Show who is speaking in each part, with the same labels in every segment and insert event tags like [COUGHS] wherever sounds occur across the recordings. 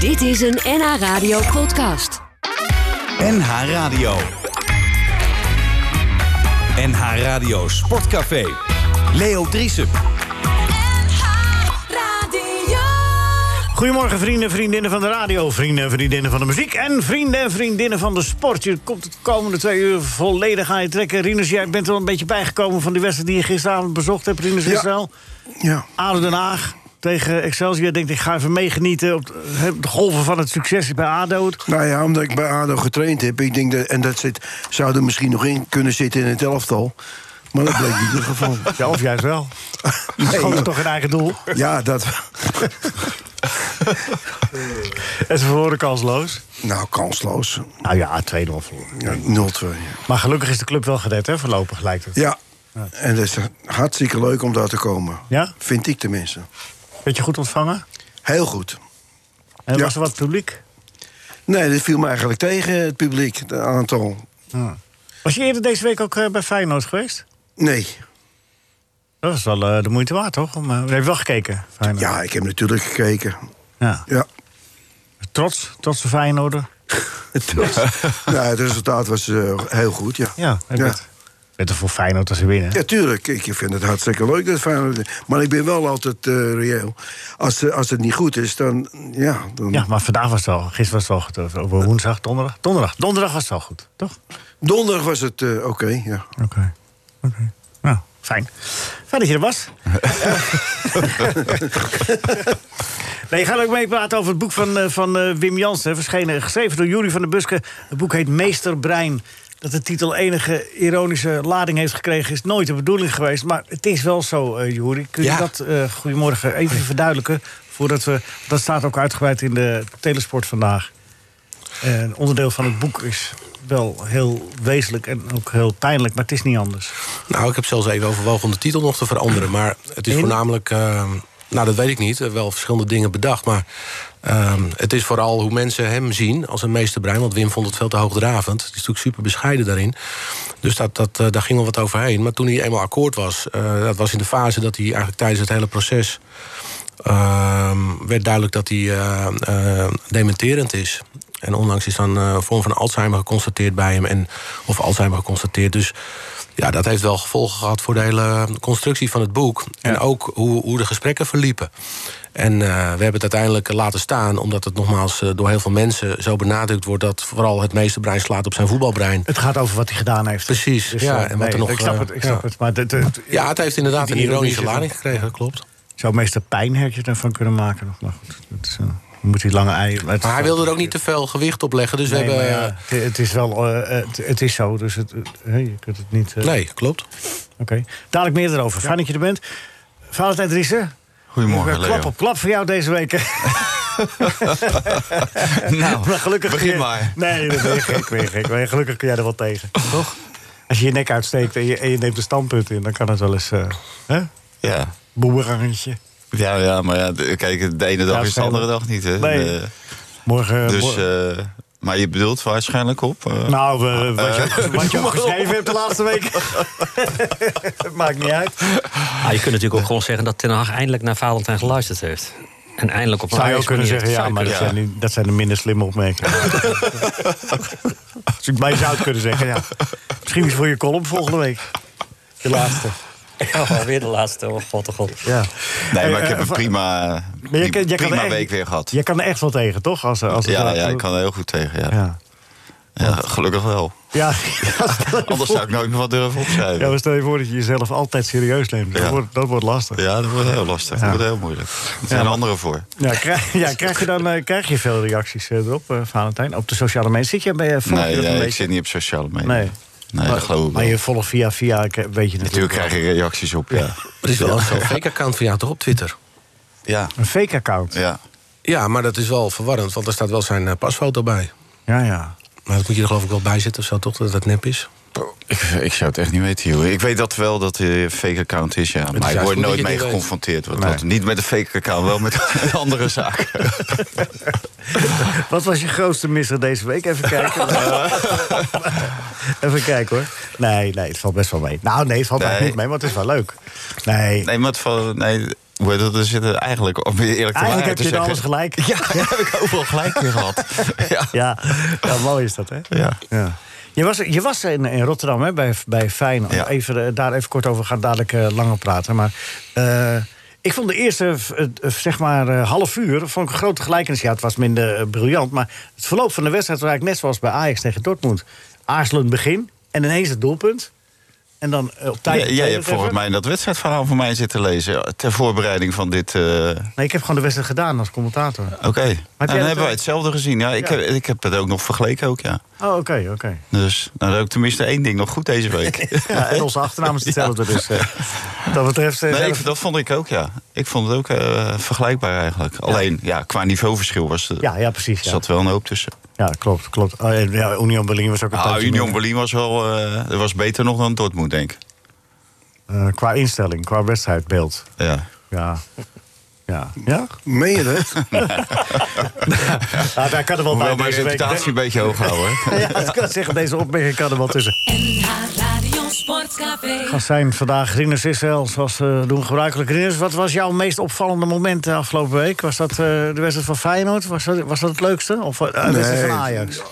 Speaker 1: Dit is een NH Radio podcast.
Speaker 2: NH Radio. NH Radio Sportcafé. Leo Driesen.
Speaker 3: Goedemorgen vrienden, vriendinnen van de radio, vrienden en vriendinnen van de muziek... en vrienden en vriendinnen van de sport. Je komt het komende twee uur volledig aan je trekken. Rinus, jij bent wel een beetje bijgekomen van die wedstrijd die je gisteravond bezocht hebt. Rinus Israël,
Speaker 4: Ja.
Speaker 3: ADO Den Haag tegen Excelsior. Je denkt, ik ga even meegenieten op de- de golven van het succes bij ADO.
Speaker 4: Nou ja, omdat ik bij ADO getraind heb. Ik denk dat, en dat zit, zou er misschien nog in kunnen zitten in het elftal. Maar dat bleek niet het geval.
Speaker 3: [LAUGHS] Ja, of juist wel.
Speaker 4: [LAUGHS]
Speaker 3: Nee. Schoot toch een eigen doel.
Speaker 4: Ja, dat...
Speaker 3: [LAUGHS] En ze verloren kansloos.
Speaker 4: Nou, kansloos.
Speaker 3: Nou ja, 2-0 verloren.
Speaker 4: Ja, 0-2. ja.
Speaker 3: Maar gelukkig is de club wel gered, hè, voorlopig lijkt het.
Speaker 4: Ja. En dat is hartstikke leuk om daar te komen.
Speaker 3: Ja?
Speaker 4: Vind ik tenminste.
Speaker 3: Beetje goed ontvangen.
Speaker 4: Heel goed.
Speaker 3: En
Speaker 4: Ja.
Speaker 3: was er wat publiek?
Speaker 4: Nee, dat viel me eigenlijk tegen, het publiek, het aantal.
Speaker 3: Ah. Was je eerder deze week ook eh, bij Feyenoord geweest?
Speaker 4: Nee.
Speaker 3: Dat was wel eh, de moeite waard, toch? Om, eh, je hebt wel gekeken, Feyenoord.
Speaker 4: Ja, ik heb natuurlijk gekeken.
Speaker 3: Ja.
Speaker 4: Ja.
Speaker 3: Trots, trots de Feyenoorder. [LAUGHS]
Speaker 4: Het, was, nou, het resultaat was eh, heel goed, ja.
Speaker 3: Ja, ik
Speaker 4: Ja.
Speaker 3: weet het. er voor Feyenoord als ze winnen.
Speaker 4: Ja, tuurlijk. Ik vind het hartstikke leuk. Dat Feyenoord- maar ik ben wel altijd eh, reëel. Als, ze- als het niet goed is, dan... Ja, dan
Speaker 3: Ja, maar vandaag was het wel, gisteren was het wel goed. Of Over woensdag, donderdag. Donderdag, donderdag was het wel goed, toch?
Speaker 4: Donderdag was het eh, oké,
Speaker 3: [LAUGHS]
Speaker 4: ja.
Speaker 3: Oké. Oké. Nou, fijn. Fijn dat je er was. nee, je gaat ook meepraten over het boek van, eh, van eh, Wim Jansen. Verschenen, geschreven door Jury van der Buske. Het boek heet Meester Brein. Dat de titel enige ironische lading heeft gekregen... is nooit de bedoeling geweest. Maar het is wel zo, eh Jury. Kun je
Speaker 5: Ja.
Speaker 3: dat, eh, goedemorgen, even verduidelijken? Voordat we, dat staat ook uitgebreid in de telesport vandaag. Eh, Een onderdeel van het boek is wel heel wezenlijk en ook heel pijnlijk, maar het is niet anders.
Speaker 5: Nou, ik heb zelfs even overwogen om de titel nog te veranderen. Maar het is
Speaker 3: In?
Speaker 5: voornamelijk... eh, nou, dat weet ik niet. Eh, Wel verschillende dingen bedacht. Maar eh, het is vooral hoe mensen hem zien als een meesterbrein. Want Wim vond het veel te hoogdravend. Het is natuurlijk super bescheiden daarin. Dus dat, dat, eh, daar ging wel wat overheen. Maar toen hij eenmaal akkoord was... eh, dat was in de fase dat hij eigenlijk tijdens het hele proces... ehm, werd duidelijk dat hij eh, eh, dementerend is. En onlangs is dan eh, een vorm van Alzheimer geconstateerd bij hem. En, of Alzheimer geconstateerd. Dus ja, dat heeft wel gevolgen gehad voor de hele constructie van het boek. En ook hoe, hoe de gesprekken verliepen. En eh, we hebben het uiteindelijk laten staan, omdat het nogmaals eh, door heel veel mensen zo benadrukt wordt dat vooral het meeste brein slaat op zijn voetbalbrein.
Speaker 3: Het gaat over wat hij gedaan heeft.
Speaker 5: Precies, ja,
Speaker 3: eh,
Speaker 5: en wat er nog,
Speaker 3: Ik snap
Speaker 5: eh,
Speaker 3: het, ik snap
Speaker 5: ja.
Speaker 3: het. Maar het, het,
Speaker 5: Ja, het heeft inderdaad
Speaker 3: die
Speaker 5: een
Speaker 3: ironie
Speaker 5: ironische
Speaker 3: zit
Speaker 5: lading
Speaker 3: er-
Speaker 5: gekregen, klopt.
Speaker 3: Zou meester pijn heb je daarvan kunnen maken? nog? Maar goed, het is, eh, dan moet hij lange ei. het is
Speaker 5: Maar hij
Speaker 3: wel-
Speaker 5: wilde er ook niet te veel gewicht op leggen, dus
Speaker 3: Nee,
Speaker 5: we hebben.
Speaker 3: maar ja, het, het is wel, eh, het, het is zo, dus het, eh, je kunt het niet... eh,
Speaker 5: eh, Nee, klopt.
Speaker 3: Oké, dadelijk meer erover. Fijn dat je er bent. Valentijn Driessen. Eh,
Speaker 6: Goedemorgen, Leo.
Speaker 3: Klap op klap voor jou
Speaker 5: [LAUGHS]
Speaker 3: deze week. [LAUGHS]
Speaker 6: Nou,
Speaker 3: Maar gelukkig
Speaker 6: begin
Speaker 3: kun je-
Speaker 6: maar.
Speaker 3: Nee, dat ben je gek, ben je gek. Maar gelukkig kun jij er wel tegen, toch? Als je je nek uitsteekt en je, en je neemt een standpunt in... dan kan het wel eens... eh hè?
Speaker 6: Ja.
Speaker 3: Boemerangetje.
Speaker 6: Ja, ja, maar ja, de- kijk, de ene dag is de
Speaker 3: scherp.
Speaker 6: andere dag niet. Hè.
Speaker 3: Nee.
Speaker 6: Eh,
Speaker 3: Morgen...
Speaker 6: dus,
Speaker 3: mor-
Speaker 6: eh, maar je bedoelt waarschijnlijk op. eh,
Speaker 3: nou, eh, wat, je,
Speaker 6: [LAUGHS]
Speaker 3: ook- wat je ook geschreven hebt de laatste week. [LAUGHS] Maakt niet uit.
Speaker 7: Ah, je kunt natuurlijk ook gewoon zeggen dat Ten Hag eindelijk naar Valentijn geluisterd heeft. En eindelijk op een
Speaker 3: Zou je ook
Speaker 7: Ajax
Speaker 3: kunnen
Speaker 7: manier.
Speaker 3: zeggen, ja,
Speaker 7: Zou je
Speaker 3: maar dat
Speaker 7: kunnen
Speaker 6: ja.
Speaker 3: zijn, die- dat zijn de minder slimme opmerkingen. Als ik mij zou het kunnen zeggen, ja. Misschien is voor je column volgende week. De laatste.
Speaker 7: zeggen. Ja, alweer de laatste. Oh, god, oh, god.
Speaker 3: Ja.
Speaker 6: nee, maar
Speaker 3: eh,
Speaker 6: ik heb
Speaker 3: eh, [LAUGHS]
Speaker 6: een
Speaker 3: va-
Speaker 6: prima,
Speaker 3: Maar je kan- je kan
Speaker 6: prima
Speaker 3: er echt-
Speaker 6: week weer gehad.
Speaker 3: Je kan er echt wel tegen, toch? Als, als het
Speaker 6: Ja,
Speaker 3: zo-
Speaker 6: ja, ik kan er heel goed tegen. Ja. Ja.
Speaker 3: Ja.
Speaker 6: gelukkig wel.
Speaker 3: Ja, [LAUGHS] stel je
Speaker 6: Anders
Speaker 3: voor-
Speaker 6: zou ik nooit meer wat durven
Speaker 3: ja,
Speaker 6: opschrijven.
Speaker 3: maar stel je voor dat je jezelf altijd serieus neemt. Dat,
Speaker 6: Ja.
Speaker 3: wordt, dat wordt lastig. Ja,
Speaker 6: Ja, dat wordt heel lastig.
Speaker 3: Ja. Eh,
Speaker 6: Dat wordt heel moeilijk. Er zijn anderen voor.
Speaker 3: krijg, ja, krijg je dan eh, krijg je veel reacties eh, erop, eh, Valentijn? Op de sociale media? Zit je bij je volg je
Speaker 6: Nee,
Speaker 3: dat een
Speaker 6: nee ik
Speaker 3: beetje?
Speaker 6: zit niet op sociale media.
Speaker 3: Nee.
Speaker 6: Nee, dat geloof ik
Speaker 3: Maar
Speaker 6: wel.
Speaker 3: je volgt via via, ik- eh, weet je natuurlijk.
Speaker 6: Natuurlijk krijg je reacties op, ja.
Speaker 5: Er is wel een
Speaker 3: [LAUGHS]
Speaker 5: zo'n fake account van jou toch op Twitter.
Speaker 6: Ja,
Speaker 3: Een fake account.
Speaker 6: ja.
Speaker 5: Ja, maar dat is wel verwarrend, want er staat wel zijn eh, pasfoto bij.
Speaker 3: Ja, ja.
Speaker 5: Maar dat moet je er geloof ik wel bij zetten of zo, toch? Dat dat nep is.
Speaker 6: Ik, ik zou het echt niet weten, joh. Ik weet dat wel dat hij een fake account is, ja. Maar
Speaker 5: juist
Speaker 6: ik
Speaker 5: goed
Speaker 6: word
Speaker 5: dat je
Speaker 6: nooit
Speaker 5: het
Speaker 6: mee
Speaker 5: niet weet.
Speaker 6: geconfronteerd. Wat dat. Niet met een fake account, wel
Speaker 3: [LAUGHS]
Speaker 6: met [LAUGHS] andere zaken.
Speaker 3: Wat was je grootste misser deze week? Even
Speaker 6: [LAUGHS]
Speaker 3: kijken. Even kijken hoor. Nee, nee, het valt best wel mee. Nou, nee, het valt
Speaker 6: Nee.
Speaker 3: eigenlijk niet mee, maar het is wel leuk. Nee.
Speaker 6: Nee, maar het, valt- nee, hoe heet dat, er zitten eigenlijk, om je eerlijk te waarheid
Speaker 3: Eigenlijk heb
Speaker 6: te
Speaker 3: je in
Speaker 6: zeggen...
Speaker 3: alles gelijk.
Speaker 6: Ja, daar heb ik overal gelijk in
Speaker 3: [LAUGHS]
Speaker 6: gehad. Ja.
Speaker 3: Ja, ja mooi is dat, hè?
Speaker 6: Ja.
Speaker 3: Ja. Je was, je was in, in Rotterdam, hè, bij, bij Feyenoord.
Speaker 6: Ja.
Speaker 3: Even, eh, daar even kort over, we gaan dadelijk eh, langer praten. Maar eh, ik vond de eerste, v- eh, eh, zeg maar, eh, half uur... vond ik een grote gelijkenis. Ja, het was minder eh, briljant. Maar het verloop van de wedstrijd was eigenlijk net zoals bij Ajax tegen Dortmund. Aarzelend begin en ineens het doelpunt. En dan eh, op
Speaker 6: [LAUGHS]
Speaker 3: tijd...
Speaker 6: Ja, jij hebt volgens mij dat wedstrijdverhaal van mij zitten lezen... eh, ter voorbereiding van dit... eh,
Speaker 3: Nee, ik heb gewoon de wedstrijd gedaan als commentator.
Speaker 6: Oké, en
Speaker 3: dat
Speaker 6: dan hebben
Speaker 3: ook?
Speaker 6: wij hetzelfde gezien. Ja, ik,
Speaker 3: Ja.
Speaker 6: Heb, ik heb het ook nog vergeleken ook, ja.
Speaker 3: Oh, oké, oké.
Speaker 6: Dus nou, dan heb ik tenminste één ding nog goed deze week.
Speaker 3: [LAUGHS] Ja, en onze achternaam is hetzelfde, dus... eh, wat dat betreft... eh,
Speaker 6: Nee,
Speaker 3: zelf-
Speaker 6: ik- dat vond ik ook, ja. Ik vond het ook eh, vergelijkbaar eigenlijk. Alleen, ja, qua niveauverschil was er
Speaker 3: ja, ja, precies. Ja.
Speaker 6: zat wel een hoop tussen.
Speaker 3: Ja, klopt, klopt. Oh, en, ja, Union Berlin was ook een
Speaker 6: Ah,
Speaker 3: tijdje
Speaker 6: Union
Speaker 3: mee.
Speaker 6: Berlin was wel eh, dat was beter nog dan Dortmund, denk ik.
Speaker 3: Eh, qua instelling, qua wedstrijdbeeld.
Speaker 6: Ja.
Speaker 3: Ja. Ja. ja?
Speaker 4: Meen je dat?
Speaker 3: [LAUGHS] Ah, daar kan er wel
Speaker 6: Hoewel
Speaker 3: bij
Speaker 6: mijn
Speaker 3: deze week.
Speaker 6: reputatie een beetje hoog houden. hè.
Speaker 3: [LAUGHS] Ja, ik kan zeggen, deze opmerking kan er wel tussen.
Speaker 8: NH Radio Sportcafé.
Speaker 3: Gast zijn vandaag Rinus Israël, zoals we doen gebruikelijk. Rinus, wat was jouw meest opvallende moment de afgelopen week? Was dat eh, de wedstrijd van Feyenoord? Was dat, was dat het leukste? Of eh, de wedstrijd van
Speaker 4: Nee.
Speaker 3: Ajax?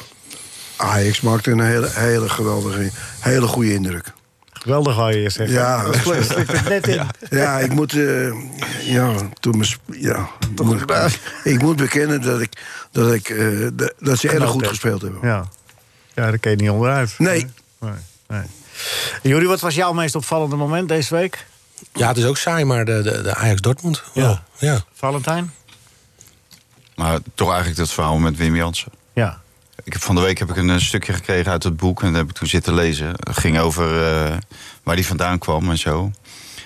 Speaker 4: Ajax maakte een hele, hele geweldige, hele goede indruk.
Speaker 3: Geweldig wou je zeggen.
Speaker 4: Ja.
Speaker 3: dat slikt- slikt het net in.
Speaker 4: Ja, ik moet, eh, ja, toen mijn sp- ja, moet- ik moet bekennen dat, ik, dat, ik, eh, dat- dat ze erg goed
Speaker 3: hè?
Speaker 4: gespeeld hebben.
Speaker 3: Ja, ja daar kun je niet onderuit.
Speaker 4: Nee.
Speaker 3: nee, nee. Jullie, wat was jouw meest opvallende moment deze week?
Speaker 5: Ja, het is ook saai, maar de, de, de Ajax Dortmund.
Speaker 3: Ja.
Speaker 5: Oh, ja.
Speaker 3: Valentijn?
Speaker 6: Maar toch eigenlijk dat verhaal met Wim Jansen.
Speaker 3: Ja.
Speaker 6: Ik heb, van de week heb ik een, eh, stukje gekregen uit het boek en dat heb ik toen zitten lezen. Het ging over eh, waar die vandaan kwam en zo.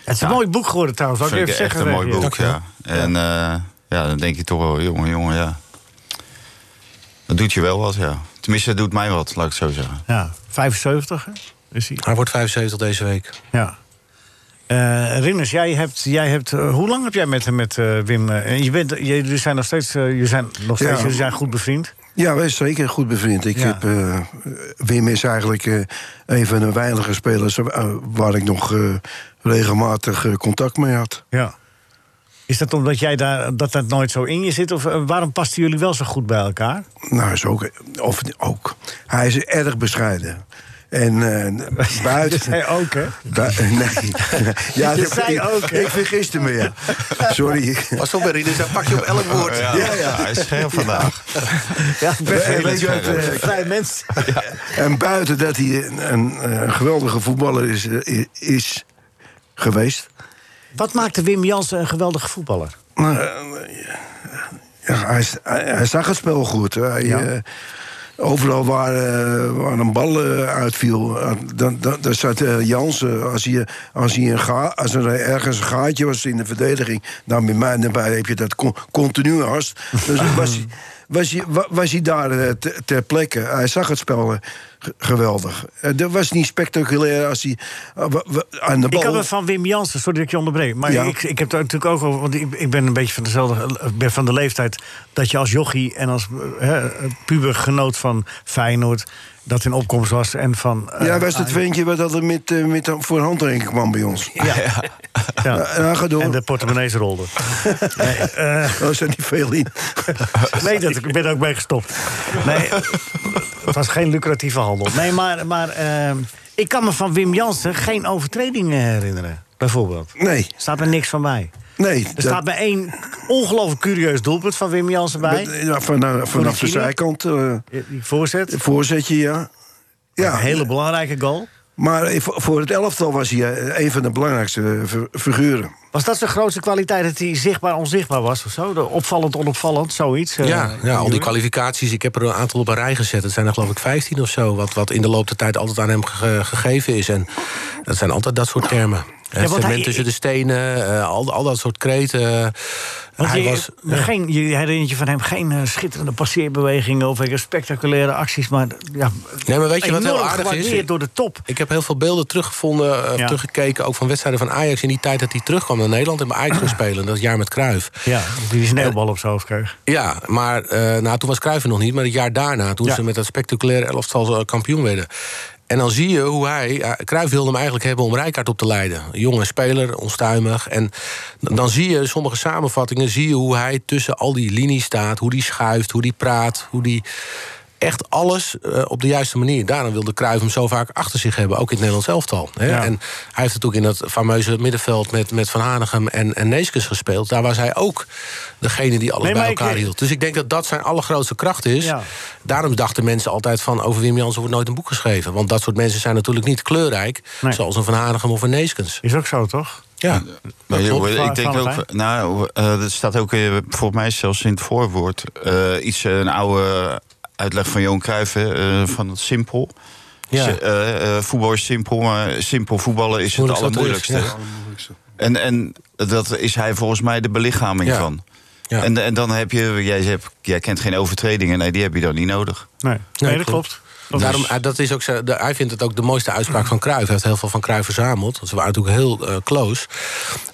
Speaker 3: Het is een
Speaker 6: Ja.
Speaker 3: mooi boek geworden trouwens. Wou ik
Speaker 6: Vind ik
Speaker 3: even
Speaker 6: echt
Speaker 3: zeggen
Speaker 6: een mooi
Speaker 3: tegen je.
Speaker 6: boek, ja. En eh, ja, dan denk je toch wel, jongen, jongen, ja. Dat doet je wel wat, ja. Tenminste, dat doet mij wat, laat ik het zo zeggen.
Speaker 3: Ja, 75 hè, is hij.
Speaker 5: Hij wordt 75 deze week.
Speaker 3: Ja. Eh Rinus, jij hebt, jij hebt, eh, hoe lang heb jij met, met eh, Wim? eh, en je bent, je- jullie zijn nog steeds, eh, jullie zijn, nog steeds
Speaker 4: Ja.
Speaker 3: jullie zijn goed bevriend.
Speaker 4: Ja, wij zijn zeker goed bevriend. Ik
Speaker 3: Ja.
Speaker 4: heb, eh, Wim is eigenlijk eh, een van de weinige spelers eh, waar ik nog eh, regelmatig eh, contact mee had.
Speaker 3: Ja. Is dat omdat jij daar, dat, dat nooit zo in je zit? Of eh, waarom pasten jullie wel zo goed bij elkaar?
Speaker 4: Nou, is ook, of ook. Hij is erg bescheiden. En
Speaker 3: [LAUGHS]
Speaker 4: eh, buiten.
Speaker 3: Jij ook, hè?
Speaker 4: bui- [LAUGHS] nee. ja,
Speaker 3: Je
Speaker 4: dat-
Speaker 3: zei
Speaker 4: ik,
Speaker 3: ook, hè?
Speaker 4: Ik vergiste me, ja. Sorry.
Speaker 5: Pas op, Rinus, dus dan pak je op elk woord.
Speaker 6: Ja, ja, hij is scherp vandaag.
Speaker 3: Ja, ik ben
Speaker 4: Nee,
Speaker 3: een
Speaker 4: weet je wat,
Speaker 3: beetje
Speaker 4: eh,
Speaker 3: vrij mens.
Speaker 4: En buiten dat hij een, een, eh, geweldige voetballer is, eh, is geweest.
Speaker 3: Wat maakte Wim Jansen een geweldige voetballer?
Speaker 4: Nou, eh, ja, hij, s- hij, hij zag het spel goed. Hij,
Speaker 3: Ja.
Speaker 4: eh, overal waar, eh, waar een bal eh, uitviel, eh, dan, dan, dan zat eh, Jansen. Als, hij, als, hij een ga, als er ergens een gaatje was in de verdediging, dan met mij erbij heb je dat con- continu als.
Speaker 3: [LAUGHS]
Speaker 4: Dus was, hij- was, hij, wa- was hij daar eh, te- ter plekke. Hij zag het spel eh, ge- geweldig. Eh, dat was niet spectaculair als hij eh, wa- wa- aan de bal...
Speaker 3: Ik had het van Wim Jansen, sorry dat ik je onderbreek. Maar
Speaker 4: Ja.
Speaker 3: ik, ik heb daar natuurlijk ook over. Want ik, ik ben een beetje van dezelfde. ik ben van de leeftijd dat je als jochie en als eh, hè, puber genoot van Feyenoord. dat in opkomst was. En van. eh,
Speaker 4: Ja, was dat ventje wat altijd met, eh, met voor handreiking kwam bij ons.
Speaker 3: ja.
Speaker 4: Ja, ga door.
Speaker 3: En de portemonnees rolden. Oh,
Speaker 4: Er zijn niet veel in.
Speaker 3: Eh, [LAUGHS] Nee, dat, ik ben er ook mee gestopt. Nee, het was geen lucratieve handel. Nee, maar, maar eh, ik kan me van Wim Jansen geen overtredingen herinneren. Bijvoorbeeld.
Speaker 4: Nee,
Speaker 3: Staat er niks van bij.
Speaker 4: nee.
Speaker 3: Er staat bij één ongelooflijk curieus doelpunt van Wim Jansen bij.
Speaker 4: ja, vanaf, vanaf de
Speaker 3: Corrigine?
Speaker 4: zijkant, eh
Speaker 3: Die voorzet.
Speaker 4: voorzetje, ja.
Speaker 3: Een
Speaker 4: Ja,
Speaker 3: hele belangrijke goal.
Speaker 4: maar eh, voor voor het elftal was hij eh, een van de belangrijkste eh, fi- figuren.
Speaker 3: Was dat zijn grootste kwaliteit dat hij zichtbaar onzichtbaar was of zo? De opvallend, onopvallend, zoiets. eh,
Speaker 5: Ja, ja, al die
Speaker 3: Joeri?
Speaker 5: kwalificaties. Ik heb er een aantal op een rij gezet. Het zijn er geloof ik 15 of zo. Wat, wat in de loop der tijd altijd aan hem ge- gegeven is. En dat zijn altijd dat soort termen. het
Speaker 3: want
Speaker 5: segment
Speaker 3: hij-
Speaker 5: tussen de stenen, eh, al, al dat soort kreten.
Speaker 3: Want
Speaker 5: hij
Speaker 3: je,
Speaker 5: was,
Speaker 3: geen, je herinnert je van hem geen eh, schitterende passeerbewegingen of eh, spectaculaire acties, maar ja,
Speaker 5: nee, maar weet je wat
Speaker 3: enorm
Speaker 5: heel aardig is?
Speaker 3: gewaardeerd door de top.
Speaker 5: Ik heb heel veel beelden teruggevonden, eh, of
Speaker 3: Ja.
Speaker 5: teruggekeken... ook van wedstrijden van Ajax in die tijd dat hij terugkwam naar Nederland... en bij Ajax ging spelen, dat jaar met Cruijff. Eh,
Speaker 3: Ja, die sneeuwbal op zijn hoofd kreeg.
Speaker 5: Ja, maar eh, nou, toen was Cruijff er nog niet. Maar het jaar daarna, toen
Speaker 3: Ja.
Speaker 5: ze met dat spectaculaire elftal eh, kampioen werden. En dan zie je hoe hij... eh, Cruijff wilde hem eigenlijk hebben om Rijkaard op te leiden. Een Jonge speler, onstuimig. En dan dan zie je sommige samenvattingen... zie je hoe hij tussen al die linies staat. Hoe die schuift, hoe die praat, hoe die... Echt alles eh, op de juiste manier. Daarom wilde Cruijff hem zo vaak achter zich hebben. Ook in het Nederlands elftal. Hè?
Speaker 3: Ja.
Speaker 5: En hij heeft natuurlijk in dat fameuze middenveld... met, met Van Hanegem en, en Neeskens gespeeld. Daar was hij ook degene die alles
Speaker 3: Nee,
Speaker 5: bij
Speaker 3: maar
Speaker 5: elkaar
Speaker 3: ik-
Speaker 5: hield. Dus ik denk dat dat zijn allergrootste kracht is.
Speaker 3: Ja.
Speaker 5: Daarom dachten mensen altijd van over Wim Jansen wordt nooit een boek geschreven. Want dat soort mensen zijn natuurlijk niet kleurrijk.
Speaker 3: Nee.
Speaker 5: Zoals een Van Hanegem of een Neeskens.
Speaker 3: Is ook zo, toch?
Speaker 5: Ja,
Speaker 6: Maar
Speaker 5: dat
Speaker 6: joh,
Speaker 5: klopt. eh,
Speaker 3: Van-
Speaker 6: ik denk
Speaker 3: van
Speaker 6: ook,
Speaker 3: Rijn?
Speaker 6: nou, eh, dat staat ook eh, volgens mij zelfs in het voorwoord. eh, iets, eh, een oude uitleg van Johan Cruijff, hè, eh, van het simpel.
Speaker 5: Ja.
Speaker 6: Ze- eh, eh, voetbal is simpel, maar simpel voetballen is het
Speaker 5: Moeilijk zat erin,
Speaker 6: allermoeilijkste. En, en dat is hij volgens mij de belichaming
Speaker 5: Ja.
Speaker 6: van.
Speaker 5: Ja.
Speaker 6: En, en dan heb je, jij, hebt, jij kent geen overtredingen, nee, die heb je dan niet nodig.
Speaker 3: Nee, nee, dat klopt. Dat
Speaker 5: Daarom,
Speaker 3: is-
Speaker 5: eh, dat is ook, zo- de- hij vindt het ook de mooiste uitspraak van Cruijff. Hij heeft heel veel van Cruijff verzameld. want Ze waren natuurlijk heel eh, close.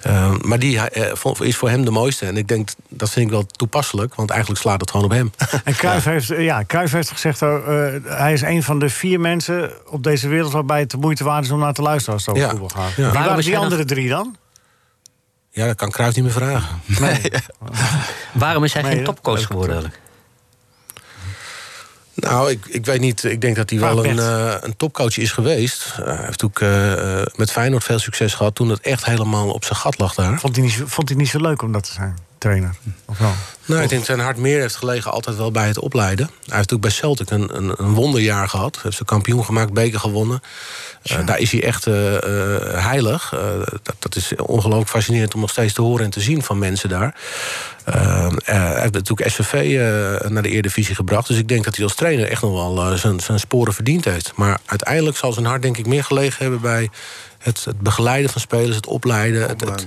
Speaker 5: Eh, maar die eh, vo- is voor hem de mooiste. En ik denk, dat vind ik wel toepasselijk. Want eigenlijk slaat het gewoon op hem.
Speaker 3: En Cruijff, Heeft, ja, Cruijff heeft gezegd, oh, eh, hij is een van de vier mensen op deze wereld... waarbij het de moeite waard is om naar te luisteren als het over
Speaker 5: Ja.
Speaker 3: Oh, voetbal gaat.
Speaker 5: Ja.
Speaker 3: Wie
Speaker 5: Waarom
Speaker 3: waren
Speaker 7: is
Speaker 3: die
Speaker 7: hij dan-
Speaker 3: andere drie dan?
Speaker 5: ja, dat kan Cruijff niet meer vragen.
Speaker 7: [LAUGHS] Waarom is hij
Speaker 3: Nee,
Speaker 7: geen
Speaker 3: hè?
Speaker 7: topcoach geworden eigenlijk?
Speaker 5: Nou, ik, ik weet niet. Ik denk dat hij
Speaker 3: Vraag
Speaker 5: wel een,
Speaker 3: Bert.
Speaker 5: eh, een topcoach is geweest. Eh, hij heeft ook eh, eh, met Feyenoord veel succes gehad... toen het echt helemaal op zijn gat lag daar.
Speaker 3: Vond hij, niet, zo- vond hij niet zo leuk om dat te zijn, trainer?
Speaker 7: Hm.
Speaker 3: Of wel?
Speaker 5: Nou, ik denk dat zijn hart meer heeft gelegen altijd wel bij het opleiden. Hij heeft ook bij Celtic een, een, een wonderjaar gehad. Heeft ze kampioen gemaakt, beker gewonnen. Eh, daar is hij echt eh, eh, heilig. Eh, dat, dat is ongelooflijk fascinerend om nog steeds te horen en te zien van mensen daar. Eh, eh, hij heeft natuurlijk SVV eh, naar de Eredivisie gebracht. Dus ik denk dat hij als trainer echt nog wel eh, zijn, zijn sporen verdiend heeft. Maar uiteindelijk zal zijn hart denk ik meer gelegen hebben bij... Het, het begeleiden van spelers, het opleiden. het- het,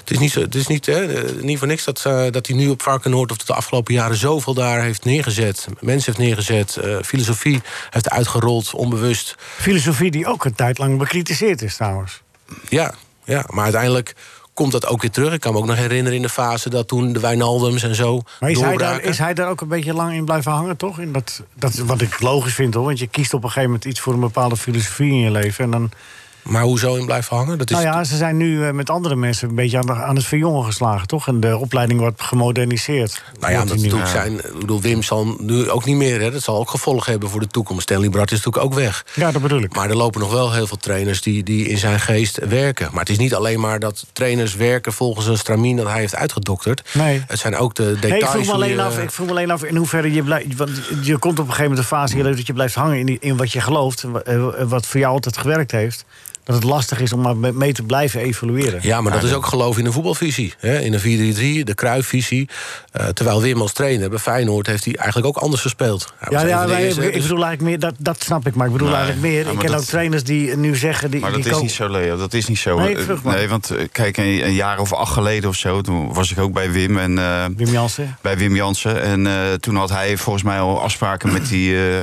Speaker 5: het is niet, zo, het is niet, hè, eh, niet voor niks dat, eh, dat hij nu op Varkenoord... of dat de afgelopen jaren zoveel daar heeft neergezet. Mensen heeft neergezet, eh, filosofie heeft uitgerold, onbewust.
Speaker 3: Filosofie die ook een tijd lang bekritiseerd is trouwens.
Speaker 5: Ja, ja, maar uiteindelijk komt dat ook weer terug. Ik kan me ook nog herinneren in de fase dat toen de Wijnaldums en zo
Speaker 3: Maar is hij, daar,
Speaker 5: doorbraken.
Speaker 3: is hij daar ook een beetje lang in blijven hangen, toch? In dat, dat, is wat ik logisch vind, hoor. Want je kiest op een gegeven moment iets voor een bepaalde filosofie in je leven. En dan,
Speaker 5: Maar hoezo in blijven hangen? Dat is
Speaker 3: nou ja, ze zijn nu eh, met andere mensen een beetje aan, de- aan het verjongen geslagen, toch? En de opleiding wordt gemoderniseerd.
Speaker 5: Nou ja,
Speaker 3: Wordt
Speaker 5: dat
Speaker 3: die nieuw.
Speaker 5: natuurlijk zijn. Ik bedoel, Wim zal nu ook niet meer. Hè. Dat zal ook gevolgen hebben voor de toekomst. Stanley Brat is natuurlijk ook weg.
Speaker 3: Ja, dat bedoel ik.
Speaker 5: Maar er lopen nog wel heel veel trainers die, die in zijn geest werken. Maar het is niet alleen maar dat trainers werken volgens een stramien dat hij heeft uitgedokterd.
Speaker 3: Nee.
Speaker 5: Het zijn ook de details. eh.
Speaker 3: Nee, ik vroeg, me
Speaker 5: hoe
Speaker 3: alleen
Speaker 5: je-
Speaker 3: af, ik vroeg me alleen af in hoeverre je blijft... Want je komt op een gegeven moment een fase in je leven... dat je blijft hangen in, die- in wat je gelooft... en wa- eh, wat voor jou altijd gewerkt heeft. Dat het lastig is om maar me- mee te blijven evolueren.
Speaker 5: Ja, maar dat is ook geloof in een voetbalvisie. Hè? In een 4-3-3, de kruifvisie. Eh, terwijl Wim als trainer bij Feyenoord heeft hij eigenlijk ook anders gespeeld. Hij was
Speaker 3: Ja,
Speaker 5: een
Speaker 3: ja
Speaker 5: van de
Speaker 3: maar ik,
Speaker 5: eerste,
Speaker 3: ik
Speaker 5: dus-
Speaker 3: bedoel eigenlijk meer, dat, dat snap ik, maar ik bedoel
Speaker 6: Nee,
Speaker 3: eigenlijk meer.
Speaker 6: ja,
Speaker 3: ik
Speaker 6: maar
Speaker 3: ken
Speaker 6: dat-
Speaker 3: ook trainers die nu zeggen. Die,
Speaker 6: Maar
Speaker 3: die
Speaker 6: dat is
Speaker 3: ko-
Speaker 6: niet zo, Leo. Dat is niet zo.
Speaker 3: Nee,
Speaker 6: Eh,
Speaker 3: vroeg maar.
Speaker 6: nee, want eh, kijk, een, een jaar of acht geleden of zo... toen was ik ook bij Wim en... eh,
Speaker 3: Wim Jansen.
Speaker 6: bij Wim Jansen. En eh, toen had hij volgens mij al afspraken met die eh,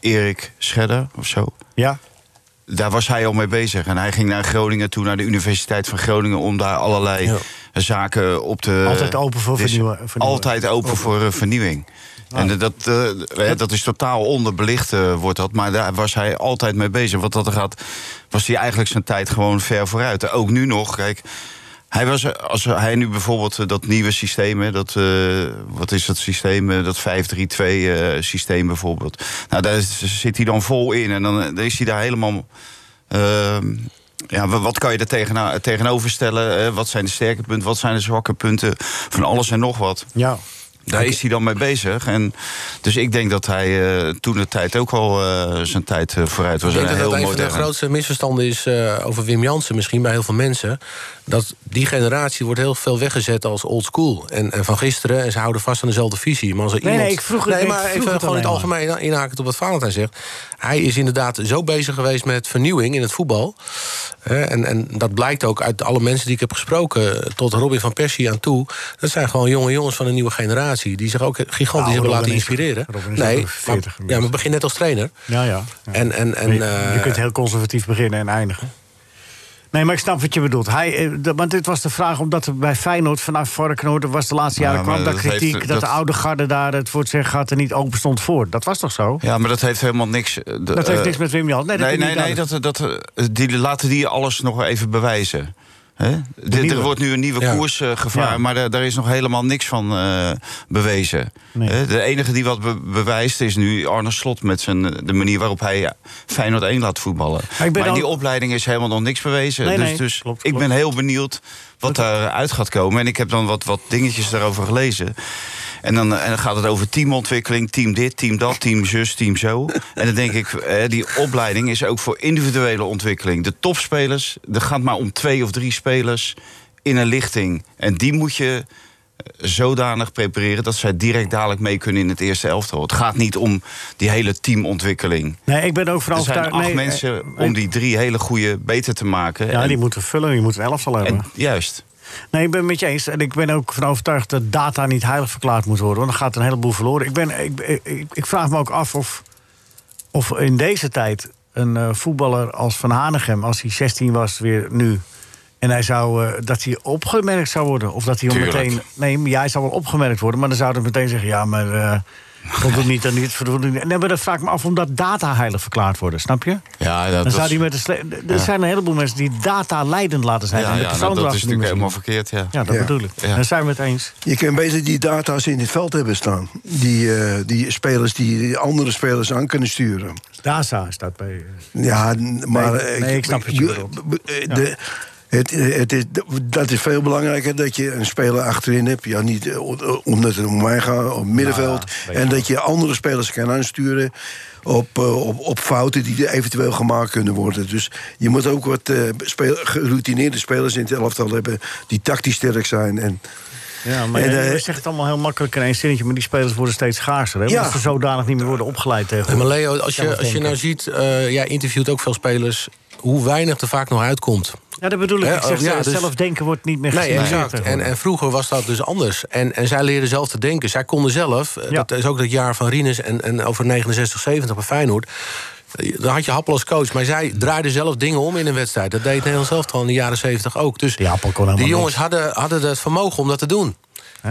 Speaker 6: Erik Schedder of zo.
Speaker 3: Ja.
Speaker 6: Daar was hij al mee bezig. En hij ging naar Groningen toe, naar de Universiteit van Groningen... om daar allerlei
Speaker 5: Ja.
Speaker 6: zaken op te...
Speaker 3: Altijd open voor vernieuwen- vernieuwen.
Speaker 6: Altijd open, voor eh, vernieuwing. En eh, dat, eh, eh, dat is totaal onderbelicht, eh, wordt dat. Maar daar was hij altijd mee bezig. Want dat er gaat, was hij eigenlijk zijn tijd gewoon ver vooruit. Ook nu nog, kijk... Hij was, eh, als hij nu bijvoorbeeld eh, dat nieuwe systeem, hè, dat, eh, wat is dat systeem, eh, dat 5-3-2 eh, systeem bijvoorbeeld. Nou, daar is- zit hij dan vol in en dan, eh, dan is hij daar helemaal. ehm, ja, wa- wat kan je er tegena- tegenover stellen? eh, wat zijn de sterke punten, wat zijn de zwakke punten? Van alles en nog wat.
Speaker 3: Ja.
Speaker 6: Daar is hij dan mee bezig. En dus ik denk dat hij eh, toen de tijd ook al eh, zijn tijd eh, vooruit was.
Speaker 5: Ik denk
Speaker 6: En
Speaker 5: dat dat
Speaker 6: heel
Speaker 5: een van de
Speaker 6: modern.
Speaker 5: grootste misverstanden is eh, over Wim Jansen, misschien bij heel veel mensen. Dat die generatie wordt heel veel weggezet als old school. En, en van gisteren, en ze houden vast aan dezelfde visie. Maar als er
Speaker 3: Nee,
Speaker 5: iemand,
Speaker 3: nee, ik vroeg het-
Speaker 5: Nee,
Speaker 3: ik
Speaker 5: maar
Speaker 3: vroeg
Speaker 5: even
Speaker 3: het
Speaker 5: gewoon in het
Speaker 3: alleen maar.
Speaker 5: algemeen inhaken op wat Valentijn zegt. Hij is inderdaad zo bezig geweest met vernieuwing in het voetbal. Hè, en, en dat blijkt ook uit alle mensen die ik heb gesproken, eh, tot Robin van Persie aan toe. Dat zijn gewoon jonge jongens van een nieuwe generatie. Die zich ook gigantisch
Speaker 3: Nou,
Speaker 5: hebben
Speaker 3: Robin
Speaker 5: laten
Speaker 3: is-
Speaker 5: inspireren.
Speaker 3: Robin is ook
Speaker 5: nee,
Speaker 3: een
Speaker 5: maar,
Speaker 3: 40
Speaker 5: ja, maar begin net als trainer.
Speaker 3: Ja, ja. ja.
Speaker 5: En, en, en,
Speaker 3: je, je
Speaker 5: eh,
Speaker 3: kunt heel conservatief beginnen en eindigen. Nee, maar ik snap wat je bedoelt. Hij, eh, de- want dit was de vraag omdat er bij Feyenoord vanaf Varkenoord... was de laatste jaren
Speaker 6: Ja, maar
Speaker 3: kwam daar
Speaker 6: dat heeft-
Speaker 3: kritiek... dat,
Speaker 6: dat-
Speaker 3: de oude garde daar het voor het zeggen gaat... er niet open stond voor. Dat was toch zo?
Speaker 6: Ja, maar dat heeft helemaal niks... eh, de-
Speaker 3: Dat heeft
Speaker 6: eh,
Speaker 3: niks met Wim Jan. Nee, dat
Speaker 6: Nee,
Speaker 3: heb ik
Speaker 6: nee, nee,
Speaker 3: niet
Speaker 6: dat, dat, eh, die, laten die alles nog even bewijzen. Hè? Dit-
Speaker 3: nieuwe.
Speaker 6: Er wordt nu een nieuwe
Speaker 5: Ja.
Speaker 6: koers eh, gevaren,
Speaker 3: Ja.
Speaker 6: maar daar, daar is nog helemaal niks van eh, bewezen.
Speaker 3: Nee.
Speaker 6: Hè? De enige die wat be- bewijst is nu Arne Slot... met zijn, eh, de manier waarop hij ja, Feyenoord 1 laat voetballen.
Speaker 3: ben
Speaker 6: Maar, in
Speaker 3: al-
Speaker 6: die opleiding is helemaal nog niks bewezen.
Speaker 3: Nee,
Speaker 6: dus
Speaker 3: nee,
Speaker 6: dus
Speaker 3: klopt,
Speaker 6: ik
Speaker 3: klopt.
Speaker 6: ben heel benieuwd wat daaruit gaat komen. En ik heb dan wat, wat dingetjes daarover gelezen. En dan, eh, en dan gaat het over teamontwikkeling, team dit, team dat, team zus, team zo. En dan denk ik, eh, die opleiding is ook voor individuele ontwikkeling. De topspelers, er gaat maar om twee of drie spelers in een lichting. En die moet je eh, zodanig prepareren dat zij direct dadelijk mee kunnen in het eerste elftal. Het gaat niet om die hele teamontwikkeling.
Speaker 3: Nee, ik ben ook vooral
Speaker 6: Er zijn
Speaker 3: overtuigd-
Speaker 6: acht
Speaker 3: nee, eh,
Speaker 6: mensen
Speaker 3: nee.
Speaker 6: om die drie hele goede beter te maken.
Speaker 3: Ja,
Speaker 6: En-
Speaker 3: die moeten vullen. Die moeten een elftal hebben.
Speaker 6: en juist.
Speaker 3: Nee, ik ben het met je eens. En ik ben ook van overtuigd dat data niet heilig verklaard moet worden. Want dan gaat er een heleboel verloren. Ik, ben, ik, ik, ik vraag me ook af of, of in deze tijd een eh, voetballer als Van Hanegem... als hij 16 was weer nu... en hij zou, eh, dat hij opgemerkt zou worden. Of dat hij al
Speaker 6: Tuurlijk.
Speaker 3: meteen... Nee, maar ja, hij zou wel opgemerkt worden. Maar dan zouden we meteen zeggen... ja, maar eh voldoet niet aan dit, voldoet niet... aan- Nee, maar dan vraag ik me af om dat data heilig verklaard worden. Snap je?
Speaker 6: Ja, dat,
Speaker 3: Dan
Speaker 6: dat-
Speaker 3: zou die met een sle- er zijn een heleboel mensen die data leidend laten zijn.
Speaker 6: ja,
Speaker 3: en de
Speaker 6: ja, nou,
Speaker 3: persoon
Speaker 6: dat is
Speaker 3: erachter niet
Speaker 6: natuurlijk
Speaker 3: meer zien.
Speaker 6: helemaal verkeerd. Ja.
Speaker 3: Ja, dat
Speaker 4: Ja.
Speaker 3: bedoel ik.
Speaker 6: Ja.
Speaker 3: Daar zijn we het eens.
Speaker 4: Je kunt beter die data's in het veld hebben staan. Die, eh, die spelers die die andere spelers aan kunnen sturen.
Speaker 3: DASA staat bij. eh,
Speaker 4: Ja, n- maar...
Speaker 3: nee,
Speaker 4: eh,
Speaker 3: ik snap wat je bedoelt.
Speaker 4: b- eh, de- het, het is, dat is veel belangrijker dat je een speler achterin hebt. Ja, niet eh, o- o- omdat het om mij gaat, op middenveld. en dat je andere spelers kan aansturen op, eh, op, op fouten die er eventueel gemaakt kunnen worden. Dus je moet ook wat eh, spel- geroutineerde spelers in het elftal hebben... die tactisch sterk zijn. En,
Speaker 3: Ja, maar
Speaker 4: En, eh,
Speaker 3: je zegt het allemaal heel makkelijk in één zinnetje, maar die spelers worden steeds schaarser. Hè?
Speaker 4: Ja.
Speaker 3: Omdat ze zodanig niet meer worden opgeleid
Speaker 5: En maar
Speaker 3: tegenwoordig.
Speaker 5: Leo, als je, als je nou ziet, eh, jij interviewt ook veel spelers... hoe weinig er vaak nog uitkomt.
Speaker 3: Ja, dat bedoel ik.
Speaker 5: Ja,
Speaker 3: Ik zeg
Speaker 5: oh, ja,
Speaker 3: zelf-
Speaker 5: dus-
Speaker 3: zelfdenken wordt niet meer
Speaker 5: Nee,
Speaker 3: gestimuleerd
Speaker 5: exact. En,
Speaker 3: tegenwoordig.
Speaker 5: en vroeger was dat dus anders. En, en zij leerden zelf te denken. Zij konden zelf, eh,
Speaker 3: Ja.
Speaker 5: dat is ook dat jaar van Rinus en, en over 69, 70 bij Feyenoord... eh, Dan had je Happel als coach, maar zij draaiden zelf dingen om in een wedstrijd. Dat deed Nederland zelf al in de jaren 70 ook. Dus
Speaker 3: Die Happel kon helemaal
Speaker 5: die jongens hadden, hadden het vermogen om dat te doen.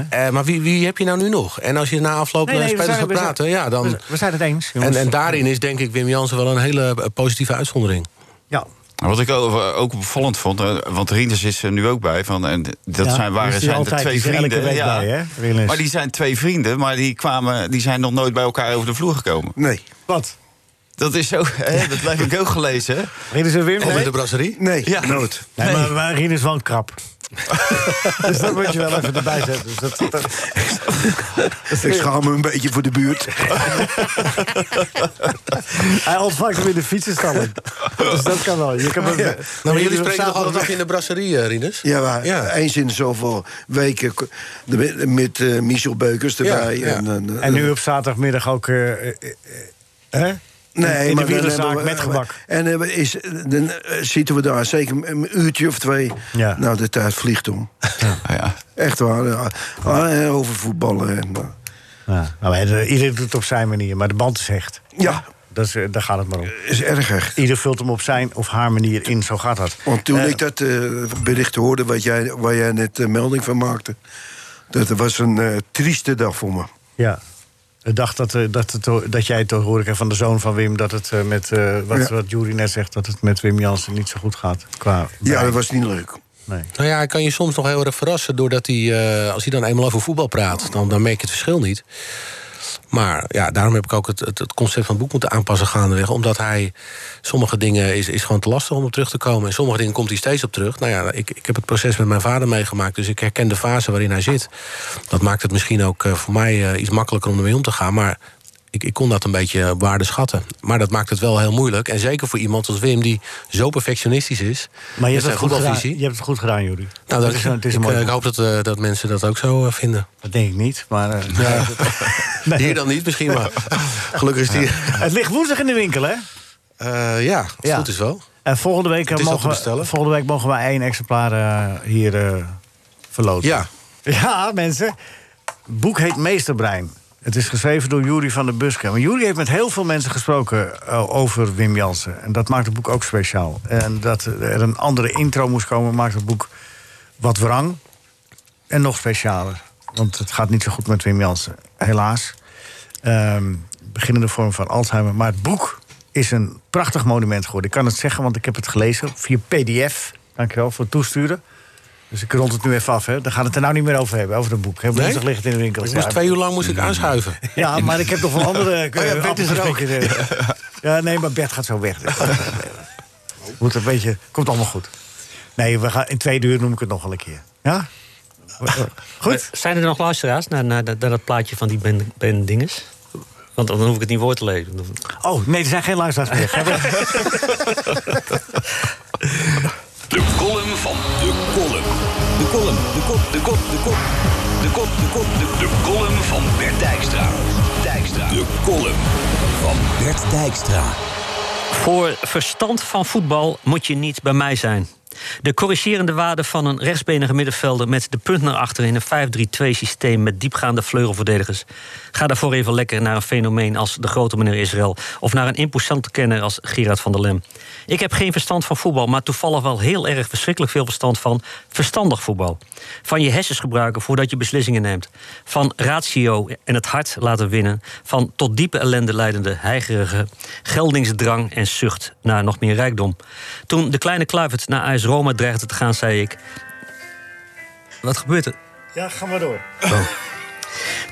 Speaker 5: Eh, maar wie, wie heb je nou nu nog? En als je na afloop
Speaker 3: Nee,
Speaker 5: met
Speaker 3: nee, we
Speaker 5: spelers
Speaker 3: zijn-
Speaker 5: gaat
Speaker 3: we zijn-
Speaker 5: praten, ja, dan...
Speaker 3: we, Dus, eh, we zijn het eens.
Speaker 5: En,
Speaker 3: Jongens.
Speaker 5: en daarin is denk ik Wim Jansen wel een hele eh, positieve uitzondering.
Speaker 3: ja.
Speaker 6: Wat ik ook, ook opvallend vond, eh, want Rienders is er nu ook bij. Van, en dat
Speaker 3: Ja,
Speaker 6: zijn,
Speaker 3: die
Speaker 6: waren
Speaker 3: is er
Speaker 6: zijn de
Speaker 3: altijd,
Speaker 6: twee
Speaker 3: die is er elke
Speaker 6: vrienden.
Speaker 3: week bij, hè, Rienders.
Speaker 6: maar die zijn twee vrienden, maar die, kwamen, die zijn nog nooit bij elkaar over de vloer gekomen.
Speaker 4: nee,
Speaker 3: Wat?
Speaker 6: Dat is zo, hè, dat heb ik ook gelezen. hè.
Speaker 3: Rinus en Wim?
Speaker 5: Of in
Speaker 3: Nee?
Speaker 5: de brasserie?
Speaker 4: nee,
Speaker 6: Ja.
Speaker 4: nooit.
Speaker 3: Nee, maar, maar Rinus woont
Speaker 5: [LAUGHS]
Speaker 3: krap. dus dat moet je wel even erbij zetten. Dus dat, dat-
Speaker 5: [LAUGHS]
Speaker 4: Ik schaam me een beetje voor de [LAUGHS] buurt.
Speaker 3: hij ontvangt hem in de fietsenstalling. Dus dat kan wel. Je kan hem-
Speaker 4: Nou,
Speaker 5: Nou, maar jullie
Speaker 3: op
Speaker 5: spreken toch
Speaker 3: zaterdag-
Speaker 5: altijd af in de brasserie, eh, Rinus?
Speaker 4: Ja, maar
Speaker 5: Ja.
Speaker 4: eens in zoveel weken k- de- met, met eh, Michel Beukers erbij.
Speaker 5: Ja, ja.
Speaker 4: En, eh,
Speaker 3: En nu op zaterdagmiddag ook. eh, eh, eh, hè? in de
Speaker 4: maar dan
Speaker 3: wielerzaak
Speaker 4: hebben we-
Speaker 3: met gebak.
Speaker 4: En eh, we- is, dan eh, zitten we daar zeker een uurtje of twee.
Speaker 3: Ja.
Speaker 4: Nou, de tijd vliegt om.
Speaker 6: Ja.
Speaker 4: Echt waar. [LAUGHS] ja. Ah, eh, over voetballen. En, eh,
Speaker 3: Ja. Nou, maar de- iedereen doet het op zijn manier, maar de band is echt.
Speaker 4: ja,
Speaker 3: Dat is, eh, daar gaat het maar om.
Speaker 4: is erger.
Speaker 3: Ieder vult hem op zijn of haar manier in, zo gaat dat.
Speaker 4: Want toen ik dat eh, bericht hoorde wat jij, waar jij net eh, melding van maakte... dat was een eh, trieste dag voor me.
Speaker 3: Ja. Ik dacht dat, eh, dat, het, ho- dat jij toch hoor ik van de zoon van Wim... dat het eh, met, eh, wat,
Speaker 4: Ja.
Speaker 3: wat Jury net zegt, dat het met Wim Jansen niet zo goed gaat. Qua
Speaker 4: Ja,
Speaker 3: brein.
Speaker 4: dat was niet leuk.
Speaker 3: Nee.
Speaker 5: Nou ja, hij kan je soms nog heel erg verrassen... doordat hij, eh, als hij dan eenmaal over voetbal praat... dan, dan merk je het verschil niet. Maar ja, daarom heb ik ook het, het, het concept van het boek moeten aanpassen gaandeweg. Omdat hij sommige dingen is, is gewoon te lastig om op terug te komen. En sommige dingen komt hij steeds op terug. Nou ja, ik, ik heb het proces met mijn vader meegemaakt. Dus ik herken de fase waarin hij zit. Dat maakt het misschien ook eh, voor mij eh, iets makkelijker om ermee om te gaan. Maar ik, ik kon dat een beetje op waarde schatten. Maar dat maakt het wel heel moeilijk. En zeker voor iemand als Wim, die zo perfectionistisch is.
Speaker 3: Maar je
Speaker 5: met
Speaker 3: hebt, het
Speaker 5: zijn
Speaker 3: goed gedaan,
Speaker 5: voetbalvisie.
Speaker 3: je hebt het goed gedaan, Jury.
Speaker 5: Nou,
Speaker 3: dat
Speaker 5: dat
Speaker 3: is, een- het is een
Speaker 5: ik,
Speaker 3: mooi
Speaker 5: eh, ik
Speaker 3: boek.
Speaker 5: hoop dat, eh, dat mensen dat ook zo eh, vinden.
Speaker 3: Dat denk ik niet, maar... eh, [LAUGHS] nee.
Speaker 5: [LAUGHS] Hier dan niet misschien, maar gelukkig is die...
Speaker 3: Het ligt woensdag in de winkel, hè?
Speaker 5: Eh, ja, als het
Speaker 3: Ja.
Speaker 5: goed is wel.
Speaker 3: En volgende week,
Speaker 5: is
Speaker 3: eh,
Speaker 5: al te
Speaker 3: mogen, we-
Speaker 5: bestellen.
Speaker 3: volgende week mogen we één exemplaar eh, hier eh verloten.
Speaker 5: Ja.
Speaker 3: Ja, mensen. Het boek heet Meesterbrein. Het is geschreven door Juri van der Buske. Maar Juri heeft met heel veel mensen gesproken eh, over Wim Jansen. En dat maakt het boek ook speciaal. En dat er een andere intro moest komen, maakt het boek wat wrang. En nog specialer. Want het gaat niet zo goed met Wim Jansen, helaas. Ehm, beginnende vorm van Alzheimer. Maar het boek is een prachtig monument geworden. Ik kan het zeggen, want ik heb het gelezen via PDF. Dankjewel voor het toesturen. Dus ik rond het nu even af. Hè. Daar gaan we het er nou niet meer over hebben, over het boek. Heel
Speaker 5: Nee?
Speaker 3: woensdag ligt het in de winkel.
Speaker 5: Ik moest twee uur lang moest ik aanschuiven.
Speaker 3: [LAUGHS]
Speaker 5: Oh
Speaker 3: Ja, maar ik heb
Speaker 5: [LAUGHS]
Speaker 3: nog wel andere. eh,
Speaker 5: ja, Bert is er ook.
Speaker 3: appelsprekjes, eh. Ja, nee, maar Bert gaat zo weg. Dus. Moet een beetje. Komt allemaal goed. Nee, we gaan, in twee uur noem ik het nog wel een keer. Ja? Goed.
Speaker 7: Eh, Zijn er nog luisteraars naar, naar, dat- naar dat plaatje van die Ben, ben Dinges? Want dan hoef ik het niet woord te lezen.
Speaker 3: Oh, nee, er zijn geen luisteraars meer. Gaan we-
Speaker 9: De column van de column. De column, de kop, de kop, de kop. De kop, de kop, de De column van Bert Dijkstra. Dijkstra. De column van Bert Dijkstra.
Speaker 7: Voor verstand van voetbal moet je niet bij mij zijn. De corrigerende waarde van een rechtsbenige middenvelder met de punt naar achter in een 5-3-2 systeem met diepgaande vleugelverdedigers. Ga daarvoor even lekker naar een fenomeen als de grote meneer Israël of naar een imposante kenner als Gerard van der Lem. Ik heb geen verstand van voetbal, maar toevallig wel heel erg verschrikkelijk veel verstand van verstandig voetbal. Van je hersens gebruiken voordat je beslissingen neemt. Van ratio en het hart laten winnen. Van tot diepe ellende leidende heigerige geldingsdrang en zucht naar nog meer rijkdom. Toen de kleine Kluivert naar AS Roma dreigde te gaan, zei ik... Wat gebeurt er?
Speaker 3: Ja, ga maar door.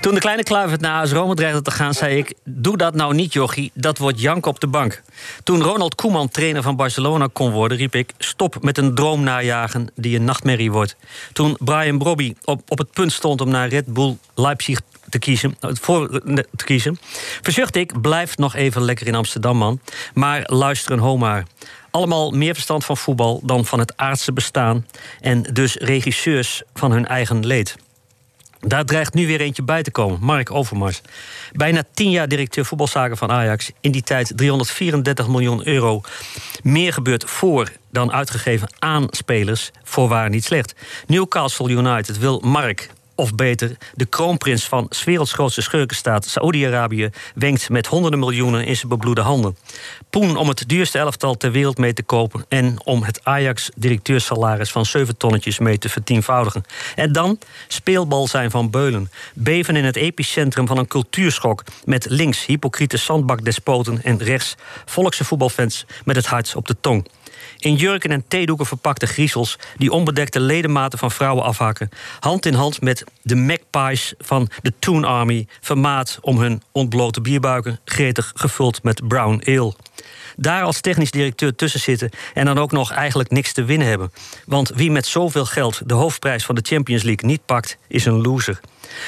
Speaker 7: Toen de kleine Kluivert naar AS Rome dreigde te gaan, zei ik... doe dat nou niet, jochie, dat wordt jank op de bank. Toen Ronald Koeman trainer van Barcelona kon worden, riep ik... stop met een droom najagen die een nachtmerrie wordt. Toen Brian Brobby op, op het punt stond om naar Red Bull Leipzig te kiezen, eh, voor, eh, te kiezen... verzucht ik, blijf nog even lekker in Amsterdam, man. Maar luister een homaar. Allemaal meer verstand van voetbal dan van het aardse bestaan... en dus regisseurs van hun eigen leed. Daar dreigt nu weer eentje bij te komen, Mark Overmars. Bijna tien jaar directeur voetbalzaken van Ajax. In die tijd 334 miljoen euro. Meer gebeurt voor dan uitgegeven aan spelers. Voorwaar niet slecht. Newcastle United wil Mark, of beter, de kroonprins van 's werelds grootste schurkenstaat Saoedi-Arabië wenkt met honderden miljoenen in zijn bebloede handen. Poen om het duurste elftal ter wereld mee te kopen en om het Ajax-directeurssalaris van 7 tonnetjes mee te vertienvoudigen. En dan speelbal zijn van Beulen. Beven in het epicentrum van een cultuurschok met links hypocriete zandbakdespoten en rechts volkse voetbalfans met het hart op de tong. In jurken en theedoeken verpakte griezels die onbedekte ledematen van vrouwen afhakken. Hand in hand met de magpies van de Toon Army, vermaat om hun ontblote bierbuiken, gretig gevuld met brown ale. Daar als technisch directeur tussen zitten en dan ook nog eigenlijk niks te winnen hebben. Want wie met zoveel geld de hoofdprijs van de Champions League niet pakt, is een loser.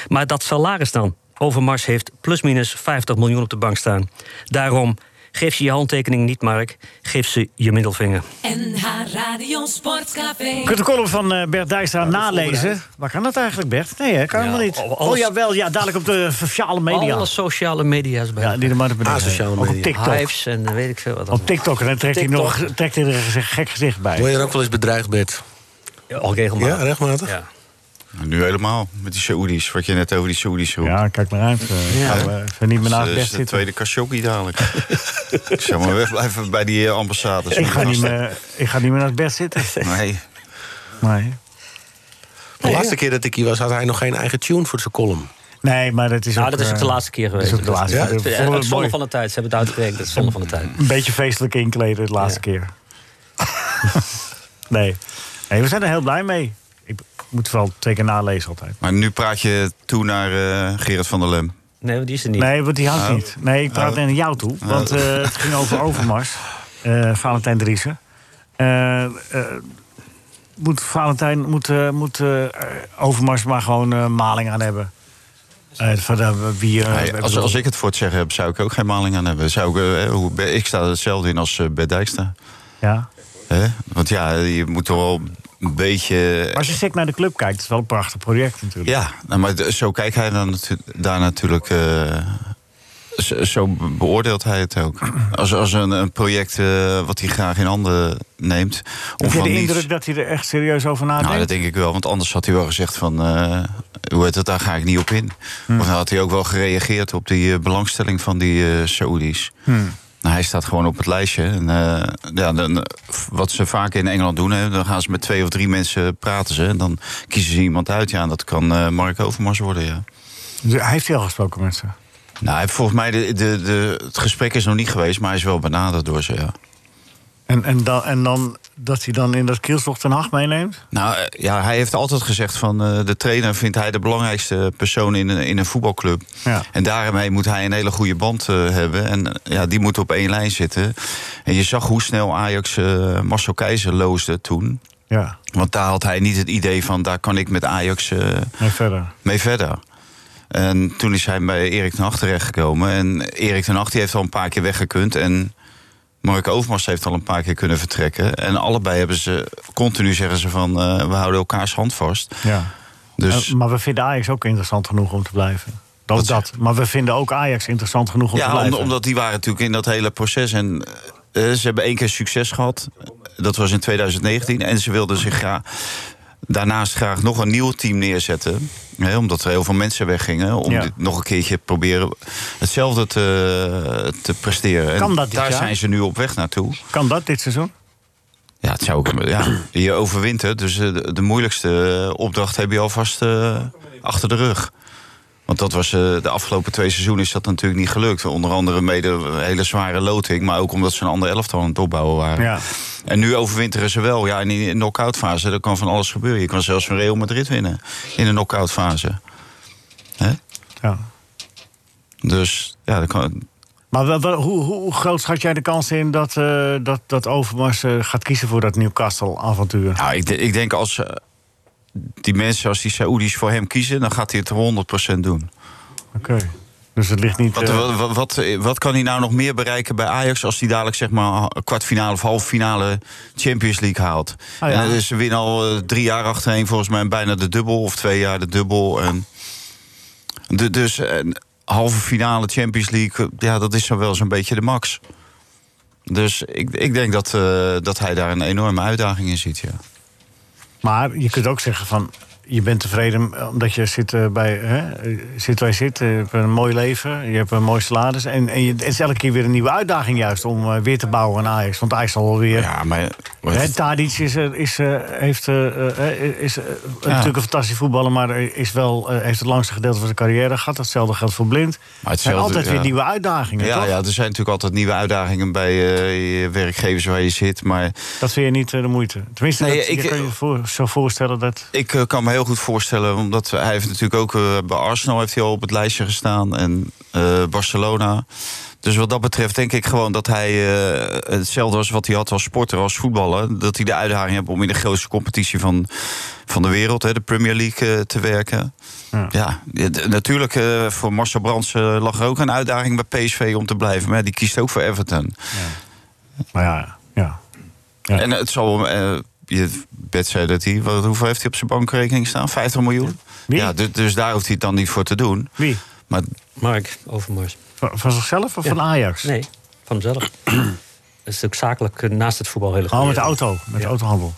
Speaker 7: Maar dat salaris dan? Overmars heeft plusminus 50 miljoen op de bank staan. Daarom, geef ze je handtekening niet, Mark. Geef ze je middelvinger.
Speaker 8: NH Radio Sportcafé.
Speaker 3: Je kunt de column van eh, Bert Dijkstra nalezen. Waar kan dat eigenlijk, Bert? Nee, hè, kan
Speaker 7: Ja,
Speaker 3: helemaal niet.
Speaker 7: al-
Speaker 3: Oh
Speaker 7: alles-
Speaker 3: ja, wel. Ja, dadelijk op de sociale media.
Speaker 7: Alle sociale media's bij.
Speaker 3: Ja, die er maar te bedenken.
Speaker 5: Asociale
Speaker 3: Ook op
Speaker 5: media.
Speaker 3: TikTok.
Speaker 7: Hives en eh, weet ik veel wat.
Speaker 3: Op TikTok. En dan trekt hij nog
Speaker 7: TikTok.
Speaker 3: trekt hij er een gez- gek gezicht bij.
Speaker 5: Word je er ook wel eens bedreigd, Bert?
Speaker 7: Al regelmatig.
Speaker 5: Ja, rechtmatig?
Speaker 7: Ja.
Speaker 6: Nou, Nu helemaal, met die Saoedi's. Wat je net over die Saoedi's roept.
Speaker 3: Ja, kijk maar uit. eh, gaan we even niet meer
Speaker 6: Dat
Speaker 3: naast
Speaker 6: is
Speaker 3: Bert
Speaker 6: de
Speaker 3: zitten.
Speaker 6: tweede Khashoggi
Speaker 3: [LAUGHS]
Speaker 6: dadelijk. ik zou maar wegblijven bij die eh, ambassades.
Speaker 3: Ik ga, niet meer, ik ga niet meer naast Bert zitten.
Speaker 6: Nee.
Speaker 3: Nee,
Speaker 5: De laatste keer dat ik hier was, had hij nog geen eigen tune voor zijn column.
Speaker 3: nee maar dat is
Speaker 7: Nou,
Speaker 3: ook,
Speaker 7: dat is ook de
Speaker 3: eh,
Speaker 7: laatste keer geweest.
Speaker 3: Dat is ook de laatste
Speaker 5: Ja?
Speaker 3: keer.
Speaker 7: Ja,
Speaker 3: Ik vond
Speaker 7: het
Speaker 3: het mooi.
Speaker 7: zonde van de tijd. Ze hebben het uitgerekend. Het is zonde van de tijd.
Speaker 3: Een beetje feestelijk inkleden de laatste keer. [LAUGHS] nee. nee, we zijn er heel blij mee. Ik moet wel twee keer nalezen altijd.
Speaker 6: Maar nu praat je toe naar eh, Gerard van der Lem.
Speaker 7: Nee, die is er niet. Nou,
Speaker 3: Nee, want die houdt
Speaker 6: Nou.
Speaker 3: niet. Nee, ik praat naar jou toe. Want eh, het ging
Speaker 6: [LAUGHS]
Speaker 3: over Overmars. eh, Valentijn Driessen. Eh, eh, moet Valentijn, moet, eh, moet eh, Overmars maar gewoon eh, maling aan hebben. Eh, van, eh, wie, eh,
Speaker 6: Nee, als, als ik het voor het zeggen heb, zou ik ook geen maling aan hebben. Zou ik, eh, hoe, ik sta er hetzelfde in als eh, Bert Dijkstra.
Speaker 3: Ja.
Speaker 6: Hè? Want ja, je moet toch wel een beetje...
Speaker 3: Maar als je sec naar de club kijkt, het is wel een prachtig project natuurlijk.
Speaker 6: Ja, nou, maar d- zo kijkt hij dan natu- daar natuurlijk eh, Zo, zo beoordeelt hij het ook. [CLEARS THROAT] Als, als een, een project eh, wat hij graag in handen neemt.
Speaker 3: Heb
Speaker 6: Of
Speaker 3: je
Speaker 6: van
Speaker 3: de
Speaker 6: niets.
Speaker 3: indruk dat hij er echt serieus over nadenkt?
Speaker 6: Nou, dat denk ik wel, want anders had hij wel gezegd van... eh, hoe heet dat, daar ga ik niet op in.
Speaker 3: Hm.
Speaker 6: Of dan had hij ook wel gereageerd op die eh, belangstelling van die eh Saoedi's. Nou, hij staat gewoon op het lijstje. En, eh, ja, dan, eh, wat ze vaak in Engeland doen, hè, dan gaan ze met twee of drie mensen praten. Ze, en dan kiezen ze iemand uit. Ja, en dat kan eh, Mark Overmars worden, ja.
Speaker 3: Dus Hij heeft hij al gesproken met ze.
Speaker 6: Nou, hij heeft volgens mij, de, de, de, het gesprek is nog niet geweest, maar hij is wel benaderd door ze, ja.
Speaker 3: En, en, dan, en dan dat hij dan in dat kielzocht ten Hag meeneemt?
Speaker 6: Nou eh, ja, hij heeft altijd gezegd van eh, de trainer vindt hij de belangrijkste persoon in een, in een voetbalclub.
Speaker 3: Ja.
Speaker 6: En daarmee moet hij een hele goede band eh, hebben. En eh, ja, die moet op één lijn zitten. En je zag hoe snel Ajax eh, Marcel Keizer loosde toen.
Speaker 3: Ja,
Speaker 6: Want daar had hij niet het idee van daar kan ik met Ajax eh,
Speaker 3: nee, verder.
Speaker 6: mee verder. En toen is hij bij Erik ten Hag terechtgekomen. En Erik ten Hag die heeft al een paar keer weggekund. En Mark Overmars heeft al een paar keer kunnen vertrekken. En allebei hebben ze continu zeggen ze van... eh, we houden elkaars hand vast.
Speaker 3: Ja.
Speaker 6: Dus
Speaker 3: Eh, maar we vinden Ajax ook interessant genoeg om te blijven. Dat is dat. Maar we vinden ook Ajax interessant genoeg om te
Speaker 6: ja, om-
Speaker 3: blijven.
Speaker 6: omdat die waren natuurlijk in dat hele proces. En eh, ze hebben één keer succes gehad. Dat was in 2019. En ze wilden zich graag... Daarnaast graag nog een nieuw team neerzetten. Hè, omdat er heel veel mensen weggingen. Om
Speaker 3: Ja.
Speaker 6: dit nog een keertje te proberen hetzelfde te, te presteren.
Speaker 3: Kan
Speaker 6: en
Speaker 3: dat dit
Speaker 6: daar
Speaker 3: jaar?
Speaker 6: zijn ze nu op weg naartoe.
Speaker 3: Kan dat dit seizoen?
Speaker 6: Ja, het zou, ook- ja, je overwint het. Dus eh, de, de moeilijkste eh, opdracht heb je alvast eh, achter de rug. Want dat was, eh, de afgelopen twee seizoenen is dat natuurlijk niet gelukt. Onder andere mede een hele zware loting. Maar ook omdat ze een ander elftal aan het opbouwen waren.
Speaker 3: Ja.
Speaker 6: En nu overwinteren ze wel. Ja, en in de knock-out fase dat kan van alles gebeuren. Je kan zelfs van Real Madrid winnen in de knock-out fase. Hè?
Speaker 3: ja.
Speaker 6: Dus ja, dat kan,
Speaker 3: Maar wel- wel- hoe, hoe hoe groot schat jij de kans in dat, eh, dat, dat Overmars eh, gaat kiezen voor dat Newcastle-avontuur?
Speaker 6: Nou, ik, de- ik denk als eh, die mensen, als die Saoedi's voor hem kiezen... dan gaat hij het 100% doen.
Speaker 3: Oké. Dus het ligt niet...
Speaker 6: Wat,
Speaker 3: eh,
Speaker 6: wat, wat, wat, wat kan hij nou nog meer bereiken bij Ajax als hij dadelijk zeg maar kwartfinale of halve finale Champions League haalt?
Speaker 3: Ah, ja.
Speaker 6: En, eh, ze winnen al eh, drie jaar achtereen volgens mij bijna de dubbel of twee jaar de dubbel. En de, dus een halve finale Champions League, eh, ja, dat is dan wel zo'n beetje de max. Dus ik, ik denk dat, eh, dat hij daar een enorme uitdaging in ziet. Ja.
Speaker 3: Maar je kunt ook zeggen van... Je bent tevreden omdat je zit eh, bij... Hè, eh, zit waar je zit, eh, je hebt een mooi leven, je hebt een mooi salaris... en, en je, het is elke keer weer een nieuwe uitdaging juist om eh, weer te bouwen aan Ajax. Want Ajax zal wel weer...
Speaker 6: Ja, maar, maar
Speaker 3: Hè,
Speaker 6: het-
Speaker 3: Tadic is, eh, is, eh, heeft, eh, eh, is eh, natuurlijk een fantastische voetballer... maar is wel, eh, heeft het langste gedeelte van zijn carrière gehad. Hetzelfde geldt voor Blind. Maar het zijn
Speaker 6: hetzelfde,
Speaker 3: altijd weer
Speaker 6: ja.
Speaker 3: nieuwe uitdagingen,
Speaker 6: ja,
Speaker 3: toch?
Speaker 6: ja, er zijn natuurlijk altijd nieuwe uitdagingen bij eh, je werkgevers waar je zit. Maar
Speaker 3: Dat vind je niet eh, de moeite. Tenminste,
Speaker 6: Nee,
Speaker 3: dat,
Speaker 6: ik-
Speaker 3: je kan je voor, zo voorstellen dat...
Speaker 6: Ik eh, kan me heel goed voorstellen, omdat hij heeft natuurlijk ook eh, bij Arsenal heeft hij al op het lijstje gestaan en eh, Barcelona. Dus wat dat betreft denk ik gewoon dat hij eh, hetzelfde als wat hij had als sporter, als voetballer, dat hij de uitdaging heeft om in de grootste competitie van, van de wereld, hè, de Premier League, eh, te werken.
Speaker 3: Hm.
Speaker 6: Ja, ja, d- Ah, natuurlijk eh, voor Marcel Brands eh, lag er ook een uitdaging bij PSV om te blijven, maar ja, die kiest ook voor Everton.
Speaker 3: Maar ja, ja. Ja.
Speaker 6: En het zal eh je bed zei dat hij, wat, hoeveel heeft hij op zijn bankrekening staan? 50 miljoen?
Speaker 3: Wie?
Speaker 6: Ja, dus, dus daar hoeft hij het dan niet voor te doen.
Speaker 3: Wie?
Speaker 6: Maar
Speaker 7: Mark Overmars.
Speaker 3: Van, van zichzelf of
Speaker 7: Ja.
Speaker 3: van Ajax?
Speaker 7: Nee,
Speaker 3: [CLEARS THROAT]
Speaker 7: vanzelf. Dat is natuurlijk zakelijk eh, naast het voetbal heel
Speaker 3: Oh, met de auto, met de autohandel.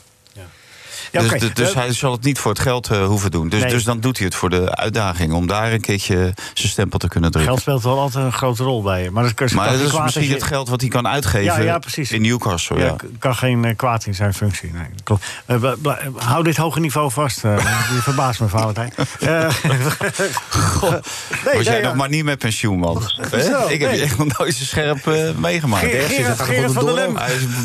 Speaker 3: Ja,
Speaker 6: dus
Speaker 3: oké.
Speaker 6: dus, dus
Speaker 3: Eh,
Speaker 6: hij zal het niet voor het geld eh, hoeven doen. Dus,
Speaker 3: Nee.
Speaker 6: dus dan doet hij het voor de uitdaging om daar een keertje zijn stempel te kunnen drukken.
Speaker 3: Geld speelt wel altijd een grote rol bij je. Maar dat kan,
Speaker 6: maar
Speaker 3: kan
Speaker 6: dat
Speaker 3: geen
Speaker 6: is
Speaker 3: kwaad
Speaker 6: misschien
Speaker 3: als je-
Speaker 6: het geld wat hij kan uitgeven
Speaker 3: Ja, ja, precies.
Speaker 6: in Newcastle. Ja.
Speaker 3: Ja, k- kan geen eh, kwaad in zijn functie. Nee, klopt. Eh, bl- bl- eh, hou dit hoge niveau vast. eh, je verbaast me, Valentijn.
Speaker 6: [LAUGHS]
Speaker 3: Eh, [LAUGHS] nee,
Speaker 6: Was jij
Speaker 3: nee, ja.
Speaker 6: nog maar niet met pensioen, man. Hè? Ik heb
Speaker 3: nee.
Speaker 6: je echt nog nooit zo scherp eh, meegemaakt.
Speaker 3: Ge-
Speaker 6: Hij
Speaker 3: Gerard- Gerard van der Lem.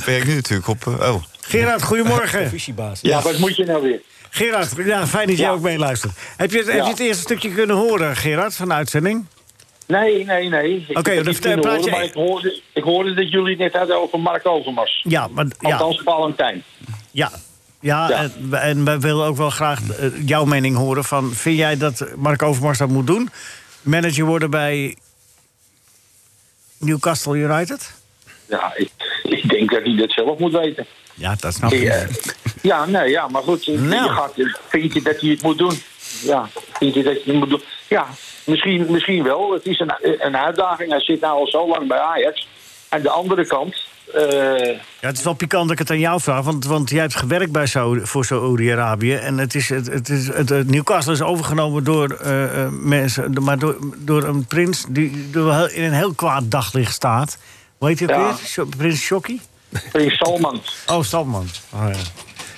Speaker 6: werkt nu natuurlijk op... eh, oh.
Speaker 3: Gerard, goedemorgen.
Speaker 7: Visiebaas.
Speaker 10: Ja, wat moet je nou weer?
Speaker 3: Gerard, ja, fijn dat jij
Speaker 10: Ja.
Speaker 3: ook meeluistert. Heb je, het, heb
Speaker 10: Ja.
Speaker 3: je het eerste stukje kunnen horen, Gerard, van de uitzending?
Speaker 10: Nee, nee, nee. Ik
Speaker 3: Oké,
Speaker 10: heb het
Speaker 3: dan
Speaker 10: niet kunnen
Speaker 3: praat
Speaker 10: horen,
Speaker 3: je-
Speaker 10: maar ik hoorde, ik hoorde dat jullie het net hadden over Mark Overmars.
Speaker 3: Ja, maar, ja,
Speaker 10: Althans, Valentijn.
Speaker 3: ja. Ja,
Speaker 10: Ja.
Speaker 3: en- en wij willen ook wel graag eh, jouw mening horen. Van, vind jij dat Mark Overmars dat moet doen? Manager worden bij Newcastle United?
Speaker 10: Ja, ik, ik denk dat hij dat zelf moet weten.
Speaker 3: Ja, dat snap ik.
Speaker 10: Ik, eh, ja, nee, ja, maar goed. eh,
Speaker 3: Nou.
Speaker 10: Je gaat, vind je dat hij het moet doen? Ja, vind je dat je het moet doen? Ja, Misschien, misschien wel. Het is een, een uitdaging. Hij zit nou al zo lang bij Ajax. Aan de andere kant. eh,
Speaker 3: Ja, het is wel pikant dat ik het aan jou vraag, want, want jij hebt gewerkt bij Saoedi- voor Saoedi-Arabië. En het is, het, het is, het, het Newcastle is overgenomen door eh, eh, mensen, de- maar door, door een prins die door heel- in een heel kwaad daglicht staat. Hoe heet hij ook
Speaker 10: Ja.
Speaker 3: weer? Sho- Prins Shocky?
Speaker 10: Prins Salman.
Speaker 3: Oh, Salman. Oh, ja.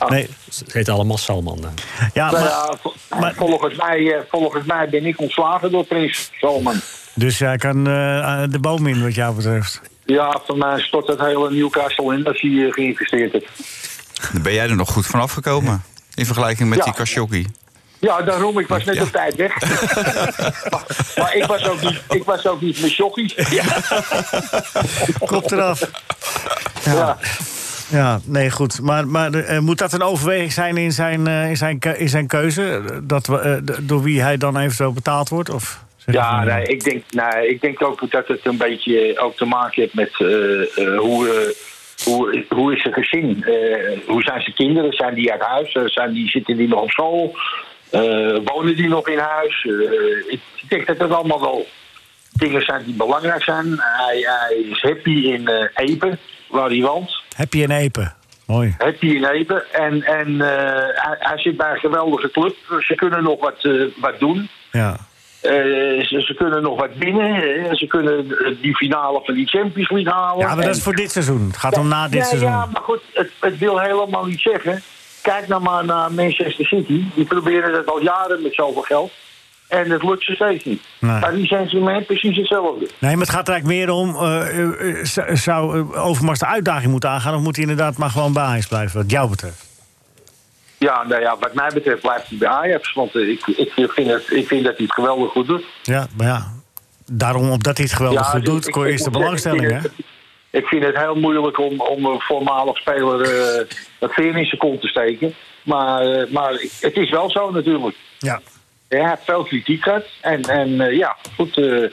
Speaker 3: Nee,
Speaker 7: Ah. Het heet allemaal Salman. dan.
Speaker 3: ja,
Speaker 10: Nou
Speaker 3: maar-
Speaker 10: ja, vo- volgens, mij, eh, volgens mij ben ik ontslagen door Prins Salman.
Speaker 3: dus jij kan eh, de boom in, wat jou betreft.
Speaker 10: Ja, voor mij stort het hele Newcastle in als hij eh, geïnvesteerd heeft.
Speaker 6: Dan ben jij er nog goed van afgekomen. In vergelijking met
Speaker 10: Ja.
Speaker 6: die Khashoggi.
Speaker 10: Ja, daarom, ik was net op tijd weg. maar, maar ik was ook niet, ik was ook niet mijn jockey. [LAUGHS]
Speaker 3: Kop eraf.
Speaker 10: Ja.
Speaker 3: Ja, nee, goed. Maar, maar eh, moet dat een overweging zijn in zijn, eh, in zijn, ke- in zijn keuze? Dat we, eh, d- door wie hij dan eventueel betaald wordt? Of zeg je
Speaker 10: Ja,
Speaker 3: van,
Speaker 10: nee, ik denk, nee, ik denk ook dat het een beetje ook te maken heeft met eh, eh, hoe, eh, hoe, hoe is zijn gezin? Eh, hoe zijn zijn kinderen? Zijn die uit huis? Eh, Zijn die, zitten die nog op school? Eh, wonen die nog in huis? Eh, ik denk dat dat allemaal wel dingen zijn die belangrijk zijn. Hij, hij is happy in eh Epen, waar hij woont.
Speaker 3: Heb je een epen? Mooi.
Speaker 10: Het hier in Epen. En, en eh, hij, hij zit bij een geweldige club. Ze kunnen nog wat, eh, wat doen.
Speaker 3: Ja.
Speaker 10: Eh, ze, ze kunnen nog wat winnen. Eh, Ze kunnen eh, die finale van die Champions League halen.
Speaker 3: ja, maar dat is
Speaker 10: En-
Speaker 3: voor dit seizoen. Het gaat om na dit
Speaker 10: ja,
Speaker 3: seizoen.
Speaker 10: Ja, maar goed, het, het wil helemaal niet zeggen. Kijk nou maar naar Manchester City. Die proberen dat al jaren met zoveel geld. En het lukt ze steeds niet.
Speaker 3: Nee.
Speaker 10: Maar die zijn ze mij precies hetzelfde.
Speaker 3: Nee, maar het gaat er eigenlijk meer om... eh, eh, eh, z- zou eh, Overmars de uitdaging moeten aangaan... of moet hij inderdaad maar gewoon bij Ajax blijven, wat jou betreft?
Speaker 10: Ja, nou ja, wat mij betreft blijft hij bij Ajax. Want eh, ik, ik, vind het, ik vind dat hij het geweldig goed doet.
Speaker 3: Ja, maar ja. Daarom, omdat hij het geweldig goed
Speaker 10: dus
Speaker 3: doet,
Speaker 10: ik-
Speaker 3: kon-
Speaker 10: ik
Speaker 3: is de
Speaker 10: moet zeggen,
Speaker 3: belangstelling, hè?
Speaker 10: ik vind het- Ik vind het heel moeilijk om, om een voormalig speler eh dat veer in zijn kont te steken. Maar, eh, maar het is wel zo natuurlijk.
Speaker 3: Ja.
Speaker 10: Hij heeft veel kritiek gehad. En, en eh, ja, goed. eh, hij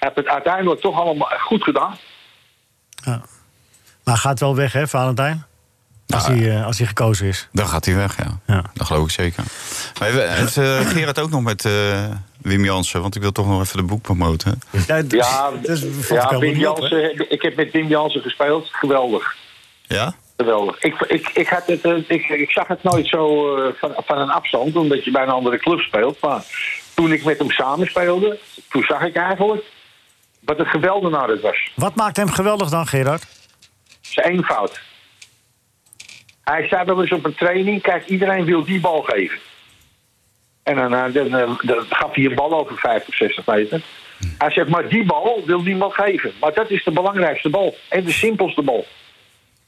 Speaker 10: heeft het uiteindelijk toch allemaal goed gedaan.
Speaker 3: ja. Maar hij gaat wel weg, hè, Valentijn? Als, hij, eh, als hij gekozen is.
Speaker 6: Dan gaat hij weg, ja.
Speaker 3: Ja.
Speaker 6: Dat geloof ik zeker. Maar even, heeft
Speaker 3: [CLEARS THROAT]
Speaker 6: eh, Gerard ook nog met eh, Wim Jansen? Want ik wil toch nog even de boek promoten.
Speaker 3: Ja, d-
Speaker 10: Ja,
Speaker 3: dat is- valt
Speaker 10: ja
Speaker 3: helemaal
Speaker 10: Wim
Speaker 3: niet op, hè?
Speaker 10: Jansen, ik heb met Wim Jansen gespeeld. Geweldig.
Speaker 6: Ja?
Speaker 10: Geweldig. Ik, ik, ik, had het, eh, ik, ik zag het nooit zo eh, van, van een afstand, omdat je bij een andere club speelt. Maar toen ik met hem samenspeelde, toen zag ik eigenlijk wat een geweldenaar het was.
Speaker 3: Wat maakt hem geweldig dan, Gerard?
Speaker 10: Zijn eenvoud. Hij staat wel eens op een training, kijk, iedereen wil die bal geven. En dan, eh, dan, eh, dan gaf hij een bal over 50, 60 meter. Hij zegt, maar die bal wil niemand geven. Maar dat is de belangrijkste bal. En de simpelste bal.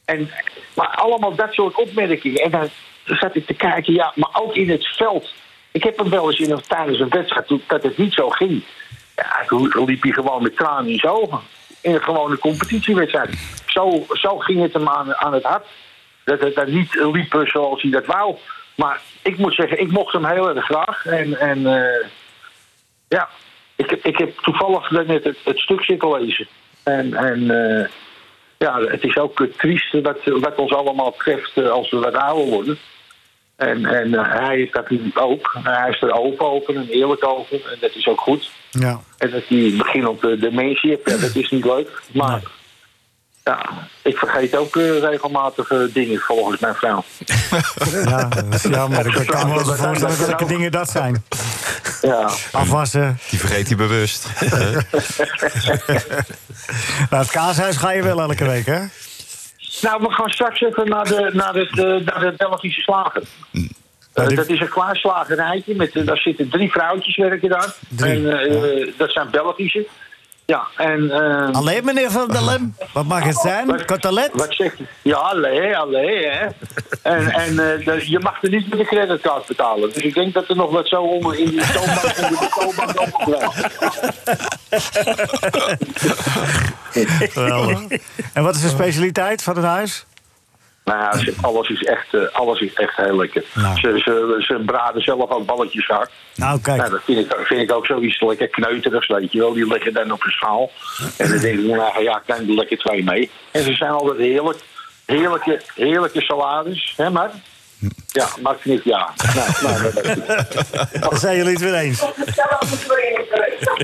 Speaker 10: En, maar allemaal dat soort opmerkingen. En dan zat ik te kijken, ja, maar ook in het veld. Ik heb hem wel eens in een, tijdens een wedstrijd toen- dat het niet zo ging. Ja, toen liep hij gewoon met tranen in zijn ogen. In een gewone competitiewedstrijd. Zo, zo ging het hem aan, aan het hart. Dat het dan niet liep zoals hij dat wou. Maar ik moet zeggen, ik mocht hem heel erg graag. En, en eh, ja, ik, heb- ik heb toevallig net het, het stuk zitten lezen. En, en eh, ja, het is ook eh, triest wat, wat ons allemaal treft eh, als we wat ouder worden. En, en eh, hij is dat natuurlijk ook. En hij is er open over en eerlijk over. En dat is ook goed.
Speaker 3: Ja.
Speaker 10: En dat hij begin op de dementie heeft, ja, dat is niet leuk. Maar ja, ik vergeet ook eh, regelmatig eh, dingen volgens mijn vrouw.
Speaker 3: Ja, dat is jammer. Ik kan me wel eens voorstellen welke dingen dat zijn.
Speaker 10: Ja.
Speaker 3: [LAUGHS] Afwassen.
Speaker 6: Die vergeet hij
Speaker 3: [LAUGHS]
Speaker 6: bewust.
Speaker 3: Naar het kaashuis ga je wel elke week, hè?
Speaker 10: Nou, we gaan straks even naar de, naar het, eh, naar de Belgische slager. Eh,
Speaker 3: Mm. Nou, die-
Speaker 10: Dat is een klaarslagerijtje. Met, eh, daar zitten drie vrouwtjes werken daar.
Speaker 3: Drie,
Speaker 10: en, eh, Dat zijn Belgische. Ja, en... eh,
Speaker 3: Alleen meneer Van der Lem. Wat mag het zijn? Kotelet?
Speaker 10: Wat zegt hij? Ja, allee, allee, hè. En, en eh, dat- je mag er niet met de creditcard betalen. Dus ik denk dat er nog wat zo onder in die toonbank onder de [LAUGHS] toonbank opgebracht.
Speaker 3: Geweldig. En wat is de specialiteit van het huis?
Speaker 10: Nou ja, ze- alles is echt, eh, alles is echt heel lekker.
Speaker 3: Nou.
Speaker 10: Ze, ze, ze braden zelf ook balletjes hard.
Speaker 3: Nou,
Speaker 10: Nou,
Speaker 3: kijk.
Speaker 10: dat vind ik, vind ik ook zoiets lekker kneuterigs, weet je wel. Die liggen dan op een schaal. En dan denk ik, nou ja, ik neem er lekker twee mee. En ze zijn altijd heerlijk. Heerlijke, heerlijke salades, hè maar? Ja, Max niet ja. Nou, nou, dat-
Speaker 3: [LAUGHS] Dan zijn jullie het weer eens.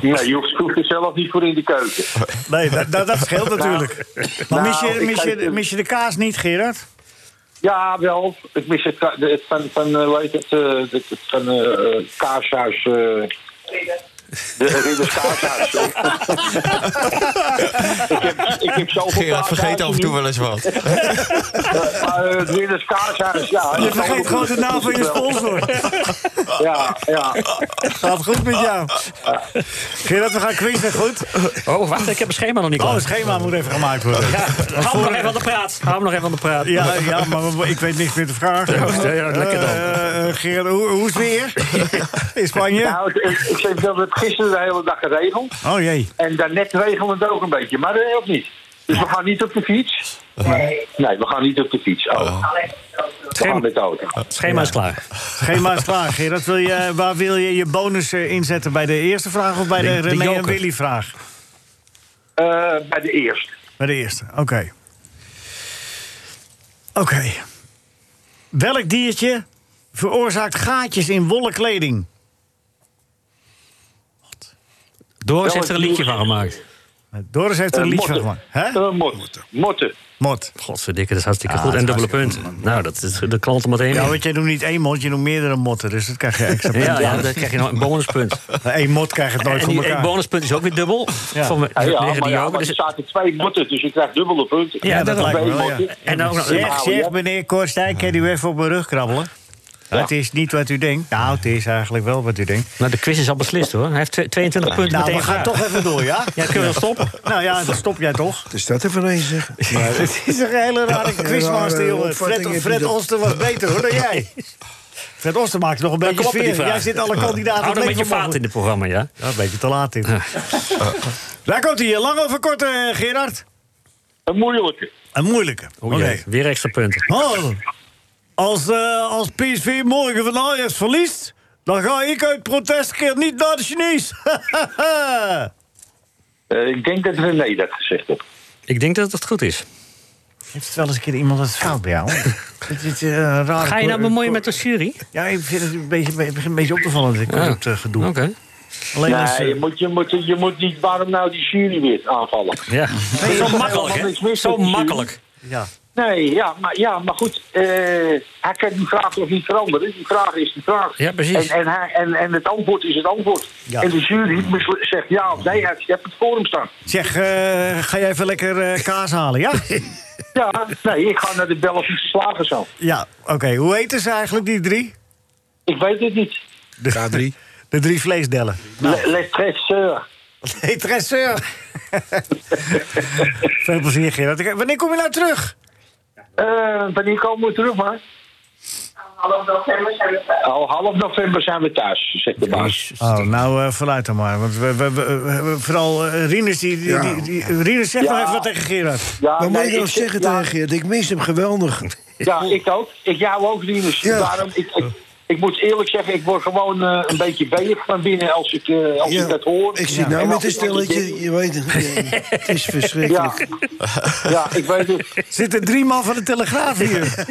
Speaker 10: nee, je hoeft, je hoeft er zelf niet voor in de keuken.
Speaker 3: Nee, dat, dat, dat scheelt natuurlijk.
Speaker 10: nou,
Speaker 3: Maar mis je,
Speaker 10: ik
Speaker 3: mis, je,
Speaker 10: kijk-
Speaker 3: mis je de kaas niet, Gerard?
Speaker 10: Ja, wel. Ik mis het, ka- het van, van, eh, hoe heet het, eh, het, het van eh, eh, kaashuis. eh, de Ridders Kaashuis. Eh, ik, heb, ik heb zoveel
Speaker 6: Gerard vergeet
Speaker 10: kaashuizen
Speaker 6: af en toe
Speaker 10: nu.
Speaker 6: wel eens wat.
Speaker 10: Maar eh, het Ridders Kaashuis, ja.
Speaker 3: Je vergeet gewoon de naam van je sponsor.
Speaker 10: Ja, ja.
Speaker 3: Gaat goed met jou. Gerard, we gaan quizzen, goed?
Speaker 7: Oh, wacht, ik heb een schema nog niet
Speaker 3: Oh,
Speaker 7: klaar.
Speaker 3: het schema moet even gemaakt worden.
Speaker 7: Ja, hou hem nog even aan de praat. Hou hem nog even aan de praat.
Speaker 3: Ja, ja, maar we- ik weet niks meer te vragen.
Speaker 7: ja, lekker dan.
Speaker 3: Eh, eh, Gerard, hoe, hoe is het weer in Spanje?
Speaker 10: Nou, ik, ik, ik zeg dat het gisteren de hele dag geregeld.
Speaker 3: Oh jee.
Speaker 10: En daarnet regelde het ook een beetje, maar dat helpt niet. Dus we gaan niet op de fiets. Nee, we gaan niet op de fiets. Oh. We gaan met de auto.
Speaker 7: Het schema is klaar.
Speaker 3: Schema is klaar, Gerard. Wil je, eh, waar wil je je bonus eh, inzetten? Bij de eerste vraag of bij de,
Speaker 7: de
Speaker 3: René en
Speaker 7: joker.
Speaker 3: Willy vraag?
Speaker 10: Eh, bij de eerste.
Speaker 3: Bij de eerste, oké. Oké. Welk diertje veroorzaakt gaatjes in wollen kleding?
Speaker 7: Doris heeft er een liedje van gemaakt.
Speaker 3: Doris heeft er een
Speaker 10: Eh,
Speaker 3: liedje van
Speaker 10: motten.
Speaker 3: gemaakt. Hè?
Speaker 10: Eh, motten. Motten.
Speaker 3: Mot.
Speaker 7: Godverdikke, dat is hartstikke
Speaker 3: Ja,
Speaker 7: goed. En
Speaker 3: dat is
Speaker 7: dubbele punten. Nou, dat, is, dat knalt er meteen
Speaker 3: Ja,
Speaker 7: in.
Speaker 3: want jij doet niet één mot, je doet meerdere motten. Dus dat krijg je extra punten.
Speaker 7: Ja, ja, dan krijg je nog een
Speaker 3: [LAUGHS]
Speaker 7: bonuspunt.
Speaker 3: Eén mot krijgt het nooit
Speaker 7: En
Speaker 3: voor
Speaker 7: die één
Speaker 3: elkaar.
Speaker 7: bonuspunt is ook weer dubbel.
Speaker 3: Ja.
Speaker 7: Van me-
Speaker 10: Ah, ja,
Speaker 7: liggen
Speaker 10: maar
Speaker 7: die
Speaker 10: ja,
Speaker 7: ook.
Speaker 10: maar
Speaker 7: Dus-
Speaker 10: er zaten twee motten, dus je krijgt dubbele punten.
Speaker 7: Ja, dat lijkt me
Speaker 10: Twee
Speaker 3: wel, ja.
Speaker 10: motten.
Speaker 7: En nou, ook nog-
Speaker 3: Zeg, zeg, meneer Korstijk, kan u even op mijn rug krabbelen? Het is niet wat u denkt. Nou, het is eigenlijk wel wat u denkt.
Speaker 7: Nou, de quiz is al beslist hoor. Hij heeft twe- 22 punten
Speaker 3: Nou, we
Speaker 7: meteen.
Speaker 3: gaan
Speaker 7: geraakt.
Speaker 3: toch even door,
Speaker 10: [LAUGHS]
Speaker 3: ja?
Speaker 7: Ja, kunnen we stoppen?
Speaker 3: Nou ja, dan stop jij
Speaker 4: [LAUGHS]
Speaker 3: toch.
Speaker 4: Wat is Dus dat er van een
Speaker 10: [LAUGHS]
Speaker 4: zeg?
Speaker 3: Het is een hele rare quizmaster,
Speaker 4: rare
Speaker 3: jongen.
Speaker 4: opvatting
Speaker 3: Fred,
Speaker 4: heb je
Speaker 3: Fred
Speaker 4: dat.
Speaker 3: Oster was beter,
Speaker 4: [LAUGHS]
Speaker 3: hoor, dan jij. Fred Oster maakt nog een beetje
Speaker 7: kom op met die
Speaker 3: sfeer.
Speaker 7: vraag.
Speaker 3: Jij zit alle kandidaten
Speaker 7: Hou
Speaker 3: het
Speaker 7: er een
Speaker 3: leven
Speaker 7: beetje vaat
Speaker 3: mogelijk.
Speaker 7: in het programma, ja.
Speaker 3: Ja, een beetje te laat in. Daar komt hij, lang of kort, eh, Gerard?
Speaker 10: Een moeilijke.
Speaker 3: Een moeilijke.
Speaker 7: Oh, jee,
Speaker 3: Oké.
Speaker 7: Weer extra punten.
Speaker 3: Oh, als, eh, als PSV morgen van Ajax verliest... dan ga ik uit protest een keer niet naar de Chinees. [LAUGHS]
Speaker 10: Eh, ik denk dat René dat gezegd heeft.
Speaker 7: Ik denk dat het goed is.
Speaker 3: Heeft het wel eens een keer iemand dat fout bij [LAUGHS] jou? eh,
Speaker 7: Ga je nou bemoeien met de jury?
Speaker 3: Ja, ik vind het een beetje, begint een beetje op te vallen, dit corrupt eh, gedoe.
Speaker 7: Oké.
Speaker 3: Alleen als,
Speaker 10: Nee,
Speaker 3: eh,
Speaker 10: je moet, je, moet, je moet niet, waarom nou die jury weer aanvallen?
Speaker 7: Ja. zo makkelijk,
Speaker 10: helemaal niks
Speaker 7: hè?
Speaker 10: mis
Speaker 7: Zo
Speaker 10: met de
Speaker 7: makkelijk.
Speaker 3: ja.
Speaker 10: Nee, ja, maar, ja, maar goed, eh, hij kan die vraag nog niet veranderen. Die vraag is die vraag.
Speaker 7: Ja, precies.
Speaker 10: En, en, hij, en, en het antwoord is het antwoord.
Speaker 3: Ja.
Speaker 10: En de jury beslu- zegt ja of nee, hij hebt het voor hem staan.
Speaker 3: Zeg, eh, ga jij even lekker eh, kaas halen, ja?
Speaker 10: [LAUGHS] Ja, nee, ik ga naar de Belgische slagerszaal.
Speaker 3: ja, oké. Hoe heten ze eigenlijk, die drie?
Speaker 10: Ik weet het niet.
Speaker 5: K3.
Speaker 3: [LAUGHS] De drie vleesdellen. Nou.
Speaker 10: Le- Les tresseurs.
Speaker 3: Hey, tresseur. [LAUGHS] Veel plezier, Gerard. Ik- Wanneer kom je nou terug?
Speaker 10: Eh, wanneer komen we terug, maar? Al half november zijn we thuis, zegt de baas.
Speaker 3: Oh, nou, eh vooruit dan maar. Want we, we, we- we- vooral eh, Rinus, die, die,
Speaker 4: Ja.
Speaker 3: die- die- Rinus, zeg
Speaker 10: Ja.
Speaker 3: maar even wat tegen Gerard.
Speaker 10: Ja,
Speaker 4: Wat moet
Speaker 10: nee,
Speaker 4: je nou
Speaker 10: ik-
Speaker 4: zeggen
Speaker 10: ja,
Speaker 4: tegen Geert? Ik mis hem geweldig.
Speaker 10: Ja, ik ook. Ik jou ook, Rinus.
Speaker 4: Ja.
Speaker 10: Daarom, ik, ik, ik moet eerlijk zeggen, ik word gewoon eh, een beetje beeg van binnen als ik, eh, als
Speaker 4: Ja,
Speaker 10: ik dat hoor.
Speaker 4: Ik zit nou
Speaker 10: En
Speaker 4: met
Speaker 10: als
Speaker 4: een
Speaker 10: ik- als ik
Speaker 4: stelletje,
Speaker 10: denk-
Speaker 4: je weet het.
Speaker 10: [LAUGHS]
Speaker 4: ja, Het is
Speaker 10: Ja.
Speaker 4: verschrikkelijk.
Speaker 10: [LAUGHS] ja, ik weet het.
Speaker 3: Zitten drie man van de Telegraaf hier.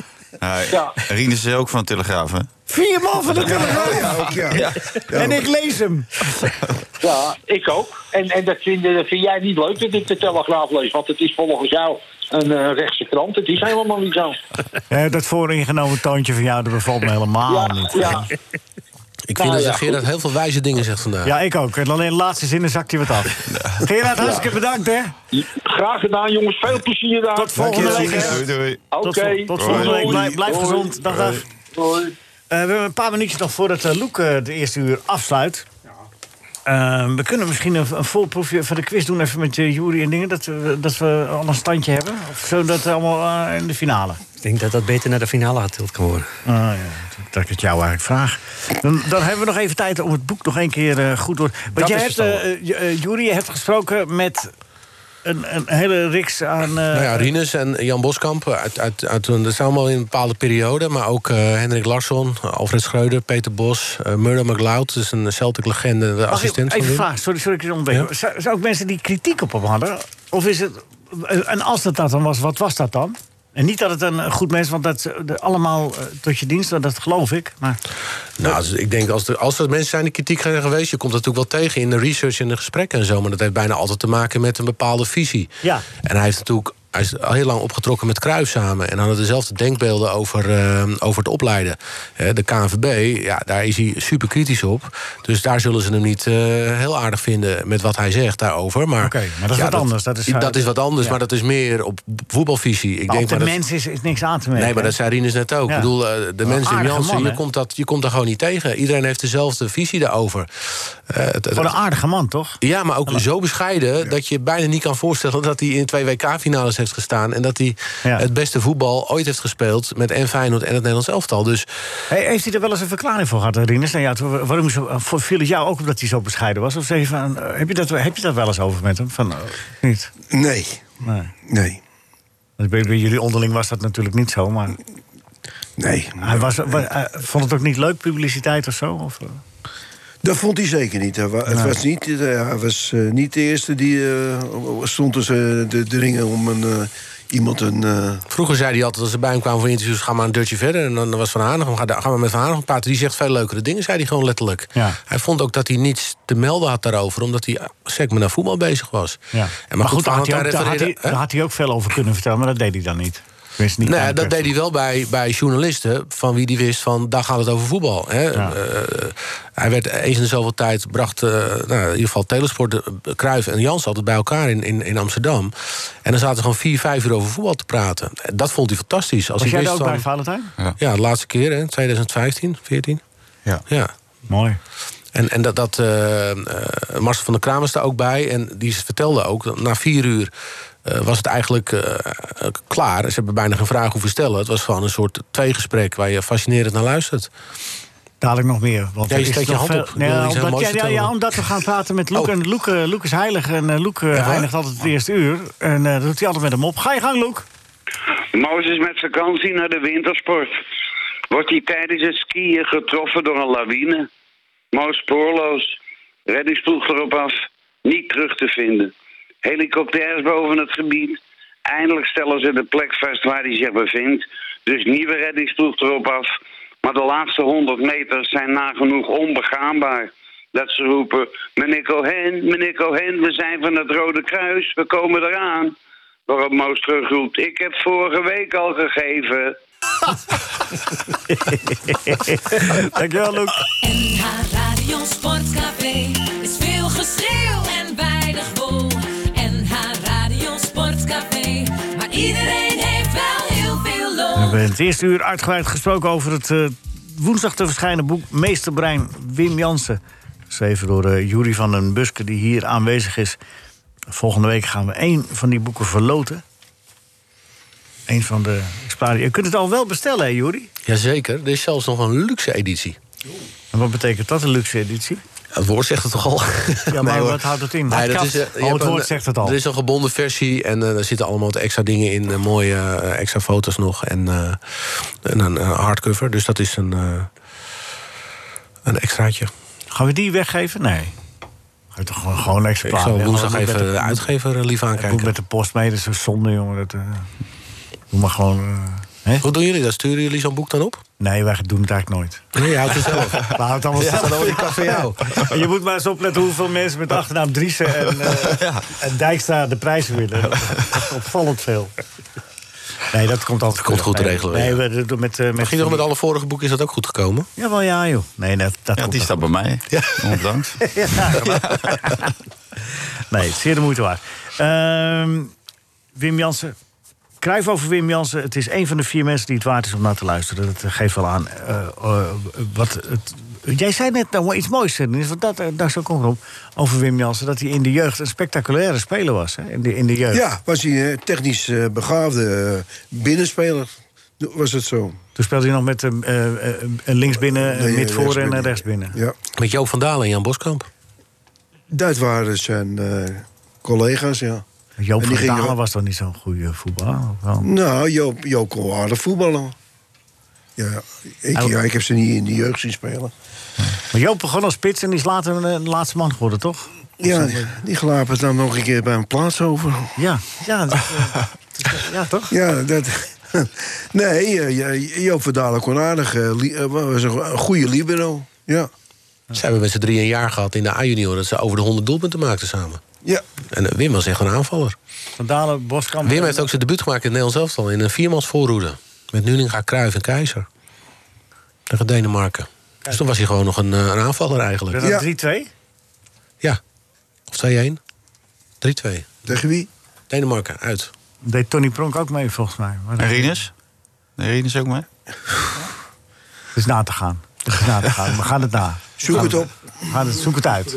Speaker 10: Ja.
Speaker 6: Rinus is ook van Telegraaf, hè?
Speaker 3: Vier man van de Telegraaf.
Speaker 4: Ja, ook, ja.
Speaker 3: En ik lees hem.
Speaker 10: Ja, ik ook. En, en dat, vind, dat vind jij niet leuk dat ik de Telegraaf lees, want het is volgens jou een eh, rechtse krant. Het is helemaal niet zo.
Speaker 3: Eh, dat vooringenomen toontje van jou, dat bevalt me helemaal
Speaker 10: Ja,
Speaker 3: niet.
Speaker 10: ja.
Speaker 5: Ik vind
Speaker 10: Nou
Speaker 5: dat
Speaker 10: ja,
Speaker 5: Gerard heel veel wijze dingen zegt vandaag.
Speaker 3: Ja, ik ook. En alleen de laatste zinnen zakt hij wat af. Gerard, hartstikke bedankt, hè.
Speaker 10: Graag gedaan, jongens. Veel plezier daar.
Speaker 3: Tot volgende week, hè.
Speaker 6: Doei, doei.
Speaker 10: Oké.
Speaker 3: Tot, vol- tot volgende
Speaker 10: Doei.
Speaker 3: week. Blijf, blijf
Speaker 10: Doei.
Speaker 3: gezond. Dag, dag.
Speaker 10: Doei.
Speaker 3: Eh, we hebben een paar minuutjes nog voordat eh Loek eh, de eerste uur afsluit. Eh, we kunnen misschien een, een volproefje van de quiz doen, even met eh Jury en dingen. Dat, we- dat we al een standje hebben. Of zo, dat allemaal eh, in de finale.
Speaker 7: Ik denk dat dat beter naar de finale getild kan worden.
Speaker 3: Ah, ja, dat- dat ik het jou eigenlijk vraag. Dan, dan hebben we nog even tijd om het boek nog één keer eh, goed door. Want
Speaker 7: Dat
Speaker 3: jij
Speaker 7: is
Speaker 3: hebt, eh, J- eh, Joeri, je hebt gesproken met een, een hele riks aan. eh,
Speaker 5: Nou ja, Rinus en Jan Boskamp, uit, uit, uit, dat zijn allemaal in een bepaalde periode. Maar ook eh, Hendrik Larsson, Alfred Schreuder, Peter Bos, eh Murdo McLeod. dus een Celtic-legende, de
Speaker 3: mag ik
Speaker 5: assistent van
Speaker 3: even
Speaker 5: Wim.
Speaker 3: vragen, sorry, sorry, ik je onderbreek.
Speaker 5: Ja.
Speaker 3: Zou, eh, zou ook mensen die kritiek op hem hadden? Of is het. En als dat dat dan was, wat was dat dan? En niet dat het een eh, goed mens is, want dat ze de- allemaal eh, tot je dienst, dat- dat geloof ik. Maar
Speaker 5: Nou, dus ik denk als er, als er mensen zijn die kritiek zijn geweest, je komt dat natuurlijk wel tegen in de research en de gesprekken en zo. Maar dat heeft bijna altijd te maken met een bepaalde visie.
Speaker 3: ja,
Speaker 5: En hij, heeft natuurlijk, hij is al heel lang opgetrokken met Cruijff samen. En hadden dezelfde denkbeelden over, eh, over het opleiden. Hè, de KNVB, ja, daar is hij super kritisch op. Dus daar zullen ze hem niet eh, heel aardig vinden met wat hij zegt daarover. Maar,
Speaker 3: Oké, maar dat is
Speaker 5: ja,
Speaker 3: wat anders. Dat is- eh,
Speaker 5: dat is wat anders,
Speaker 3: Ja.
Speaker 5: maar dat is meer op voetbalvisie. Ik
Speaker 3: maar op de
Speaker 5: maar dat-
Speaker 3: mens is, is niks aan te merken.
Speaker 5: Nee, maar dat zei Rinus net ook.
Speaker 3: Ja.
Speaker 5: Ik bedoel, eh, de
Speaker 3: Wel
Speaker 5: mensen in
Speaker 3: aardige
Speaker 5: Jansen,
Speaker 3: man,
Speaker 5: je
Speaker 3: hè?
Speaker 5: komt, dat, je komt daar gewoon niet tegen. Iedereen heeft dezelfde visie daarover. Eh, het- het-
Speaker 3: Voor een aardige man, toch?
Speaker 5: ja, maar ook zo bescheiden dat je bijna niet kan voorstellen dat hij in twee WK-finales heeft gestaan. En dat hij
Speaker 3: Ja.
Speaker 5: het beste voetbal ooit heeft gespeeld met en Feyenoord en het Nederlands elftal. Dus
Speaker 3: Hey, heeft hij er wel eens een verklaring voor gehad, Rinus? Nou ja, toen- waarom is- voor- viel het jou ook omdat hij zo bescheiden was? Of zei je van, eh, heb, je dat, heb je dat wel eens over met hem? Van, eh, niet?
Speaker 4: Nee,
Speaker 3: Nee.
Speaker 4: nee,
Speaker 3: Want Bij, bij jullie onderling was dat natuurlijk niet zo, maar
Speaker 4: nee.
Speaker 3: hij, was, wa- hij vond het ook niet leuk, publiciteit of zo? Of, eh?
Speaker 4: Dat vond hij zeker niet. Hij wa- het was niet, eh, hij was eh, niet de eerste die eh, stond tussen de dringen om een, eh, iemand een... eh,
Speaker 5: vroeger zei hij altijd als ze bij hem kwamen voor interviews: ga maar een dutje verder. En dan was Van Hanegem, ga, daar- ga maar met Van Hanegem praten. Die zegt veel leukere dingen, zei hij gewoon letterlijk.
Speaker 3: Ja.
Speaker 5: Hij vond ook dat hij niets te melden had daarover, omdat hij eh, sec met naar voetbal bezig was.
Speaker 3: ja.
Speaker 5: En maar, goed,
Speaker 3: daar had, hij ook, daar, had
Speaker 5: refereerde-
Speaker 3: hij, daar had hij ook veel over kunnen vertellen, maar dat deed hij dan niet. Tenminste, niet aan
Speaker 5: Nee,
Speaker 3: de
Speaker 5: Nou dat
Speaker 3: pers.
Speaker 5: deed hij wel bij, bij journalisten van wie hij wist van daar gaat het over voetbal. Hè?
Speaker 3: Ja.
Speaker 5: Eh, hij werd eens in de zoveel tijd bracht, eh, nou, in ieder geval Telesport, eh, Cruijff en Jans altijd bij elkaar in, in, in Amsterdam. En dan zaten ze gewoon vier, vijf uur over voetbal te praten. En Dat vond hij fantastisch. Als
Speaker 3: Was
Speaker 5: hij
Speaker 3: jij daar ook
Speaker 5: wist
Speaker 3: bij,
Speaker 5: van,
Speaker 3: Valentijn?
Speaker 5: ja, de laatste keer, hè, 2015, 14.
Speaker 6: Ja.
Speaker 5: ja.
Speaker 3: Mooi.
Speaker 5: En, en dat, dat eh, eh, Marcel van der Kraam was daar ook bij. En die vertelde ook, dat na vier uur eh, was het eigenlijk eh, eh, klaar. Ze hebben bijna geen vraag hoeven stellen. Het was gewoon een soort tweegesprek waar je fascinerend naar luistert.
Speaker 3: Dadelijk nog meer. Want
Speaker 5: Ja,
Speaker 3: er
Speaker 5: je
Speaker 3: is
Speaker 5: steekt je
Speaker 3: nog
Speaker 5: hand
Speaker 3: veel-
Speaker 5: op. Ik
Speaker 3: Nee,
Speaker 5: wil iets heel
Speaker 3: omdat,
Speaker 5: moois
Speaker 3: ja, ja, ja,
Speaker 5: vertellen.
Speaker 3: omdat we gaan praten met Loek.
Speaker 5: Oh.
Speaker 3: En Loek, eh, Loek is heilig. En eh, Loek eh,
Speaker 5: waar?
Speaker 3: eindigt altijd het eerste uur. En eh, dat doet hij altijd met hem op. Ga je gang,
Speaker 5: [LAUGHS]
Speaker 3: Loek. [LAUGHS]
Speaker 11: Mozes met vakantie naar de wintersport. Wordt hij tijdens het skiën getroffen door een lawine? Mo spoorloos. Reddingsploeg erop af. Niet terug te vinden. Helikopters boven het gebied. Eindelijk stellen ze de plek vast waar hij zich bevindt. Dus nieuwe reddingsploeg erop af. Maar de laatste 100 meter zijn nagenoeg onbegaanbaar. Dat ze roepen, meneer Cohen, meneer Cohen, we zijn van het Rode Kruis, we komen eraan. Waarop Moos terugroept, ik heb vorige week al gegeven.
Speaker 3: Dankjewel, Loek.
Speaker 8: NH Radio Sportcafé is veel geschreeuw en weinig wol. NH Radio Sportcafé, maar iedereen heeft wel heel veel
Speaker 3: We
Speaker 8: lol.
Speaker 3: hebben in het eerste uur uitgebreid gesproken over het eh, woensdag te verschijnen boek Meesterbrein Wim Jansen. Geschreven door eh Jury van den Buske, die hier aanwezig is. Volgende week gaan we één van die boeken verloten. Eén van de exemplaren. Je kunt het al wel bestellen, hè, Jury?
Speaker 5: Jazeker, er is zelfs nog een luxe editie.
Speaker 3: En wat betekent dat, een luxe editie?
Speaker 5: Het woord zegt het toch al? [LAUGHS]
Speaker 3: Ja, maar wat houdt het in?
Speaker 5: Nee,
Speaker 3: Het
Speaker 5: dat
Speaker 3: kan.
Speaker 5: is, eh, je
Speaker 3: Oh, het
Speaker 5: hebt
Speaker 3: woord
Speaker 5: een-
Speaker 3: zegt het al.
Speaker 5: Er is een gebonden versie en eh, er zitten allemaal wat extra dingen in. eh, mooie eh, extra foto's nog en, eh, en een eh, hardcover. Dus dat is een, eh, een extraatje.
Speaker 3: Gaan we die weggeven? Nee. Ga je toch gewoon, gewoon een exemplaar.
Speaker 5: Ik zal
Speaker 3: Ja,
Speaker 5: woensdag
Speaker 3: gewoon met
Speaker 5: even
Speaker 3: de-
Speaker 5: de uitgever eh, lief
Speaker 3: Ik moet
Speaker 5: aankijken.
Speaker 3: met de post mee, dat is zo zonde, jongen. Dat, eh, doe maar gewoon... eh, hè?
Speaker 5: Hoe doen jullie dat? Sturen jullie zo'n boek dan op?
Speaker 3: Nee, wij doen het eigenlijk nooit.
Speaker 5: Nee, je houdt het zelf.
Speaker 3: We houden het allemaal
Speaker 5: Ja,
Speaker 3: zelf.
Speaker 5: dan wordt die kast voor jou.
Speaker 3: Je moet maar eens opletten hoeveel mensen met de achternaam Driessen
Speaker 5: [LAUGHS]
Speaker 3: en, eh, en Dijkstra de prijzen willen. Dat is Opvallend veel. Nee, dat komt altijd
Speaker 5: Komt goed te
Speaker 3: Nee,
Speaker 5: regelen,
Speaker 3: Nee,
Speaker 5: ja.
Speaker 3: we doen met... eh, met
Speaker 5: Ging toch met alle vorige boeken is dat ook goed gekomen?
Speaker 3: Jawel, ja, joh. Nee, dat, dat
Speaker 6: Ja,
Speaker 3: komt
Speaker 6: die
Speaker 3: wel.
Speaker 6: staat bij mij. Ondanks.
Speaker 3: [LAUGHS] Nee, zeer de moeite waard. Ehm, Wim Jansen. Kruif over Wim Jansen. Het is een van de vier mensen die het waard is om naar te luisteren. Dat eh, geeft wel aan. eh, eh, wat het, jij zei net nou iets moois, Dennis, want dat, eh, daar zo kom ik op. Over Wim Jansen, dat hij in de jeugd een spectaculaire speler was. Hè? In, de, in de jeugd.
Speaker 4: Ja, was hij eh, technisch eh, begaafde eh, binnenspeler. Was het zo?
Speaker 3: Toen speelde hij nog met eh, eh, eh, linksbinnen,
Speaker 4: Nee,
Speaker 3: eh, midvoor en
Speaker 4: rechtsbinnen.
Speaker 3: eh, rechtsbinnen.
Speaker 4: Ja.
Speaker 5: Met Joop van Dalen en Jan Boskamp.
Speaker 4: Dat waren zijn eh, collega's, ja.
Speaker 3: Joop
Speaker 4: En
Speaker 3: van
Speaker 4: die ging
Speaker 3: Dalen
Speaker 4: ook-
Speaker 3: was toch niet zo'n goede voetballer? Of wel?
Speaker 4: Nou, Joop, Joop kon wel aardig voetballen. Ja ik,
Speaker 3: Hij-
Speaker 4: ja, ik heb ze niet in de jeugd zien spelen.
Speaker 3: Maar Joop begon als spits en die is later een, eh, laatste man geworden, toch?
Speaker 4: Ja, die glapen het dan nog een keer bij een plaats over.
Speaker 3: Ja, ja, dat, eh, ja toch?
Speaker 4: Ja, dat, nee, eh, Jo- Joop van Dalen kon aardig. eh, li- eh, was een go- een goede libero. Ja.
Speaker 5: Ze hebben met z'n drie een jaar gehad in de A-junior... dat ze over de 100 doelpunten maakten samen.
Speaker 4: Ja.
Speaker 5: En eh, Wim was echt een aanvaller.
Speaker 3: Van Dalen, Boskamp.
Speaker 5: Wim heeft ook zijn debuut gemaakt in het Nederlands elftal... in een viermans voorroede. Met Nuninga, Cruijff en Keizer. Tegen Denemarken. Dus toen was hij gewoon nog een, eh, een aanvaller eigenlijk.
Speaker 3: Werd dat 3-2?
Speaker 5: Ja. Of 2-1. 3-2.
Speaker 4: Tegen wie?
Speaker 5: Denemarken, uit.
Speaker 3: Deed Tony Pronk ook mee, volgens mij. Maar
Speaker 6: En Rinus? Nee, Rinus ook mee?
Speaker 3: Het is na te gaan. Het is na te gaan. We gaan het na.
Speaker 4: Zoek
Speaker 3: Gaan
Speaker 4: het
Speaker 3: we-
Speaker 4: op.
Speaker 3: Gaan het, zoek het uit.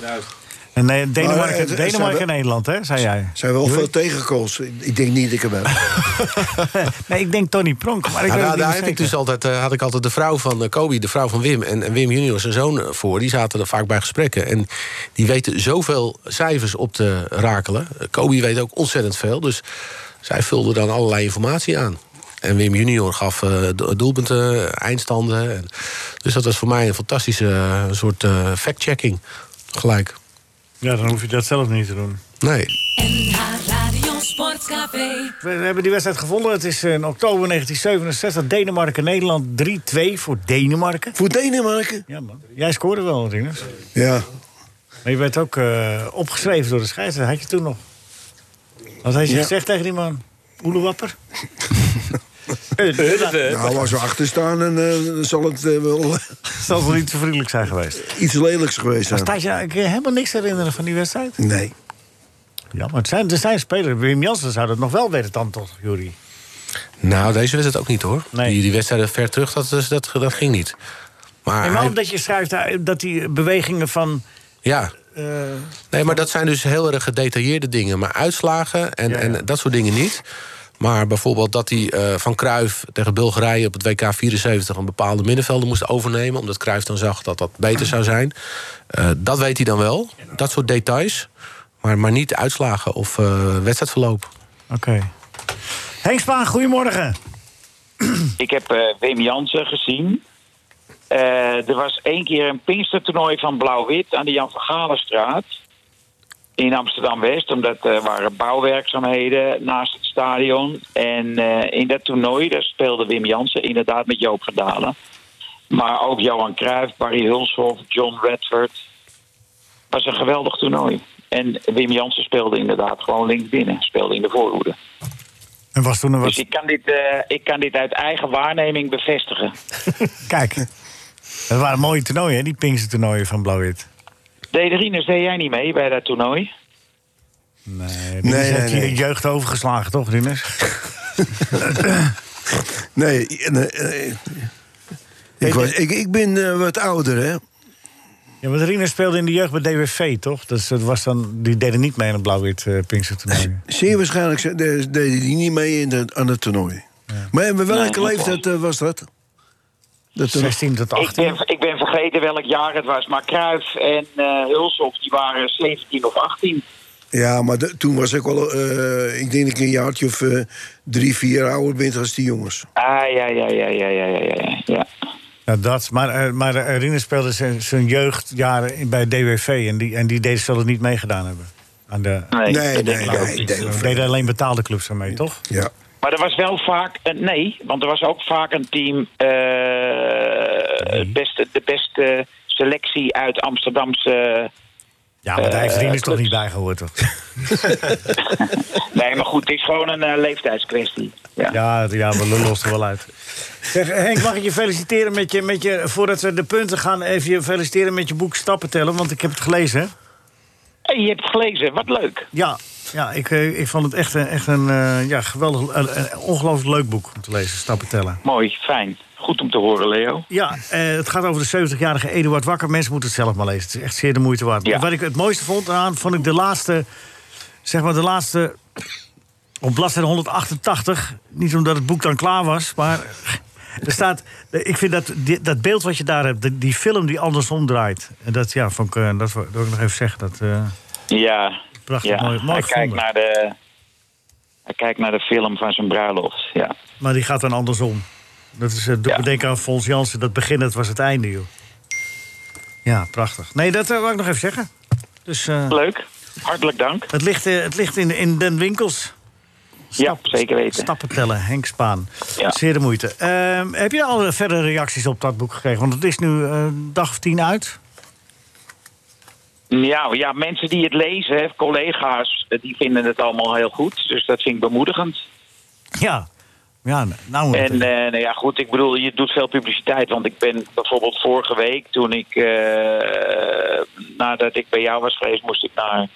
Speaker 3: En
Speaker 4: Maar,
Speaker 3: eh,
Speaker 4: eh,
Speaker 3: Denemarken,
Speaker 4: ze
Speaker 3: Denemarken en
Speaker 4: hebben-
Speaker 3: Nederland, hè, zei jij.
Speaker 4: Zijn wel veel tegenkools. Ik denk niet dat ik hem heb.
Speaker 3: [LAUGHS] Nee, ik denk Tony Pronk, maar ik
Speaker 5: Nou,
Speaker 3: weet
Speaker 5: daar
Speaker 3: het
Speaker 5: daar
Speaker 3: niet
Speaker 5: heb
Speaker 3: meer
Speaker 5: ik dus
Speaker 3: zeker.
Speaker 5: altijd, eh, had ik altijd de vrouw van eh, Kobe, de vrouw van Wim... en, en Wim junior, zijn zoon, eh, voor. Die zaten er vaak bij gesprekken. En die weten zoveel cijfers op te rakelen. Eh, Kobe weet ook ontzettend veel. Dus zij vulde dan allerlei informatie aan. En Wim junior gaf eh, do- doelpunten, eindstanden. En, dus dat was voor mij een fantastische eh, soort eh, fact-checking. Gelijk.
Speaker 3: Ja, dan hoef je dat zelf niet te doen.
Speaker 5: Nee.
Speaker 8: NH Radio Sportcafé.
Speaker 3: We hebben die wedstrijd gevonden. Het is in oktober 1967. Denemarken-Nederland 3-2 voor Denemarken.
Speaker 4: Voor Denemarken?
Speaker 3: Ja, man. Jij scoorde wel, Rinus.
Speaker 4: Ja.
Speaker 3: Maar je werd ook eh, opgeschreven door de scheidsrechter. Had je toen nog? Wat had je
Speaker 4: Ja.
Speaker 3: gezegd tegen die man? Oelewapper? Eh,
Speaker 4: [LAUGHS] Nou, als we achter staan, en, eh, dan zal het eh, wel
Speaker 3: Dat zal wel niet te vriendelijk zijn geweest.
Speaker 4: iets lelijks geweest
Speaker 3: Maar
Speaker 4: zijn.
Speaker 3: Stasia, ik kan je helemaal niks herinneren van die wedstrijd.
Speaker 4: Nee.
Speaker 3: Ja, maar het zijn, er zijn spelers. Wim Jansen zou dat nog wel weten dan toch, Jury?
Speaker 5: Nou, deze wist het ook niet hoor.
Speaker 3: Nee.
Speaker 5: Die, die wedstrijden ver terug, dat, is- dat, dat ging niet. Maar,
Speaker 3: En maar
Speaker 5: hij-
Speaker 3: omdat je schrijft eh, dat die bewegingen van...
Speaker 5: ja,
Speaker 3: eh,
Speaker 5: Nee, maar dat zijn dus heel erg gedetailleerde dingen. Maar uitslagen en,
Speaker 3: Ja, ja.
Speaker 5: en dat soort dingen niet. Maar bijvoorbeeld dat hij eh, van Cruijff tegen Bulgarije op het WK 74 een bepaalde middenvelder moest overnemen. Omdat Cruijff dan zag dat dat beter zou zijn. Eh, dat weet hij dan wel. Dat soort details. Maar, maar niet uitslagen of eh, wedstrijdverloop.
Speaker 3: Oké. Henk Spaan, goedemorgen.
Speaker 12: Ik heb eh, Wim Jansen gezien. Eh, er was één keer een Pinkstertoernooi van Blauw-Wit aan de Jan van Galenstraat. In Amsterdam-West, omdat er waren bouwwerkzaamheden naast het stadion. En eh, in dat toernooi daar speelde Wim Jansen inderdaad met Joop van Dalen. Maar ook Johan Cruijff, Barry Hulshoff, John Redford. Het was een geweldig toernooi. En Wim Jansen speelde inderdaad gewoon links binnen. Speelde in de voorhoede.
Speaker 3: En was toen een
Speaker 12: Dus
Speaker 3: wat...
Speaker 12: ik kan, dit, eh, ik kan dit uit eigen waarneming bevestigen.
Speaker 3: [LAUGHS]
Speaker 4: [LAUGHS]
Speaker 3: Kijk. Dat waren mooie toernooien, hè? Die Pinkse toernooien van Blauw-Wit.
Speaker 12: Deed Rinus, deed jij niet mee bij dat toernooi?
Speaker 3: Nee,
Speaker 4: Nee,
Speaker 3: nee,
Speaker 4: nee,
Speaker 3: nee.
Speaker 4: nee.
Speaker 3: je jeugd overgeslagen, toch, Rinus?
Speaker 4: [LAUGHS] Nee. nee, nee. Ik, was, ik, ik ben eh, wat ouder, hè?
Speaker 3: Ja, want Rinus speelde in de jeugd bij DWV, toch? Dus dat was dan... Die deden niet mee aan het Blauw-Wit eh,
Speaker 4: [LAUGHS]
Speaker 3: Pinkse toernooi.
Speaker 4: Zeer waarschijnlijk ze- de- deden die niet mee in de, aan het toernooi. Maar bij welke
Speaker 12: Nee,
Speaker 4: leeftijd eh, was dat? dat toernooi?
Speaker 3: 16 tot
Speaker 12: Ik
Speaker 3: 18.
Speaker 12: ben, ik ben vergeten welk jaar het was, maar Kruif en eh Hulshoff die waren 17 of 18.
Speaker 4: ja, maar de- toen was ik al, eh, ik denk dat ik een jaartje of eh, drie, vier ouder ben als die jongens.
Speaker 12: Ah, ja, ja, ja, ja, ja, ja, ja, ja.
Speaker 3: Ja, dat. Maar, eh, maar eh, Rinus speelde zijn, zijn jeugdjaren in- bij DWV. En die, en die deden zullen het niet meegedaan hebben. Aan de,
Speaker 12: Nee,
Speaker 4: Nee,
Speaker 12: dat denk
Speaker 4: nee,
Speaker 12: ik ook
Speaker 4: nee,
Speaker 12: niet.
Speaker 4: nee.
Speaker 3: Ze deden alleen betaalde clubs aan mee, toch?
Speaker 4: Ja.
Speaker 12: Maar er was wel vaak... eh, nee, want er was ook vaak een team... eh, het beste, de beste selectie uit Amsterdamse...
Speaker 3: Ja, maar daar heeft
Speaker 12: Eh,
Speaker 3: Rinus toch
Speaker 12: clubs.
Speaker 3: niet bij gehoord, toch?
Speaker 12: [LAUGHS] Nee, maar goed, het is gewoon een eh, leeftijdskwestie. Ja.
Speaker 3: Ja, ja we lullen ons er wel uit. Zeg, Henk, mag ik je feliciteren met je, met je... Voordat we de punten gaan, even je feliciteren met je boek Stappen Tellen. Want ik heb het gelezen, hè?
Speaker 12: Hey, je hebt het gelezen, wat leuk.
Speaker 3: Ja, ja ik, eh, ik vond het echt een, echt een eh, ja, geweldig, een- een ongelooflijk leuk boek om te lezen, Stappen Tellen.
Speaker 12: Mooi, fijn. Goed om te horen, Leo.
Speaker 3: Ja, eh, het gaat over de 70-jarige Eduard Wakker. Mensen moeten het zelf maar lezen. Het is echt zeer de moeite waard.
Speaker 12: Ja.
Speaker 3: Wat ik het mooiste vond aan, vond ik de laatste... Zeg maar de laatste... Op bladzijde 188. Niet omdat het boek dan klaar was, maar... Er staat, ik vind dat, die- dat beeld wat je daar hebt, die, die film die andersom draait. En dat, ja, vond ik, eh, dat wil wil ik nog even zeggen. Dat, eh,
Speaker 12: Ja,
Speaker 3: Prachtig,
Speaker 12: ja.
Speaker 3: mooi- mooi
Speaker 12: hij, kijkt
Speaker 3: gevonden.
Speaker 12: naar de, hij kijkt naar de film van zijn bruiloft. Ja,
Speaker 3: maar die gaat dan andersom. Dat is, eh, doe
Speaker 12: Ja.
Speaker 3: me denken aan Fons Jansen. Dat begin, dat was het einde, joh. Ja, prachtig. Nee, dat eh, wou ik nog even zeggen. Dus, eh,
Speaker 12: leuk. Hartelijk dank.
Speaker 3: Het ligt, eh, het ligt in, in den winkels.
Speaker 12: ja, zeker weten.
Speaker 3: Stappen tellen, Henk Spaan.
Speaker 12: Ja.
Speaker 3: Zeer de moeite. Ehm, heb je al verdere reacties op dat boek gekregen? Want het is nu eh, een dag of tien uit.
Speaker 12: Ja, ja, mensen die het lezen, hè, collega's, eh, die vinden het allemaal heel goed. Dus dat vind ik bemoedigend.
Speaker 3: Ja. Ja, nou...
Speaker 12: En eh, nou ja, goed, ik bedoel, je doet veel publiciteit. Want ik ben bijvoorbeeld vorige week, toen ik, eh, nadat ik bij jou was geweest, moest ik naar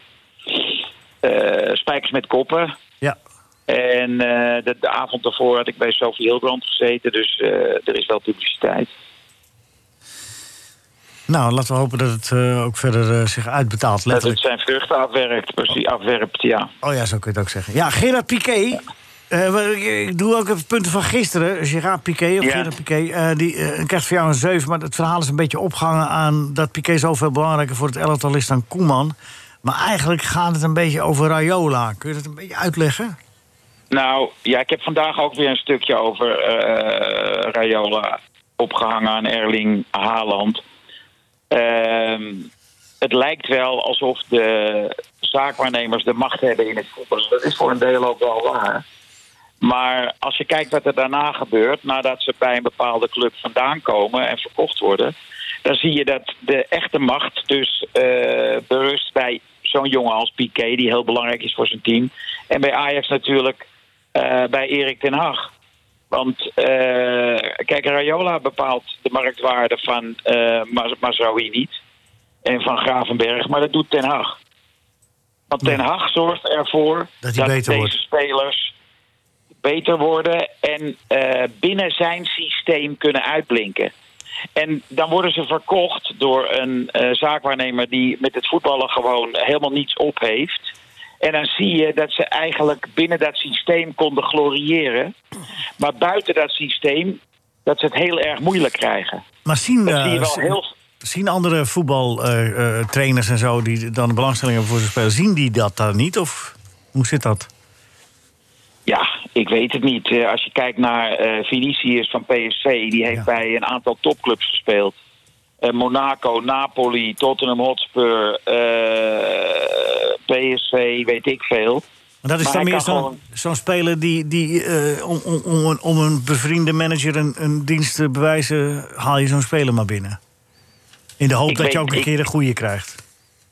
Speaker 12: eh, Spijkers met Koppen.
Speaker 3: Ja.
Speaker 12: En eh, de, de avond daarvoor had ik bij Sophie Hilbrand gezeten. Dus eh, er is wel publiciteit.
Speaker 3: Nou, laten we hopen dat het eh, ook verder eh, zich uitbetaalt,
Speaker 12: Dat
Speaker 3: letterlijk.
Speaker 12: het zijn vruchten afwerkt, precies, afwerpt, ja.
Speaker 3: Oh ja, zo kun je het ook zeggen. Ja, Gerard Piqué. eh, maar ik- ik doe ook even punten van gisteren. Gerard Piqué, of
Speaker 12: Ja.
Speaker 3: Gerard Piqué, eh, die eh, krijgt voor jou een 7. Maar het verhaal is een beetje opgehangen aan dat Piqué zoveel belangrijker voor het elftal is dan Koeman. Maar eigenlijk gaat het een beetje over Raiola. Kun je dat een beetje uitleggen?
Speaker 12: Nou, ja, ik heb vandaag ook weer een stukje over eh Rayola opgehangen aan Erling Haaland. Ehm, het lijkt wel alsof de zaakwaarnemers de macht hebben in het voetbal. Dat is voor een deel ook wel waar. Maar als je kijkt wat er daarna gebeurt, nadat ze bij een bepaalde club vandaan komen en verkocht worden, dan zie je dat de echte macht dus eh, berust bij zo'n jongen als Piqué, die heel belangrijk is voor zijn team. En bij Ajax natuurlijk eh, bij Erik ten Hag. Want eh, kijk, Rayola bepaalt de marktwaarde van eh Mas- Mazraoui niet. En van Gravenberg, maar dat doet Ten Hag. Want Ten Hag zorgt ervoor dat,
Speaker 3: beter
Speaker 12: deze
Speaker 3: wordt.
Speaker 12: spelers beter worden en eh, binnen zijn systeem kunnen uitblinken. En dan worden ze verkocht door een eh, zaakwaarnemer die met het voetballen gewoon helemaal niets op heeft. En dan zie je dat ze eigenlijk binnen dat systeem konden gloriëren. Maar buiten dat systeem dat ze het heel erg moeilijk krijgen.
Speaker 3: Maar zien,
Speaker 12: Dat zie je
Speaker 3: eh,
Speaker 12: wel
Speaker 3: z-
Speaker 12: heel-
Speaker 3: zien andere voetbaltrainers eh, en zo die dan belangstelling hebben voor zijn spelers, zien die dat dan niet? Of hoe zit dat?
Speaker 12: Ja, ik weet het niet. Eh, Als je kijkt naar eh Vinicius van PSV, die heeft bij een aantal topclubs gespeeld. Eh, Monaco, Napoli, Tottenham Hotspur, eh, PSV, weet ik veel.
Speaker 3: Maar dat is dan
Speaker 12: Maar hij
Speaker 3: meer
Speaker 12: kan
Speaker 3: zo'n
Speaker 12: gewoon-
Speaker 3: zo'n speler die, die eh, om, om, om, een, om een bevriende manager een, een dienst te bewijzen, haal je zo'n speler maar binnen. In de hoop
Speaker 12: Ik
Speaker 3: dat je
Speaker 12: weet-
Speaker 3: ook een
Speaker 12: ik-
Speaker 3: keer een goede krijgt.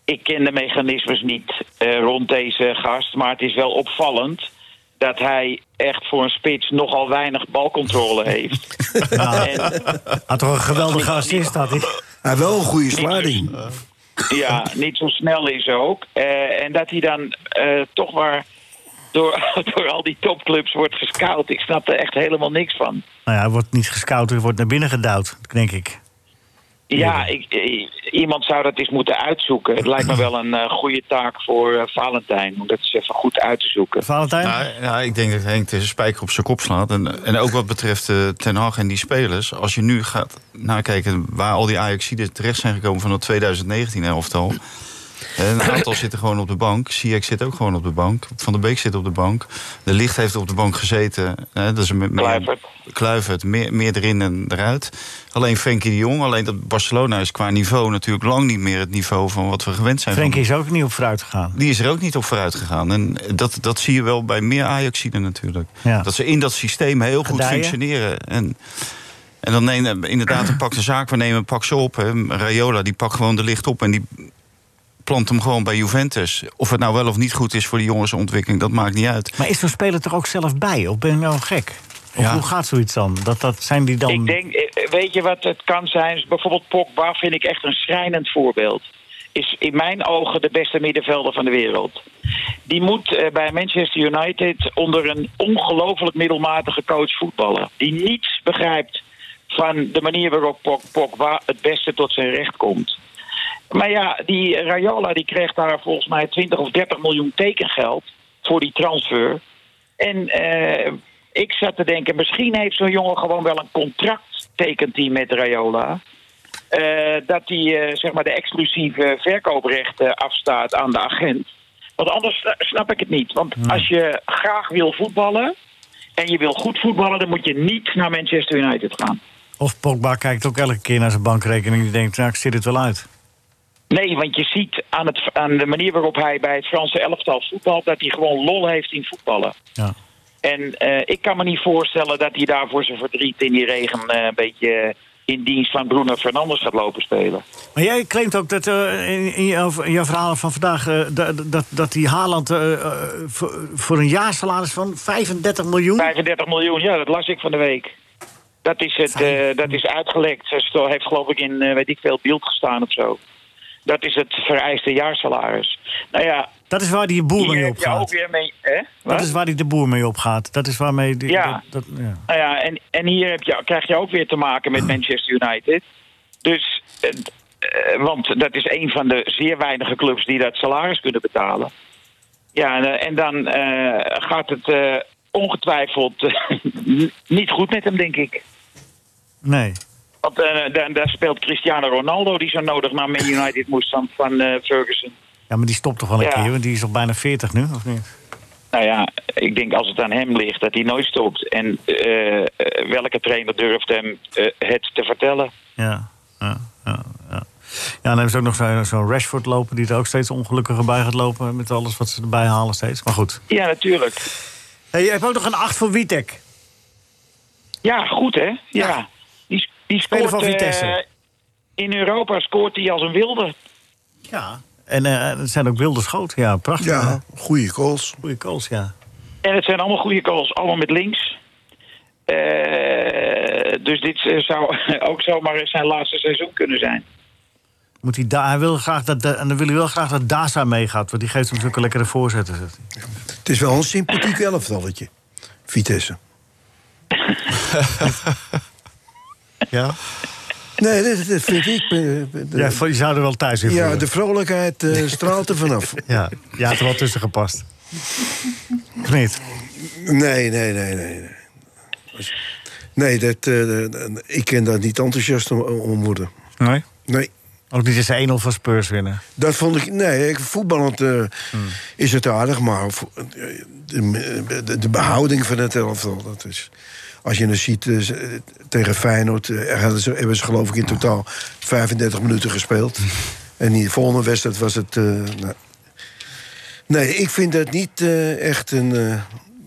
Speaker 12: Ik ken de mechanismes niet eh, rond deze gast, maar het is wel opvallend dat hij echt voor een spits nogal weinig balcontrole heeft. en,
Speaker 3: Had toch een geweldige assist had hij. Nou
Speaker 4: Hij heeft wel een goede sliding.
Speaker 12: Ja, niet zo snel is ook. Eh, en dat hij dan eh, toch maar door, [LAUGHS] door al die topclubs wordt gescout. Ik snap er echt helemaal niks van.
Speaker 3: Nou ja, hij wordt niet gescout, hij wordt naar binnen gedouwd, denk ik.
Speaker 12: Ja, ik, eh, iemand zou dat eens moeten uitzoeken. Het lijkt me wel een eh, goede taak voor eh, Valentijn. Om dat eens even goed uit te zoeken.
Speaker 3: Valentijn?
Speaker 6: Nou, nou, ik denk dat Henk de spijker op zijn kop slaat. En, en ook wat betreft eh, Ten Hag en die spelers. Als je nu gaat nakijken waar al die Ajaxiden terecht zijn gekomen van dat 2019-elftal. Een
Speaker 3: [COUGHS]
Speaker 6: aantal zitten gewoon op de bank. Ziyech zit ook gewoon op de bank. Van der Beek zit op de bank. De Licht heeft op de bank gezeten. Eh, dat is een me- meer,
Speaker 12: Kluivert.
Speaker 6: Kluivert, meer, meer erin en eruit. Alleen Frenkie de Jong. Alleen dat Barcelona is qua niveau natuurlijk lang niet meer het niveau van wat we gewend zijn. van
Speaker 3: Frenkie is ook niet op vooruit gegaan.
Speaker 6: die is er ook niet op vooruit gegaan. En dat, dat zie je wel bij meer Ajaxiden natuurlijk.
Speaker 3: Ja.
Speaker 6: Dat ze in dat systeem heel goed
Speaker 3: Gedijen.
Speaker 6: functioneren. En, en dan neem, inderdaad, een pak de zaak waarnemen, pak ze op. Hè. Rayola, die pakt gewoon de licht op en die plant hem gewoon bij Juventus. Of het nou wel of niet goed is voor die jongensontwikkeling, dat maakt niet uit.
Speaker 3: Maar is zo'n speler toch ook zelf bij? Of ben ik nou gek? Of
Speaker 6: Ja.
Speaker 3: hoe gaat zoiets dan? Dat, dat zijn die dan...
Speaker 12: Ik denk, eh, weet je wat het kan zijn? Bijvoorbeeld Pogba vind ik echt een schrijnend voorbeeld. Is in mijn ogen de beste middenvelder van de wereld. Die moet eh, bij Manchester United onder een ongelooflijk middelmatige coach voetballen. Die niets begrijpt van de manier waarop Pog- Pogba het beste tot zijn recht komt. Maar ja, die Rayola die kreeg daar volgens mij 20 of 30 miljoen tekengeld voor die transfer. En eh, ik zat te denken, misschien heeft zo'n jongen gewoon wel een contract tekent hij met Rayola. Eh, dat hij eh, zeg maar de exclusieve verkooprechten afstaat aan de agent. Want anders sna- snap ik het niet. Want als je graag wil voetballen en je wil goed voetballen, dan moet je niet naar Manchester United gaan.
Speaker 3: Of Pogba kijkt ook elke keer naar zijn bankrekening en die denkt, nou, ik zit het wel uit.
Speaker 12: Nee, want je ziet aan, het, aan de manier waarop hij bij het Franse elftal voetbalt... dat hij gewoon lol heeft in voetballen.
Speaker 3: Ja.
Speaker 12: En eh, ik kan me niet voorstellen dat hij daar voor zijn verdriet in die regen eh, een beetje in dienst van Bruno Fernandes gaat lopen spelen.
Speaker 3: Maar jij claimt ook dat eh, in, in jouw, in jouw verhalen van vandaag... eh, da- dat, dat die Haaland eh, eh, voor, voor een jaarsalaris van 35 miljoen...
Speaker 12: 35 miljoen, ja, dat las ik van de week. Dat is, het, eh, dat is uitgelekt. Ze sto- heeft geloof ik in, eh, weet ik veel, beeld gestaan of zo. Dat is het vereiste jaarsalaris. Nou ja,
Speaker 3: Dat is waar die boer
Speaker 12: hier
Speaker 3: mee
Speaker 12: heb je ook
Speaker 3: opgaat.
Speaker 12: weer mee... Hè?
Speaker 3: Dat
Speaker 12: Wat?
Speaker 3: is waar die de boer mee opgaat. Dat is waarmee... Die,
Speaker 12: Ja.
Speaker 3: dat, dat- ja.
Speaker 12: Nou ja, en, en hier heb je, krijg je ook weer te maken met Manchester United. Dus, eh, eh, want dat is een van de zeer weinige clubs die dat salaris kunnen betalen. Ja, en, eh, en dan eh, gaat het eh, ongetwijfeld eh, [LAUGHS] niet goed met hem, denk ik.
Speaker 3: Nee.
Speaker 12: Want eh, daar, daar speelt Cristiano Ronaldo, die zo nodig naar Man United moest van, van eh, Ferguson.
Speaker 3: Ja, maar die stopt toch wel een
Speaker 12: Ja.
Speaker 3: keer, want die is al bijna 40 nu, of niet?
Speaker 12: Nou ja, ik denk als het aan hem ligt dat hij nooit stopt. En eh, eh, welke trainer durft hem eh, het te vertellen?
Speaker 3: Ja, ja, ja. ja. Ja, dan hebben ze ook nog zo- zo'n Rashford lopen... die er ook steeds ongelukkiger bij gaat lopen... met alles wat ze erbij halen steeds. Maar goed.
Speaker 12: Ja, natuurlijk.
Speaker 3: Hey, je hebt ook nog een 8 voor Witek.
Speaker 12: Ja, goed hè? Ja. Die, die
Speaker 3: Speler
Speaker 12: scoort,
Speaker 3: van Vitesse.
Speaker 12: eh, in Europa scoort hij als een wilde.
Speaker 3: Ja. En eh het zijn ook wilde schoten. Ja, prachtig.
Speaker 4: Ja, goede goals.
Speaker 3: Goede goals, ja.
Speaker 12: En het zijn allemaal goede goals, allemaal met links. Eh, dus dit eh, zou [LAUGHS] ook zomaar eens zijn laatste seizoen kunnen zijn.
Speaker 3: Moet hij, daar, hij wil graag dat, en dan wil hij wel graag dat Daza meegaat. Want die geeft hem zulke lekkere voorzetten. zegt hij.
Speaker 4: Het is wel een sympathiek elftalletje. Vitesse.
Speaker 3: Ja?
Speaker 4: Nee, dat, dat vind ik. eh, eh,
Speaker 3: Ja, van- je zou er wel thuis in
Speaker 4: ja,
Speaker 3: voelen.
Speaker 4: de vrolijkheid eh, straalt er
Speaker 3: [LAUGHS]
Speaker 4: vanaf.
Speaker 3: ja, je had er wel tussen gepast. Of niet?
Speaker 4: Nee, nee, nee, nee. Nee, nee dat, eh, eh, ik kan daar niet enthousiast om, om worden.
Speaker 3: Nee?
Speaker 4: Nee.
Speaker 3: Ook niet eens 1-0 van Spurs winnen.
Speaker 4: Dat vond ik. Nee, ik- voetballend eh, is het aardig, maar vo- eh, de, de, de behouding van het elftal. Dat is, als je dan ziet eh, ze- tegen Feyenoord, eh, hebben ze, hebben ze geloof ik in totaal 35 minuten gespeeld. en die volgende wedstrijd was het. eh, nou. Nee, ik vind dat niet eh, echt een. eh,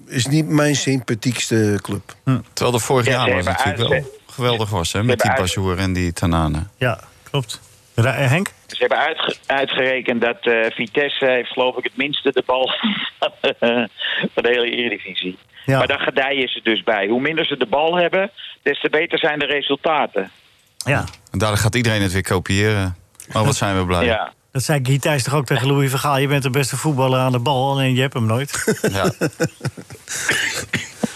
Speaker 4: is niet mijn sympathiekste club.
Speaker 6: Hm. Terwijl de vorig
Speaker 12: Ja,
Speaker 6: jaar
Speaker 12: ze
Speaker 6: was
Speaker 12: hebben
Speaker 6: natuurlijk
Speaker 12: uit-
Speaker 6: wel geweldig was, hè? Met die
Speaker 12: hebben uit-
Speaker 6: Bajour en die Tanane.
Speaker 3: Ja, klopt. Ra- eh, Henk?
Speaker 12: Ze hebben uitge- uitgerekend dat eh, Vitesse heeft geloof ik het minste de bal [LAUGHS] van de hele Eredivisie.
Speaker 3: Ja.
Speaker 12: Maar daar gedijen ze dus bij. Hoe minder ze de bal hebben, des te beter zijn de resultaten.
Speaker 3: Ja.
Speaker 6: En daardoor gaat iedereen het weer kopiëren. Oh, wat zijn we blij.
Speaker 12: Ja.
Speaker 3: Dat zei Guy Thijs toch ook tegen Louis Vergaal. Je bent de beste voetballer aan de bal, alleen je hebt hem nooit.
Speaker 6: Ja.
Speaker 3: [LAUGHS]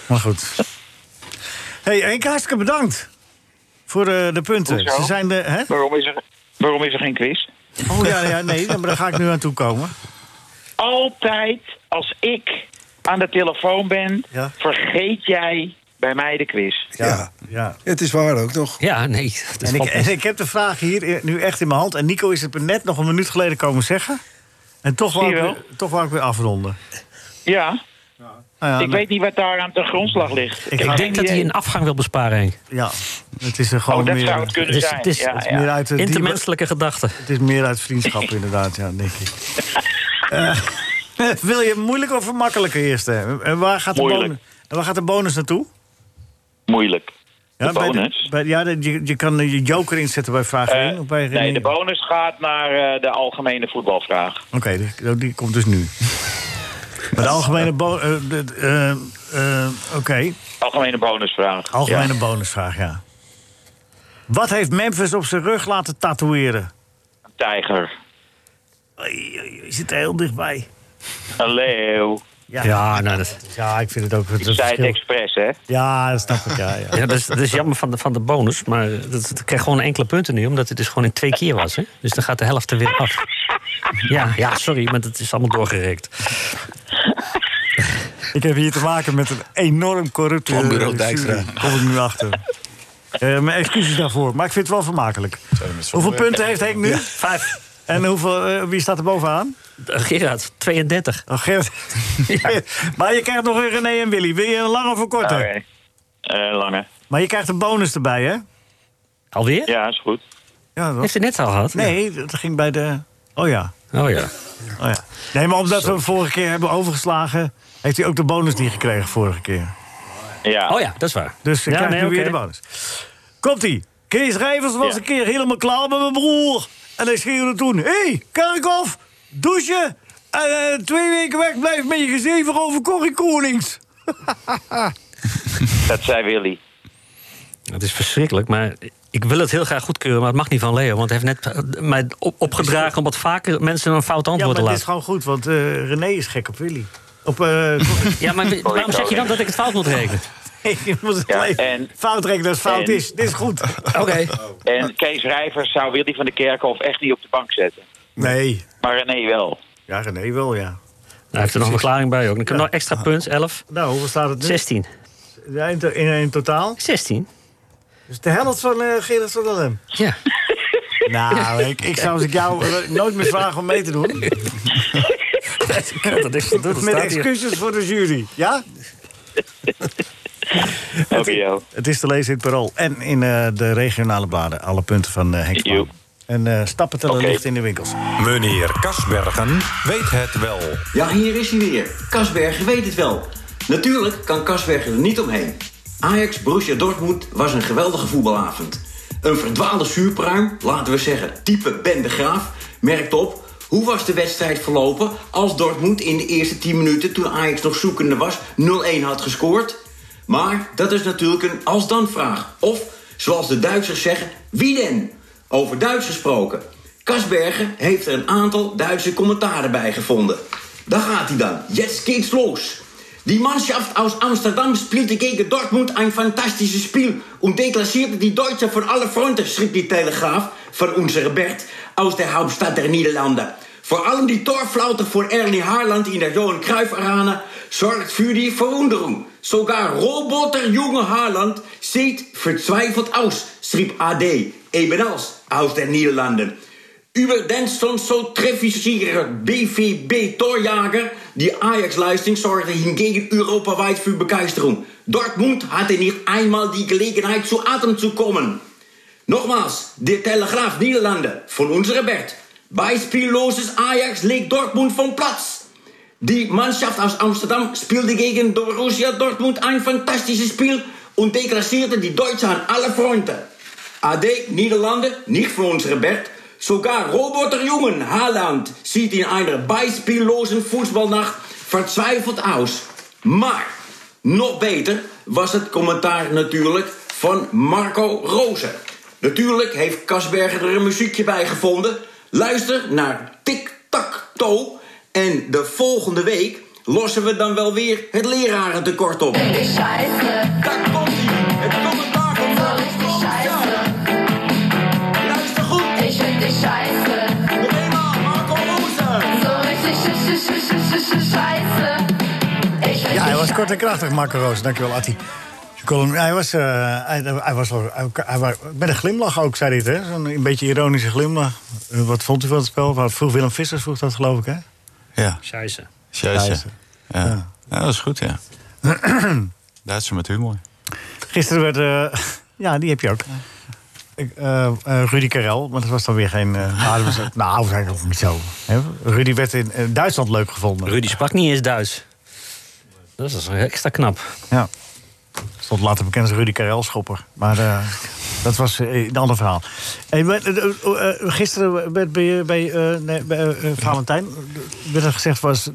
Speaker 3: Maar goed. hey, Henk, hartstikke bedankt. Voor eh, de punten.
Speaker 12: Hoezo?
Speaker 3: Ze zijn de... Hè?
Speaker 12: Waarom is, er, waarom is er geen quiz?
Speaker 3: Oh ja, ja, nee, maar daar ga ik nu aan toe komen.
Speaker 12: altijd als ik aan de telefoon ben,
Speaker 3: Ja.
Speaker 12: vergeet jij bij mij de quiz.
Speaker 4: Ja.
Speaker 3: Ja.
Speaker 4: het is waar ook nog.
Speaker 7: Ja, nee. Dat
Speaker 3: En ik,
Speaker 7: valt
Speaker 3: en ik heb de vraag hier nu echt in mijn hand. En Nico is het me net nog een minuut geleden komen zeggen. En toch wou
Speaker 12: Zie
Speaker 3: ik,
Speaker 12: je
Speaker 3: weer- toch wou ik weer afronden.
Speaker 12: Ja,
Speaker 3: Nou ja,
Speaker 12: ik
Speaker 3: nou,
Speaker 12: weet niet wat daar aan de grondslag ligt.
Speaker 3: Ik
Speaker 7: Ik denk dat hij een afgang wil besparen, Henk.
Speaker 3: ja, het is er gewoon
Speaker 12: Oh, dat
Speaker 3: meer,
Speaker 12: zou het kunnen
Speaker 7: Het is-
Speaker 12: zijn.
Speaker 7: het is-
Speaker 12: ja,
Speaker 7: het is
Speaker 12: ja.
Speaker 3: meer uit, eh, die-
Speaker 7: Intermenselijke gedachten.
Speaker 3: het is meer uit
Speaker 12: [LAUGHS]
Speaker 3: vriendschap inderdaad, ja, denk ik. Eh, [LAUGHS] wil je het moeilijk of makkelijke eerst? hè? En waar gaat, de
Speaker 12: Moeilijk.
Speaker 3: bonus, en waar gaat de bonus naartoe?
Speaker 12: Moeilijk. de
Speaker 3: bij
Speaker 12: bonus?
Speaker 3: bij- ja, de- je, je kan je joker inzetten bij vraag
Speaker 12: Eh,
Speaker 3: 1. of bij
Speaker 12: nee, de bonus gaat naar eh, de algemene voetbalvraag.
Speaker 3: Oké, die, die komt dus nu. Maar de algemene eh, bonus... eh, Oké,
Speaker 12: Algemene bonusvraag.
Speaker 3: algemene
Speaker 12: Ja.
Speaker 3: bonusvraag, ja. Wat heeft Memphis op zijn rug laten tatoeëren?
Speaker 12: Een tijger,
Speaker 3: Oei, oei, Je zit er heel dichtbij.
Speaker 12: een leeuw.
Speaker 7: Ja, nou, dat,
Speaker 3: Ja, ik vind het ook... Het
Speaker 12: Ik zei het
Speaker 3: verschil.
Speaker 12: expres, hè?
Speaker 3: Ja, dat snap ik, ja. ja.
Speaker 7: ja, dat, is, dat is jammer van de, van de bonus. Maar dat, dat krijgt gewoon enkele punten nu. Omdat het dus gewoon in twee keer was. Hè? Dus dan gaat de helft er weer af. Ja, ja, sorry, maar dat is allemaal doorgerekt.
Speaker 3: Ik heb hier te maken met een enorm corrupt eh,
Speaker 5: Planbureau
Speaker 3: jury.
Speaker 5: Dijkstra.
Speaker 3: Kom ik nu achter. Eh, mijn excuses daarvoor, maar ik vind het wel vermakelijk. Hoeveel punten heeft Henk nu?
Speaker 7: Vijf.
Speaker 3: En hoeveel, eh, wie staat er bovenaan?
Speaker 7: Gerard, 32.
Speaker 3: Oh, Gerrit. maar je krijgt nog een René en Willy. Wil je een lange of een korte?
Speaker 12: Oké. Eh, lange.
Speaker 3: Maar je krijgt een bonus erbij, hè?
Speaker 7: Alweer?
Speaker 12: Ja, is goed.
Speaker 3: Ja,
Speaker 7: Heeft hij net al gehad?
Speaker 3: Nee, dat ging bij de... Oh ja.
Speaker 7: Oh ja.
Speaker 3: Oh, ja. Nee, maar omdat we hem vorige keer hebben overgeslagen... Heeft hij ook de bonus niet gekregen vorige keer?
Speaker 12: Ja.
Speaker 7: Oh ja, dat is waar.
Speaker 3: Dus ik
Speaker 7: Ja,
Speaker 3: krijg
Speaker 7: nee,
Speaker 3: nu weer
Speaker 7: oké.
Speaker 3: de bonus. Komt-ie. Kees Rijvers was
Speaker 7: Ja.
Speaker 3: een keer helemaal klaar met mijn broer. En hij schreeuwde toen... Hé, hey, Kerkhoff, douchen... en eh, twee weken wegblijven met je gezever over Corrie
Speaker 7: [LAUGHS]
Speaker 3: Konings.
Speaker 12: Dat zei Willy.
Speaker 7: Het is verschrikkelijk, maar ik wil het heel graag goedkeuren... maar het mag niet van Leo, want hij heeft net eh, mij op- opgedragen... om wat vaker mensen een fout
Speaker 3: Ja,
Speaker 7: antwoord
Speaker 3: maar
Speaker 7: te
Speaker 3: het
Speaker 7: laten.
Speaker 3: is gewoon goed, want eh, René is gek op Willy. Op, eh,
Speaker 7: [LAUGHS] Ja, maar wi- waarom zeg je dan dat ik het fout moet
Speaker 3: [LAUGHS]
Speaker 7: rekenen?
Speaker 3: Ik moet het alleen fout rekenen als het fout
Speaker 12: en-
Speaker 3: is. Dit is goed. Oké.
Speaker 12: En Kees Rijvers zou Willy van de Kerkhof echt niet op de bank zetten.
Speaker 3: Nee.
Speaker 12: Maar René wel.
Speaker 3: Ja, René wel, ja.
Speaker 7: Hij heeft Nou, er nog een verklaring bij ook. Dan heb ik nog extra punt, 11.
Speaker 3: Nou, hoeveel staat het nu?
Speaker 7: 16.
Speaker 3: Ja, in, to- in, in totaal?
Speaker 7: 16.
Speaker 3: Dus de helft van eh Gerrit van Lem.
Speaker 7: Ja.
Speaker 3: [LAUGHS] Nou, ik, ik zou als ik jou eh, nooit meer vragen om mee te
Speaker 7: [LAUGHS]
Speaker 3: doen.
Speaker 7: dat is te doen.
Speaker 3: Met excuses voor de jury, ja?
Speaker 12: Oké, joh.
Speaker 3: Het is te lezen in het Parool en in eh, de regionale bladen. Alle punten van eh Henk Spaan. En eh stappen te licht in de winkels.
Speaker 2: Meneer Kasbergen weet het wel.
Speaker 13: Ja, hier is hij weer. Kasbergen weet het wel. Natuurlijk kan Kasbergen er niet omheen. Ajax Borussia Dortmund was een geweldige voetbalavond. Een verdwaalde zuurpruim, laten we zeggen type Ben de Graaf, merkt op... hoe was de wedstrijd verlopen als Dortmund in de eerste 10 minuten... toen Ajax nog zoekende was, 0-1 had gescoord? Maar dat is natuurlijk een als-dan vraag. Of, zoals de Duitsers zeggen, wie denn? Over Duits gesproken. Kasbergen heeft er een aantal Duitse commentaren bij gevonden. Daar gaat hij dan. Jetzt geht's los. Die Mannschaft aus Amsterdam spielte gegen Dortmund ein fantastisches Spiel und deklassierte die Deutschen von alle Fronten, schrieb die Telegraaf von unserem Bert aus der Hauptstadt der Niederlande. Vor allem die Torflaute von Erling Haaland in der Johan Cruyff Arena sorgt für die Verwunderung. Sogar Roboterjunge Haaland sieht verzweifelt aus, schrieb AD, ebenals aus den Niederlanden. Über den soms zo treffsicherer BVB-Torjager. Die Ajax-Leistung sorgte hingegen europaweit für Begeisterung. Dortmund hatte nicht einmal die Gelegenheit, zu Atem zu kommen. Nogmaals, de Telegraaf Niederlanden von unserem Bert. Beispielloses Ajax legt Dortmund vom Platz. Die Mannschaft aus Amsterdam spielte gegen Borussia Dortmund ein fantastisches Spiel und deklassierte die Deutschen an alle Fronten. AD Niederlande, nicht für unsere Bert. Sogar Roboterjungen Haaland sieht in einer beispiellosen Fußballnacht verzweifelt aus. Maar nog beter was het commentaar natuurlijk van Marco Rozen. Natuurlijk heeft Kasberger er een muziekje bij gevonden. Luister naar Tic Tac Toe. En de volgende week lossen we dan wel weer het lerarentekort op.
Speaker 3: Ja, hij was kort en krachtig, Marco Roos. Dankjewel, Atti. Je kon hem- Hij was, eh, hij, hij was, wel- hij, hij was met een glimlach ook, zei hij het. hè? Zo'n een beetje ironische glimlach. Eh, Wat vond u van het spel? Wat vroeg Willem Vissers vroeg dat, geloof ik, hè?
Speaker 6: Ja.
Speaker 7: Scheisse.
Speaker 6: Scheisse.
Speaker 3: Scheisse.
Speaker 6: Ja. Ja, dat is goed,
Speaker 3: [CLEARS THROAT]
Speaker 6: ja. Duitser met humor.
Speaker 3: Gisteren werd... eh, [LAUGHS] ja, die heb je ook. Ik, eh, eh, Rudy Karel, maar dat was dan weer
Speaker 7: [LAUGHS]
Speaker 3: geen... eh, nou, dat was, nou, dat was eigenlijk ook niet zo. Hè? Rudy werd in eh, Duitsland leuk gevonden.
Speaker 7: Rudy sprak niet eens Duits. Dat is extra knap.
Speaker 3: Ja. Stond later bekend als Rudy Karel Schopper. Maar eh, dat was eh, een ander verhaal. Hey, maar, eh, eh, eh, gisteren werd bij, bij, eh, nee, bij eh, eh, Valentijn eh, werd er gezegd... was de-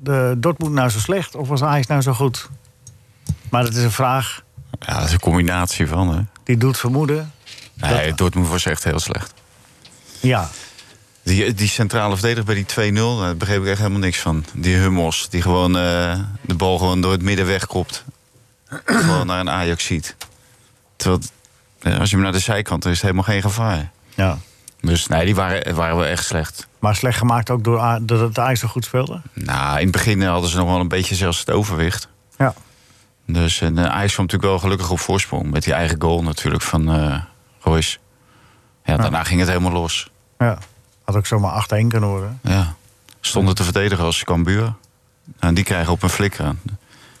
Speaker 3: de Dortmund nou zo slecht of was Ajax nou zo goed? Maar dat is een vraag
Speaker 6: Ja, dat is een combinatie van, hè.
Speaker 3: die doet vermoeden.
Speaker 6: Nee, Dortmund was echt heel slecht.
Speaker 3: Ja,
Speaker 6: Die, die centrale verdediger bij die 2-0, daar begreep ik echt helemaal niks van. Die Hummels, die gewoon eh, de bal gewoon door het midden
Speaker 3: [CLEARS THROAT]
Speaker 6: wegkopt. gewoon naar een Ajax ziet. Terwijl, eh, als je hem naar de zijkant, dan is het helemaal geen gevaar.
Speaker 3: Ja.
Speaker 6: Dus nee, die waren, waren wel echt slecht.
Speaker 3: maar slecht gemaakt ook door A- doordat Ajax zo goed speelde.
Speaker 6: Nou, in het begin hadden ze nog wel een beetje zelfs het overwicht.
Speaker 3: Ja.
Speaker 6: Dus en, eh, Ajax kwam natuurlijk wel gelukkig op voorsprong. Met die eigen goal natuurlijk van eh Royce. Ja, daarna ging het helemaal los.
Speaker 3: Ja. Had ook zomaar 8-1 kunnen worden.
Speaker 6: Ja. Stonden te verdedigen als Cambuur. En Nou, die krijgen op een flikker aan.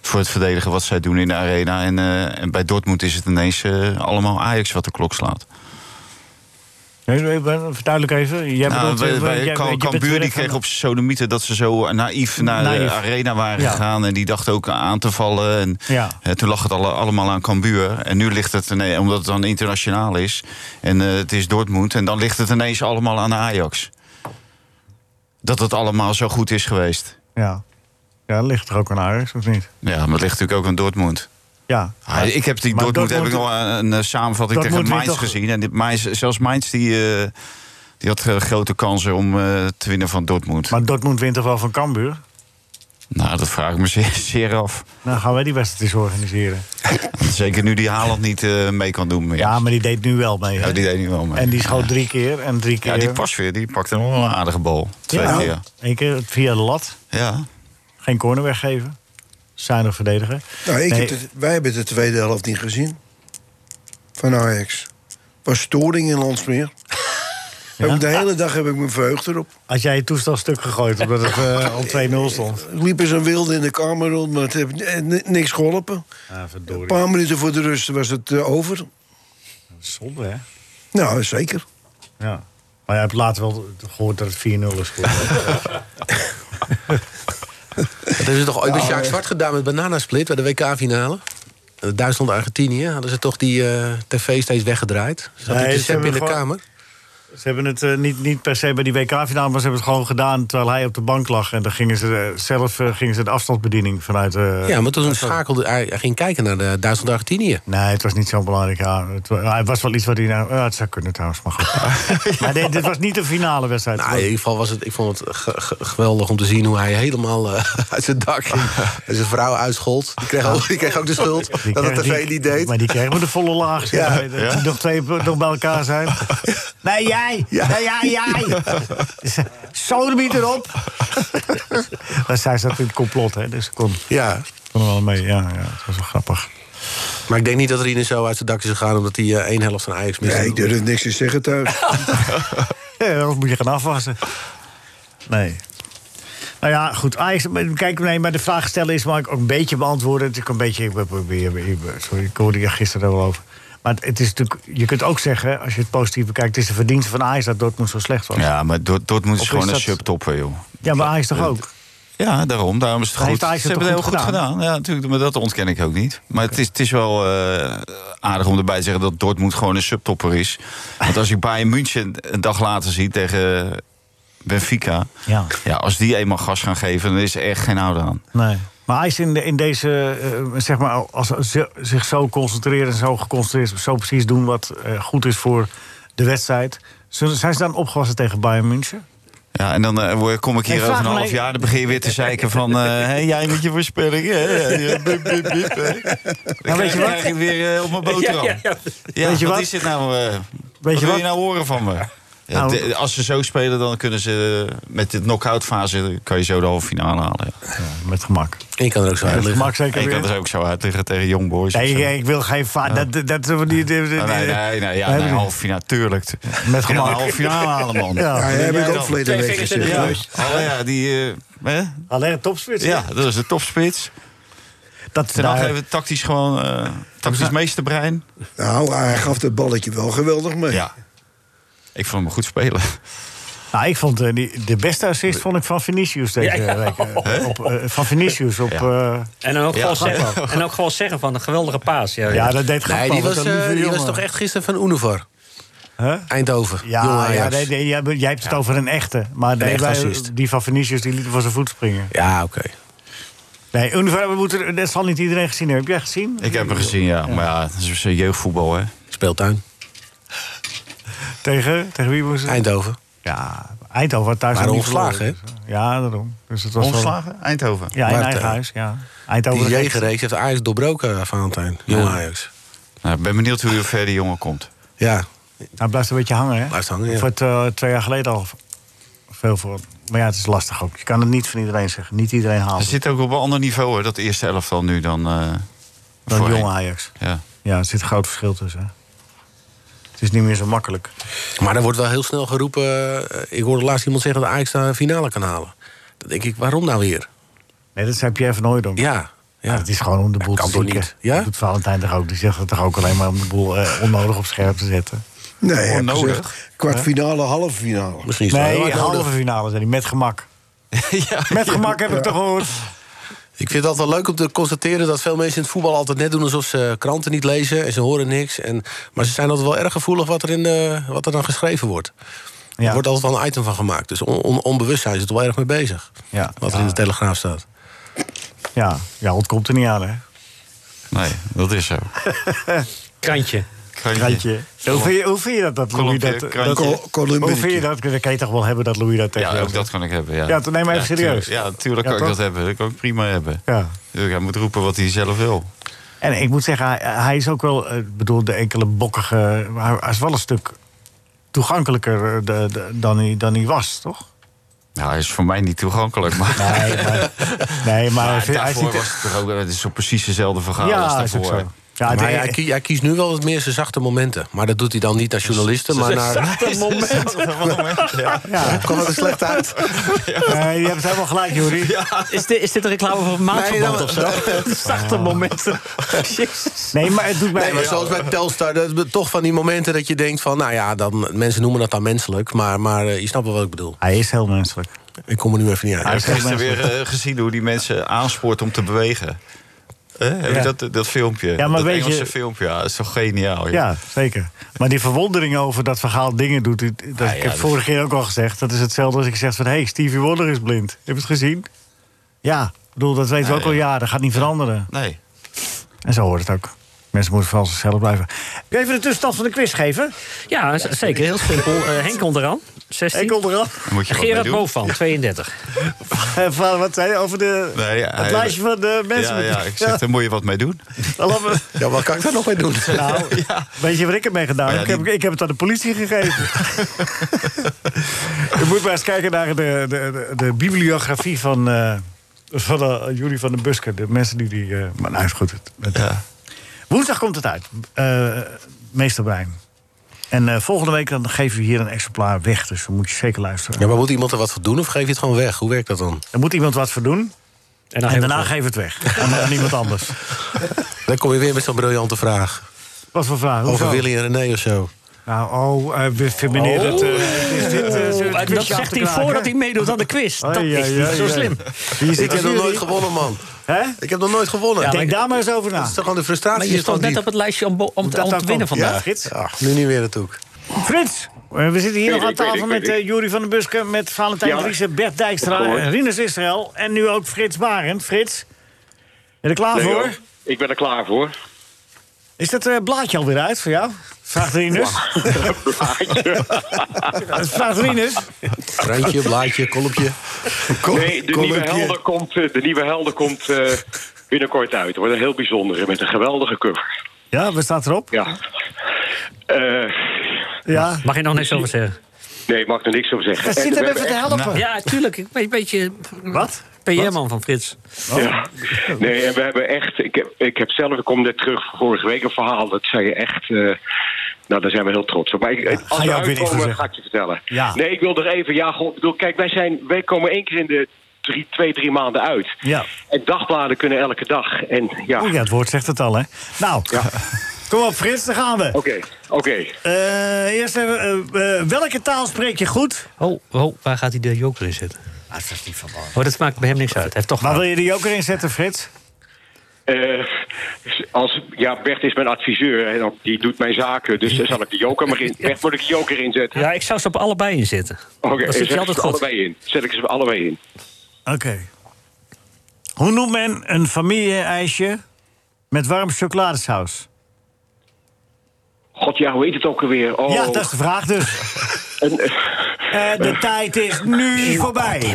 Speaker 6: Voor het verdedigen wat zij doen in de arena. En, eh, en bij Dortmund is het ineens eh, allemaal Ajax wat de klok slaat.
Speaker 3: Nee, maar Verduidelijk even. Jij
Speaker 6: Nou,
Speaker 3: bedoelt,
Speaker 6: bij,
Speaker 3: eh,
Speaker 6: bij
Speaker 3: jij-
Speaker 6: Kam-
Speaker 3: je bent
Speaker 6: Cambuur
Speaker 3: weer
Speaker 6: die
Speaker 3: even-
Speaker 6: kreeg op zijn sodomieten dat ze zo naïef naar
Speaker 3: Naïef.
Speaker 6: de arena waren
Speaker 3: Ja.
Speaker 6: gegaan. En die dacht ook aan te vallen. En
Speaker 3: Ja.
Speaker 6: eh, toen lag het alle- allemaal aan Cambuur. En nu ligt het, nee, omdat het dan internationaal is. En eh, het is Dortmund. En dan ligt het ineens allemaal aan de Ajax. Dat het allemaal zo goed is geweest.
Speaker 3: Ja. ja, dat ligt er ook aan Ajax, of niet?
Speaker 6: Ja, maar het ligt natuurlijk ook aan Dortmund.
Speaker 3: Ja.
Speaker 6: Ah, ik heb die
Speaker 3: Maar
Speaker 6: Dortmund, heb ik nog
Speaker 3: Dortmund-
Speaker 6: een, een, eh, samenvatting
Speaker 3: Dortmund
Speaker 6: tegen Mainz
Speaker 3: wint toch-
Speaker 6: gezien. En die, Mainz, zelfs Mainz die, eh, die had eh, grote kansen om eh, te winnen van Dortmund.
Speaker 3: Maar Dortmund wint toch wel van Cambuur?
Speaker 6: Nou, dat vraag ik me [LAUGHS] zeer, zeer af.
Speaker 3: Nou, gaan wij die wedstrijd eens organiseren.
Speaker 6: Zeker nu die Haaland niet eh, mee kan doen. meer.
Speaker 3: Ja, maar die deed nu wel mee. hè?
Speaker 6: Ja, die deed nu wel mee.
Speaker 3: En die schoot drie keer en drie keer...
Speaker 6: Ja, die pas weer. Die pakte nog wel een aardige bal. Twee
Speaker 3: Ja.
Speaker 6: keer.
Speaker 3: Eén keer via de lat.
Speaker 6: Ja.
Speaker 3: Geen corner weggeven. Zuinig verdedigen.
Speaker 4: Nou, ik
Speaker 3: Nee,
Speaker 4: heb het- wij hebben de tweede helft niet gezien. Van Ajax. Was storing in
Speaker 3: [LAUGHS]
Speaker 4: Landsmeer. Heb ik de hele dag heb ik mijn verheugd erop.
Speaker 3: Had jij het toestel stuk gegooid omdat het eh, al 2-0 stond?
Speaker 4: [LAUGHS] Ik liep eens een wilde in de kamer rond, maar het heeft eh, ni- niks geholpen.
Speaker 3: Ja,
Speaker 4: Een
Speaker 3: Ah, verdorie.
Speaker 4: paar minuten voor de rust was het eh, over.
Speaker 3: Zonde, hè?
Speaker 4: Nou, zeker.
Speaker 3: Ja. Maar jij hebt later wel gehoord dat het 4-0 is geworden.
Speaker 5: Dat hebben ze toch ooit met
Speaker 3: Nou,
Speaker 5: Sjaak
Speaker 3: eh.
Speaker 5: Zwart gedaan met Bananasplit bij de WK-finale? Eh, Duitsland-Argentinië hadden ze toch die eh, tv steeds weggedraaid? Zat
Speaker 3: Nee,
Speaker 5: die
Speaker 3: ze
Speaker 5: te zappen in de
Speaker 3: hebben gewoon-
Speaker 5: kamer?
Speaker 3: Ze hebben het eh, niet, niet per se bij die WK-finale, maar ze hebben het gewoon gedaan terwijl hij op de bank lag. En dan gingen ze eh, zelf eh, gingen ze de afstandsbediening vanuit. eh,
Speaker 5: ja, maar toen
Speaker 3: afstand-
Speaker 5: schakelde hij, hij ging kijken naar eh, de Duitsland-Argentinië.
Speaker 3: Nee, het was niet zo'n belangrijk jaar. Het, wa- het was wel iets wat hij nou. Ja, het zou kunnen trouwens,
Speaker 5: [LAUGHS]
Speaker 3: maar goed. maar dit, dit was niet de finale wedstrijd.
Speaker 5: Nou, in ieder geval was het, ik vond het ge- ge- geweldig om te zien hoe hij helemaal eh, [LAUGHS] uit zijn dak
Speaker 3: [LAUGHS]
Speaker 5: ging. En zijn vrouw uitschold. Die kreeg ook, die kreeg ook de schuld
Speaker 3: Die
Speaker 5: dat de
Speaker 3: kreeg-
Speaker 5: tv
Speaker 3: die-
Speaker 5: niet deed.
Speaker 3: Maar die kregen we de volle laag. zeg.
Speaker 5: Ja.
Speaker 3: Dat die Nog twee nog bij elkaar
Speaker 5: [LAUGHS]
Speaker 3: zijn. Nee, jij! Nee, jij, jij!
Speaker 5: [LAUGHS]
Speaker 3: Sodomiet erop! Maar zij zat in het complot, hè? Dus ik kon,
Speaker 5: Ja,
Speaker 3: kon er wel mee. Ja, ja, het was wel grappig.
Speaker 5: maar ik denk niet dat Rien zo uit zijn dak is gegaan... omdat hij eh, één helft van Ajax miste.
Speaker 4: Nee, ik durf niks te zeggen
Speaker 3: [LAUGHS]
Speaker 4: thuis.
Speaker 3: Oh, Ja, anders moet je gaan afwassen. Nee. Nou ja, goed. Ajax, kijk, nee, maar de vraag stellen is, mag ik ook een beetje beantwoorden. Het is ook een beetje, ik probeer, ik- sorry, ik hoorde je gisteren wel over. Maar het, het is natuurlijk, je kunt ook zeggen, als je het positief bekijkt, het is de verdienste van Ajax dat Dortmund zo slecht was. Ja,
Speaker 6: Ja, maar Dort- Dortmund
Speaker 3: Of
Speaker 6: is
Speaker 3: is
Speaker 6: gewoon een
Speaker 3: dat-
Speaker 6: subtopper, joh.
Speaker 3: maar Ajax toch ook?
Speaker 6: Ja, daarom. Daarom is het
Speaker 3: Maar
Speaker 6: goed.
Speaker 3: heeft Ajax
Speaker 6: Ze
Speaker 3: het
Speaker 6: hebben het
Speaker 3: toch
Speaker 6: heel goed
Speaker 3: goed
Speaker 6: gedaan.
Speaker 3: gedaan?
Speaker 6: Ja, natuurlijk, maar dat ontken ik ook niet. Maar het, is, het is wel eh, aardig om erbij te zeggen dat Dortmund gewoon een subtopper is. Want als ik Bayern München een dag later zie tegen Benfica...
Speaker 3: Ja.
Speaker 6: Ja, als die eenmaal gas gaan geven, dan is er echt geen houden aan.
Speaker 3: Nee. Maar Ajax in, de, in deze, eh, zeg maar, als ze zich zo concentreren en zo geconcentreerd, zo precies doen wat eh, goed is voor de wedstrijd. Zullen- Zijn ze dan opgewassen tegen Bayern München?
Speaker 6: Ja, en dan eh, word- kom ik hier
Speaker 3: Hey,
Speaker 6: over
Speaker 3: vraag
Speaker 6: een
Speaker 3: me
Speaker 6: half
Speaker 3: even-
Speaker 6: jaar... dan begin je weer te zeiken van... eh, hey, jij moet je voorspellingen. hè?
Speaker 3: [LAUGHS]
Speaker 6: Ja, bip, bip, bip, hè. Dan
Speaker 3: Nou, weet je
Speaker 6: krijg
Speaker 3: wat?
Speaker 6: ik weer eh, op mijn boterham. Ja,
Speaker 3: Weet je
Speaker 6: wat,
Speaker 3: wat?
Speaker 6: is dit nou? eh,
Speaker 3: Weet
Speaker 6: wat
Speaker 3: je
Speaker 6: wil je
Speaker 3: wat?
Speaker 6: nou horen van me? Ja,
Speaker 3: Nou,
Speaker 6: de- als ze zo spelen, dan kunnen ze eh, met de knock-out fase... kan je zo de halve finale halen. Ja.
Speaker 3: Met gemak.
Speaker 5: Ik kan er ook zo uit
Speaker 3: Met
Speaker 5: liggen.
Speaker 3: gemak zeker
Speaker 6: Ik
Speaker 3: weer.
Speaker 6: kan er ook zo uit liggen tegen Young Boys. of
Speaker 3: Nee,
Speaker 6: zo.
Speaker 3: ik, ik wil geen va- Dat, dat, dat, dat, die- die- die-
Speaker 6: Ah, nee, nee, nee, ja,
Speaker 3: Hebben
Speaker 6: nee,
Speaker 3: we-
Speaker 6: halve finale, tuurlijk.
Speaker 3: Met gemak.
Speaker 6: Ja, halve finale halen, man.
Speaker 3: Ja.
Speaker 4: Ja, jij hebt het ook verleden
Speaker 7: Twee
Speaker 4: week
Speaker 7: vingers in
Speaker 4: gezegd.
Speaker 7: de
Speaker 6: Ja,
Speaker 4: hè?
Speaker 6: oh, ja die... eh, hè?
Speaker 3: Alleen een topspits.
Speaker 6: ja, dat is de topspits.
Speaker 3: Dat,
Speaker 6: Ten Hag
Speaker 3: nou,
Speaker 6: heeft tactisch gewoon eh tactisch meesterbrein.
Speaker 4: Nou, hij gaf dat balletje wel geweldig mee.
Speaker 6: Ja. Ik vond hem goed spelen.
Speaker 3: nou, ik vond eh, die, de beste assist vond ik van Vinicius deze week. eh, op, eh, van Vinicius op... eh, Ja,
Speaker 7: En dan ook,
Speaker 6: Ja.
Speaker 7: gewoon zeggen, en ook gewoon zeggen van een geweldige paas. Ja,
Speaker 3: dat deed Gakpo.
Speaker 5: Nee, die
Speaker 3: wat
Speaker 5: was,
Speaker 3: een
Speaker 5: eh,
Speaker 3: lieve
Speaker 5: die was
Speaker 3: jongen.
Speaker 5: toch echt gisteren van Univar.
Speaker 3: Huh?
Speaker 5: Eindhoven. jonge
Speaker 3: Ja, ja
Speaker 5: Ajax.
Speaker 3: nee, nee, jij, jij hebt het over een echte. Maar nee,
Speaker 5: echte
Speaker 3: wij-
Speaker 5: assist.
Speaker 3: die van Vinicius die liet hem voor zijn voet springen.
Speaker 5: Ja, oké.
Speaker 3: Nee, Univar, we moeten, dat zal niet iedereen gezien hebben. Heb jij gezien?
Speaker 6: Ik heb hem gezien, ja. Maar ja, dat is een jeugdvoetbal, hè.
Speaker 5: Speeltuin.
Speaker 3: Tegen, tegen wie moest het?
Speaker 5: Eindhoven.
Speaker 3: Ja, Eindhoven had thuis
Speaker 5: Waren
Speaker 3: nog niet
Speaker 5: ontslagen,
Speaker 3: verloren, dus, eh, Ja, daarom. Dus het was wel-
Speaker 6: Ontslagen? Eindhoven.
Speaker 3: Ja, in
Speaker 5: Maar,
Speaker 3: eigen
Speaker 5: eh,
Speaker 3: huis, ja. Eindhoven.
Speaker 5: Die
Speaker 3: dat-
Speaker 5: jegenreeks heeft Ajax
Speaker 3: eh,
Speaker 5: doorbroken, Valentijn. Jonge
Speaker 6: Ja.
Speaker 5: Ajax.
Speaker 6: Nou, ik ben benieuwd hoe ver die jongen komt.
Speaker 5: Ja.
Speaker 3: Hij Nou, blijft een beetje hangen, hè?
Speaker 5: Blijft hangen, ja.
Speaker 3: Of het eh, twee jaar geleden al veel voor. Maar ja, het is lastig ook. Je kan het niet van iedereen zeggen. Niet iedereen haalt
Speaker 6: Hij
Speaker 3: het.
Speaker 6: zit ook op een ander niveau, hè. Dat eerste elftal nu dan... eh
Speaker 3: Dan
Speaker 6: voorheen.
Speaker 3: jong Ajax.
Speaker 6: Ja.
Speaker 3: Ja, er zit een groot verschil tussen. hè. Het is niet meer zo makkelijk.
Speaker 5: Maar er wordt wel heel snel geroepen... eh, ik hoorde laatst iemand zeggen dat Ajax de finale kan halen. Dan denk ik, waarom nou weer?
Speaker 3: Nee, dat zei Pierre van Hooydonk.
Speaker 5: Ja.
Speaker 3: Ja,
Speaker 5: ja.
Speaker 3: het is gewoon om de
Speaker 5: Ja,
Speaker 3: boel
Speaker 5: kan
Speaker 3: te
Speaker 5: toch
Speaker 3: zieken.
Speaker 5: niet? Ja?
Speaker 3: Dat doet Valentijn toch ook. Die zegt het toch ook alleen maar om de boel eh, onnodig op scherp te zetten.
Speaker 4: Nee, ik heb
Speaker 3: Onnodig.
Speaker 4: gezegd kwartfinale, halve finale.
Speaker 3: Nee, halve finale zijn die met gemak. Met gemak heb ik toch gehoord.
Speaker 5: Ik vind het altijd wel leuk om te constateren dat veel mensen in het voetbal altijd net doen alsof ze kranten niet lezen en ze horen niks. En, maar ze zijn altijd wel erg gevoelig wat er, in, eh, wat er dan geschreven wordt. Er wordt altijd wel een item van gemaakt. Dus on- on- onbewust zijn ze er wel erg mee bezig.
Speaker 3: Ja,
Speaker 5: Wat er in de Telegraaf staat.
Speaker 3: ja, ja ontkomt er niet aan, hè?
Speaker 6: Nee, dat is zo.
Speaker 7: Krantje.
Speaker 6: Krantje.
Speaker 3: Hoe vind, je, hoe vind je dat, dat Louis
Speaker 6: Kolompje,
Speaker 3: dat... dat-
Speaker 6: eh, krantje. Kol- kolumbinnetje.
Speaker 3: hoe vind je dat? Dat kan je toch wel hebben dat Louis dat tegen
Speaker 6: Ja,
Speaker 3: jou
Speaker 6: ook
Speaker 3: zegt?
Speaker 6: dat kan ik hebben. Ja,
Speaker 3: Ja, toen neem maar even serieus.
Speaker 6: tuurlijk. ja, natuurlijk
Speaker 3: Ja,
Speaker 6: kan
Speaker 3: toch?
Speaker 6: ik dat hebben. Dat kan ik prima hebben.
Speaker 3: Ja.
Speaker 6: Tuurlijk, hij moet roepen wat hij zelf wil.
Speaker 3: En ik moet zeggen, hij, hij is ook wel... eh, Ik bedoel, de enkele bokkige... maar Hij is wel een stuk toegankelijker eh, de- de- dan, hij, dan hij was, toch?
Speaker 6: Nou, hij is voor mij niet toegankelijk. Maar... Nee, maar,
Speaker 3: nee, maar hij vindt- hij
Speaker 6: daarvoor
Speaker 3: ziet er-
Speaker 6: was het toch ook... Het is zo precies dezelfde verhaal
Speaker 3: Ja,
Speaker 6: als
Speaker 3: is ook
Speaker 6: daarvoor.
Speaker 3: zo. Ja,
Speaker 5: maar
Speaker 3: de-
Speaker 5: hij, kie- hij kiest nu wel wat meer zijn zachte momenten. Maar dat doet hij dan niet naar journalisten, maar naar...
Speaker 3: Ja.
Speaker 5: Ja, kwam er slecht uit.
Speaker 3: Nee, Eh, je hebt helemaal gelijk, Jury.
Speaker 7: Is, dit, is dit een reclame voor maandverband of zo? [LAUGHS] Zachte momenten. Jezus.
Speaker 3: Nee, maar het doet
Speaker 5: Nee, maar zoals bij Telstar, dat is toch van die momenten dat je denkt van... nou ja, dan, mensen noemen dat dan menselijk, maar, maar eh, je snapt wel wat ik bedoel.
Speaker 3: Hij is heel menselijk.
Speaker 5: Ik kom er nu even niet uit.
Speaker 6: Hij heeft gisteren weer eh, gezien hoe die mensen aanspoort om te bewegen. Hè? Heb
Speaker 3: Ja.
Speaker 6: je dat, dat filmpje?
Speaker 3: Ja, maar
Speaker 6: dat
Speaker 3: weet je-
Speaker 6: Engelse filmpje, ja, dat is toch geniaal. joh.
Speaker 3: Ja, zeker. Maar die verwondering over dat verhaal dingen doet... die- Dat, ik
Speaker 6: Ah,
Speaker 3: heb
Speaker 6: dat-
Speaker 3: vorige keer ook al gezegd. Dat is hetzelfde als ik zeg van... Hé, hey, Stevie Wonder is blind. Heb je het gezien? Ja, ik bedoel, dat weten we
Speaker 6: Ah, Ja,
Speaker 3: ook al
Speaker 6: ja.
Speaker 3: jaren. Gaat niet veranderen.
Speaker 6: Nee.
Speaker 3: En zo hoort het ook. Mensen moeten vooral zichzelf
Speaker 6: [LAUGHS]
Speaker 3: blijven. Kun je even de tussenstand van de quiz geven?
Speaker 7: Ja, z- zeker. Heel simpel. Eh, Henk onderaan, 16.
Speaker 3: Ik onderaan.
Speaker 6: moet je wat mee
Speaker 7: Gerard
Speaker 6: doen.
Speaker 7: Bovan, 32.
Speaker 3: Eh, van- Wat zei je over de,
Speaker 6: Nee, ja,
Speaker 3: het lijstje van de mensen?
Speaker 6: Ja, ja, ik zeg, daar moet je wat mee doen.
Speaker 5: Ja, wat kan ik daar nog mee doen?
Speaker 3: Nou, weet je waar ik het mee gedaan
Speaker 6: Maar
Speaker 3: heb?
Speaker 6: ja,
Speaker 3: ik, heb ik heb het aan de politie
Speaker 5: [LAUGHS]
Speaker 3: gegeven. Je moet maar eens kijken naar de, de, de, de bibliografie van, eh van eh, Jury van den Buske. De mensen die die... eh, maar nou is goed. Het, het- Woensdag komt het uit. eh, Meester Brein. En eh, volgende week dan geven we hier een exemplaar weg. Dus dan moet je zeker luisteren.
Speaker 5: Ja, maar moet iemand er wat voor doen of geef je het gewoon weg? Hoe werkt dat dan?
Speaker 3: Er moet iemand wat voor doen.
Speaker 7: En,
Speaker 3: En,
Speaker 7: dan
Speaker 3: daarna geven we het weg. Aan, aan iemand anders.
Speaker 5: Dan kom je weer met zo'n briljante vraag.
Speaker 3: Wat voor vraag?
Speaker 5: Over
Speaker 3: Hoezo?
Speaker 5: Willy en René of zo.
Speaker 3: Nou, oh, eh, we vinden meneer dat... eh, is dit, eh, zullen we het
Speaker 7: dat
Speaker 3: quizje
Speaker 7: Oh. zegt hij
Speaker 3: achterkraken?
Speaker 7: voordat hij meedoet aan de quiz. Dat
Speaker 3: Ai,
Speaker 7: is
Speaker 3: ai,
Speaker 7: niet
Speaker 3: ai,
Speaker 7: zo
Speaker 3: ai.
Speaker 7: slim.
Speaker 3: Hier zit
Speaker 5: Ik heb nog
Speaker 3: jury.
Speaker 5: nooit gewonnen, man.
Speaker 3: Hè?
Speaker 5: Ik heb nog nooit gewonnen.
Speaker 7: Ja, maar
Speaker 3: Denk
Speaker 7: ik-
Speaker 3: daar maar eens over
Speaker 5: Dat
Speaker 3: na.
Speaker 5: is toch gewoon de
Speaker 7: Maar
Speaker 5: frustratie
Speaker 7: je
Speaker 5: is toch
Speaker 7: stond net
Speaker 5: diep?
Speaker 7: op het lijstje om, bo- om, te, om te winnen vandaag.
Speaker 3: Ja, gids.
Speaker 5: Ja, nu niet weer natuurlijk.
Speaker 3: Frits, eh, we zitten hier nog aan
Speaker 14: ik weet
Speaker 3: tafel
Speaker 14: het, ik
Speaker 3: met
Speaker 14: weet het.
Speaker 3: eh Jury van den Busken... met Valentijn
Speaker 14: Ja.
Speaker 3: Driessen, Bert Dijkstra,
Speaker 14: Goed.
Speaker 3: eh, Rinus Israël... en nu ook Frits Barend. Frits, ben je er klaar
Speaker 14: Nee,
Speaker 3: Ah, voor?
Speaker 14: hoor. Ik ben er klaar voor.
Speaker 3: Is dat eh, blaadje alweer uit voor jou? Vraagt Rinus.
Speaker 14: [LAUGHS]
Speaker 3: [LAUGHS] Vraagt Rinus.
Speaker 5: Randje, blaadje, kolopje.
Speaker 14: Nee, de nieuwe helder komt, eh, de nieuwe helder komt eh, binnenkort uit. Het wordt een heel bijzondere met een geweldige cover.
Speaker 3: Ja, wat staat erop?
Speaker 14: Ja. Eh,
Speaker 3: Ja.
Speaker 7: Mag je nog niks over zeggen?
Speaker 14: nee, ik mag er niks over zeggen.
Speaker 3: Dat
Speaker 14: En
Speaker 3: zit
Speaker 14: we
Speaker 3: hem
Speaker 14: hebben
Speaker 3: even te helpen.
Speaker 14: Nou.
Speaker 7: Ja, tuurlijk. Ik ben een beetje
Speaker 3: Wat? Oh.
Speaker 7: PR-man van Frits.
Speaker 14: Ja. Nee, en we hebben echt. Ik heb, ik heb zelf, ik kom net terug van vorige week een verhaal. Dat zei je echt. eh, nou, daar zijn we heel trots op. Maar ik, als
Speaker 3: je
Speaker 14: we
Speaker 3: ook weer iets
Speaker 14: uitkomen,
Speaker 3: zeggen.
Speaker 14: ga ik je vertellen.
Speaker 3: Ja.
Speaker 14: Nee, ik wil er even. Ja, goh, ik bedoel, kijk, wij, zijn, wij komen één keer in de drie, twee, drie maanden uit.
Speaker 3: Ja.
Speaker 14: En dagbladen kunnen elke dag. En ja.
Speaker 3: Oh ja,
Speaker 14: Oké,
Speaker 3: het woord zegt het al, hè. Nou, [LAUGHS] kom op Frits, daar gaan we.
Speaker 14: oké.
Speaker 3: Eh, eerst even, eh, eh, welke taal spreek je goed?
Speaker 7: Oh, oh, waar gaat hij de joker in zetten?
Speaker 3: Ah, dat is niet van belang.
Speaker 7: Oh, dat maakt bij hem niks uit. Hij heeft toch
Speaker 3: Waar wil
Speaker 7: wel.
Speaker 3: je de joker in zetten, Frits?
Speaker 14: Eh, als, ja, Bert is mijn adviseur. En ook- die doet mijn zaken. Dus daar zal ik de joker maar
Speaker 3: [LAUGHS]
Speaker 14: in. Bert moet ik de joker inzetten.
Speaker 7: Ja, ik zou ze op allebei inzetten.
Speaker 14: Oké,
Speaker 7: dat
Speaker 14: zet
Speaker 7: zit
Speaker 14: ik
Speaker 7: je
Speaker 14: ze
Speaker 7: altijd goed.
Speaker 14: allebei in. Zet ik ze allebei in.
Speaker 3: Oké. Hoe noemt men een familie-ijsje met warm chocoladesaus?
Speaker 14: God, ja, hoe heet het ook alweer? Oh,
Speaker 3: Ja, dat is de vraag
Speaker 14: [LAUGHS]
Speaker 3: dus.
Speaker 14: een, eh,
Speaker 3: Eh, de tijd is nu voorbij.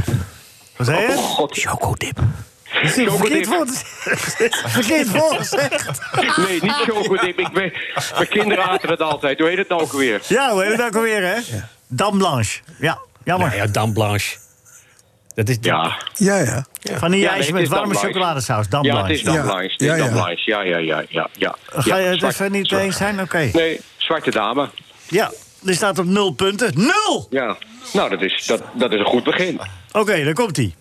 Speaker 3: Wat zei je?
Speaker 14: oh, God.
Speaker 7: Chocodip.
Speaker 3: Dat is een verkeerd
Speaker 14: Chocodip.
Speaker 3: woord. [LAUGHS] verkeerd woord gezegd.
Speaker 14: Nee, niet chocodip. Ik ben, mijn kinderen aten het altijd. Hoe heet het nou ook alweer?
Speaker 3: Ja, hoe heet het ook alweer, hè? Dame Blanche. Ja, jammer.
Speaker 7: Nou ja, Dame Blanche. Dat is
Speaker 14: Ja,
Speaker 4: Ja, ja.
Speaker 14: Ja, nee,
Speaker 3: Vanille-ijsje
Speaker 14: het
Speaker 3: met
Speaker 14: is
Speaker 3: warme
Speaker 14: Dame Blanche.
Speaker 3: chocoladesaus. Dame
Speaker 14: ja het
Speaker 3: Blanche.
Speaker 14: is dan
Speaker 4: Ja.
Speaker 14: Blanche. Het is
Speaker 4: Ja,
Speaker 14: dan
Speaker 4: ja.
Speaker 14: Blanche. Ja, ja, ja, ja, ja.
Speaker 3: Ga je
Speaker 14: Ja,
Speaker 3: het
Speaker 14: zwart-
Speaker 3: even niet
Speaker 14: zwart-
Speaker 3: eens zijn? Oké.
Speaker 14: Nee, zwarte dame.
Speaker 3: Ja, die staat op nul punten. Nul!
Speaker 14: Ja. Nou, dat is, dat, dat is een goed begin.
Speaker 3: Oké, daar komt hij.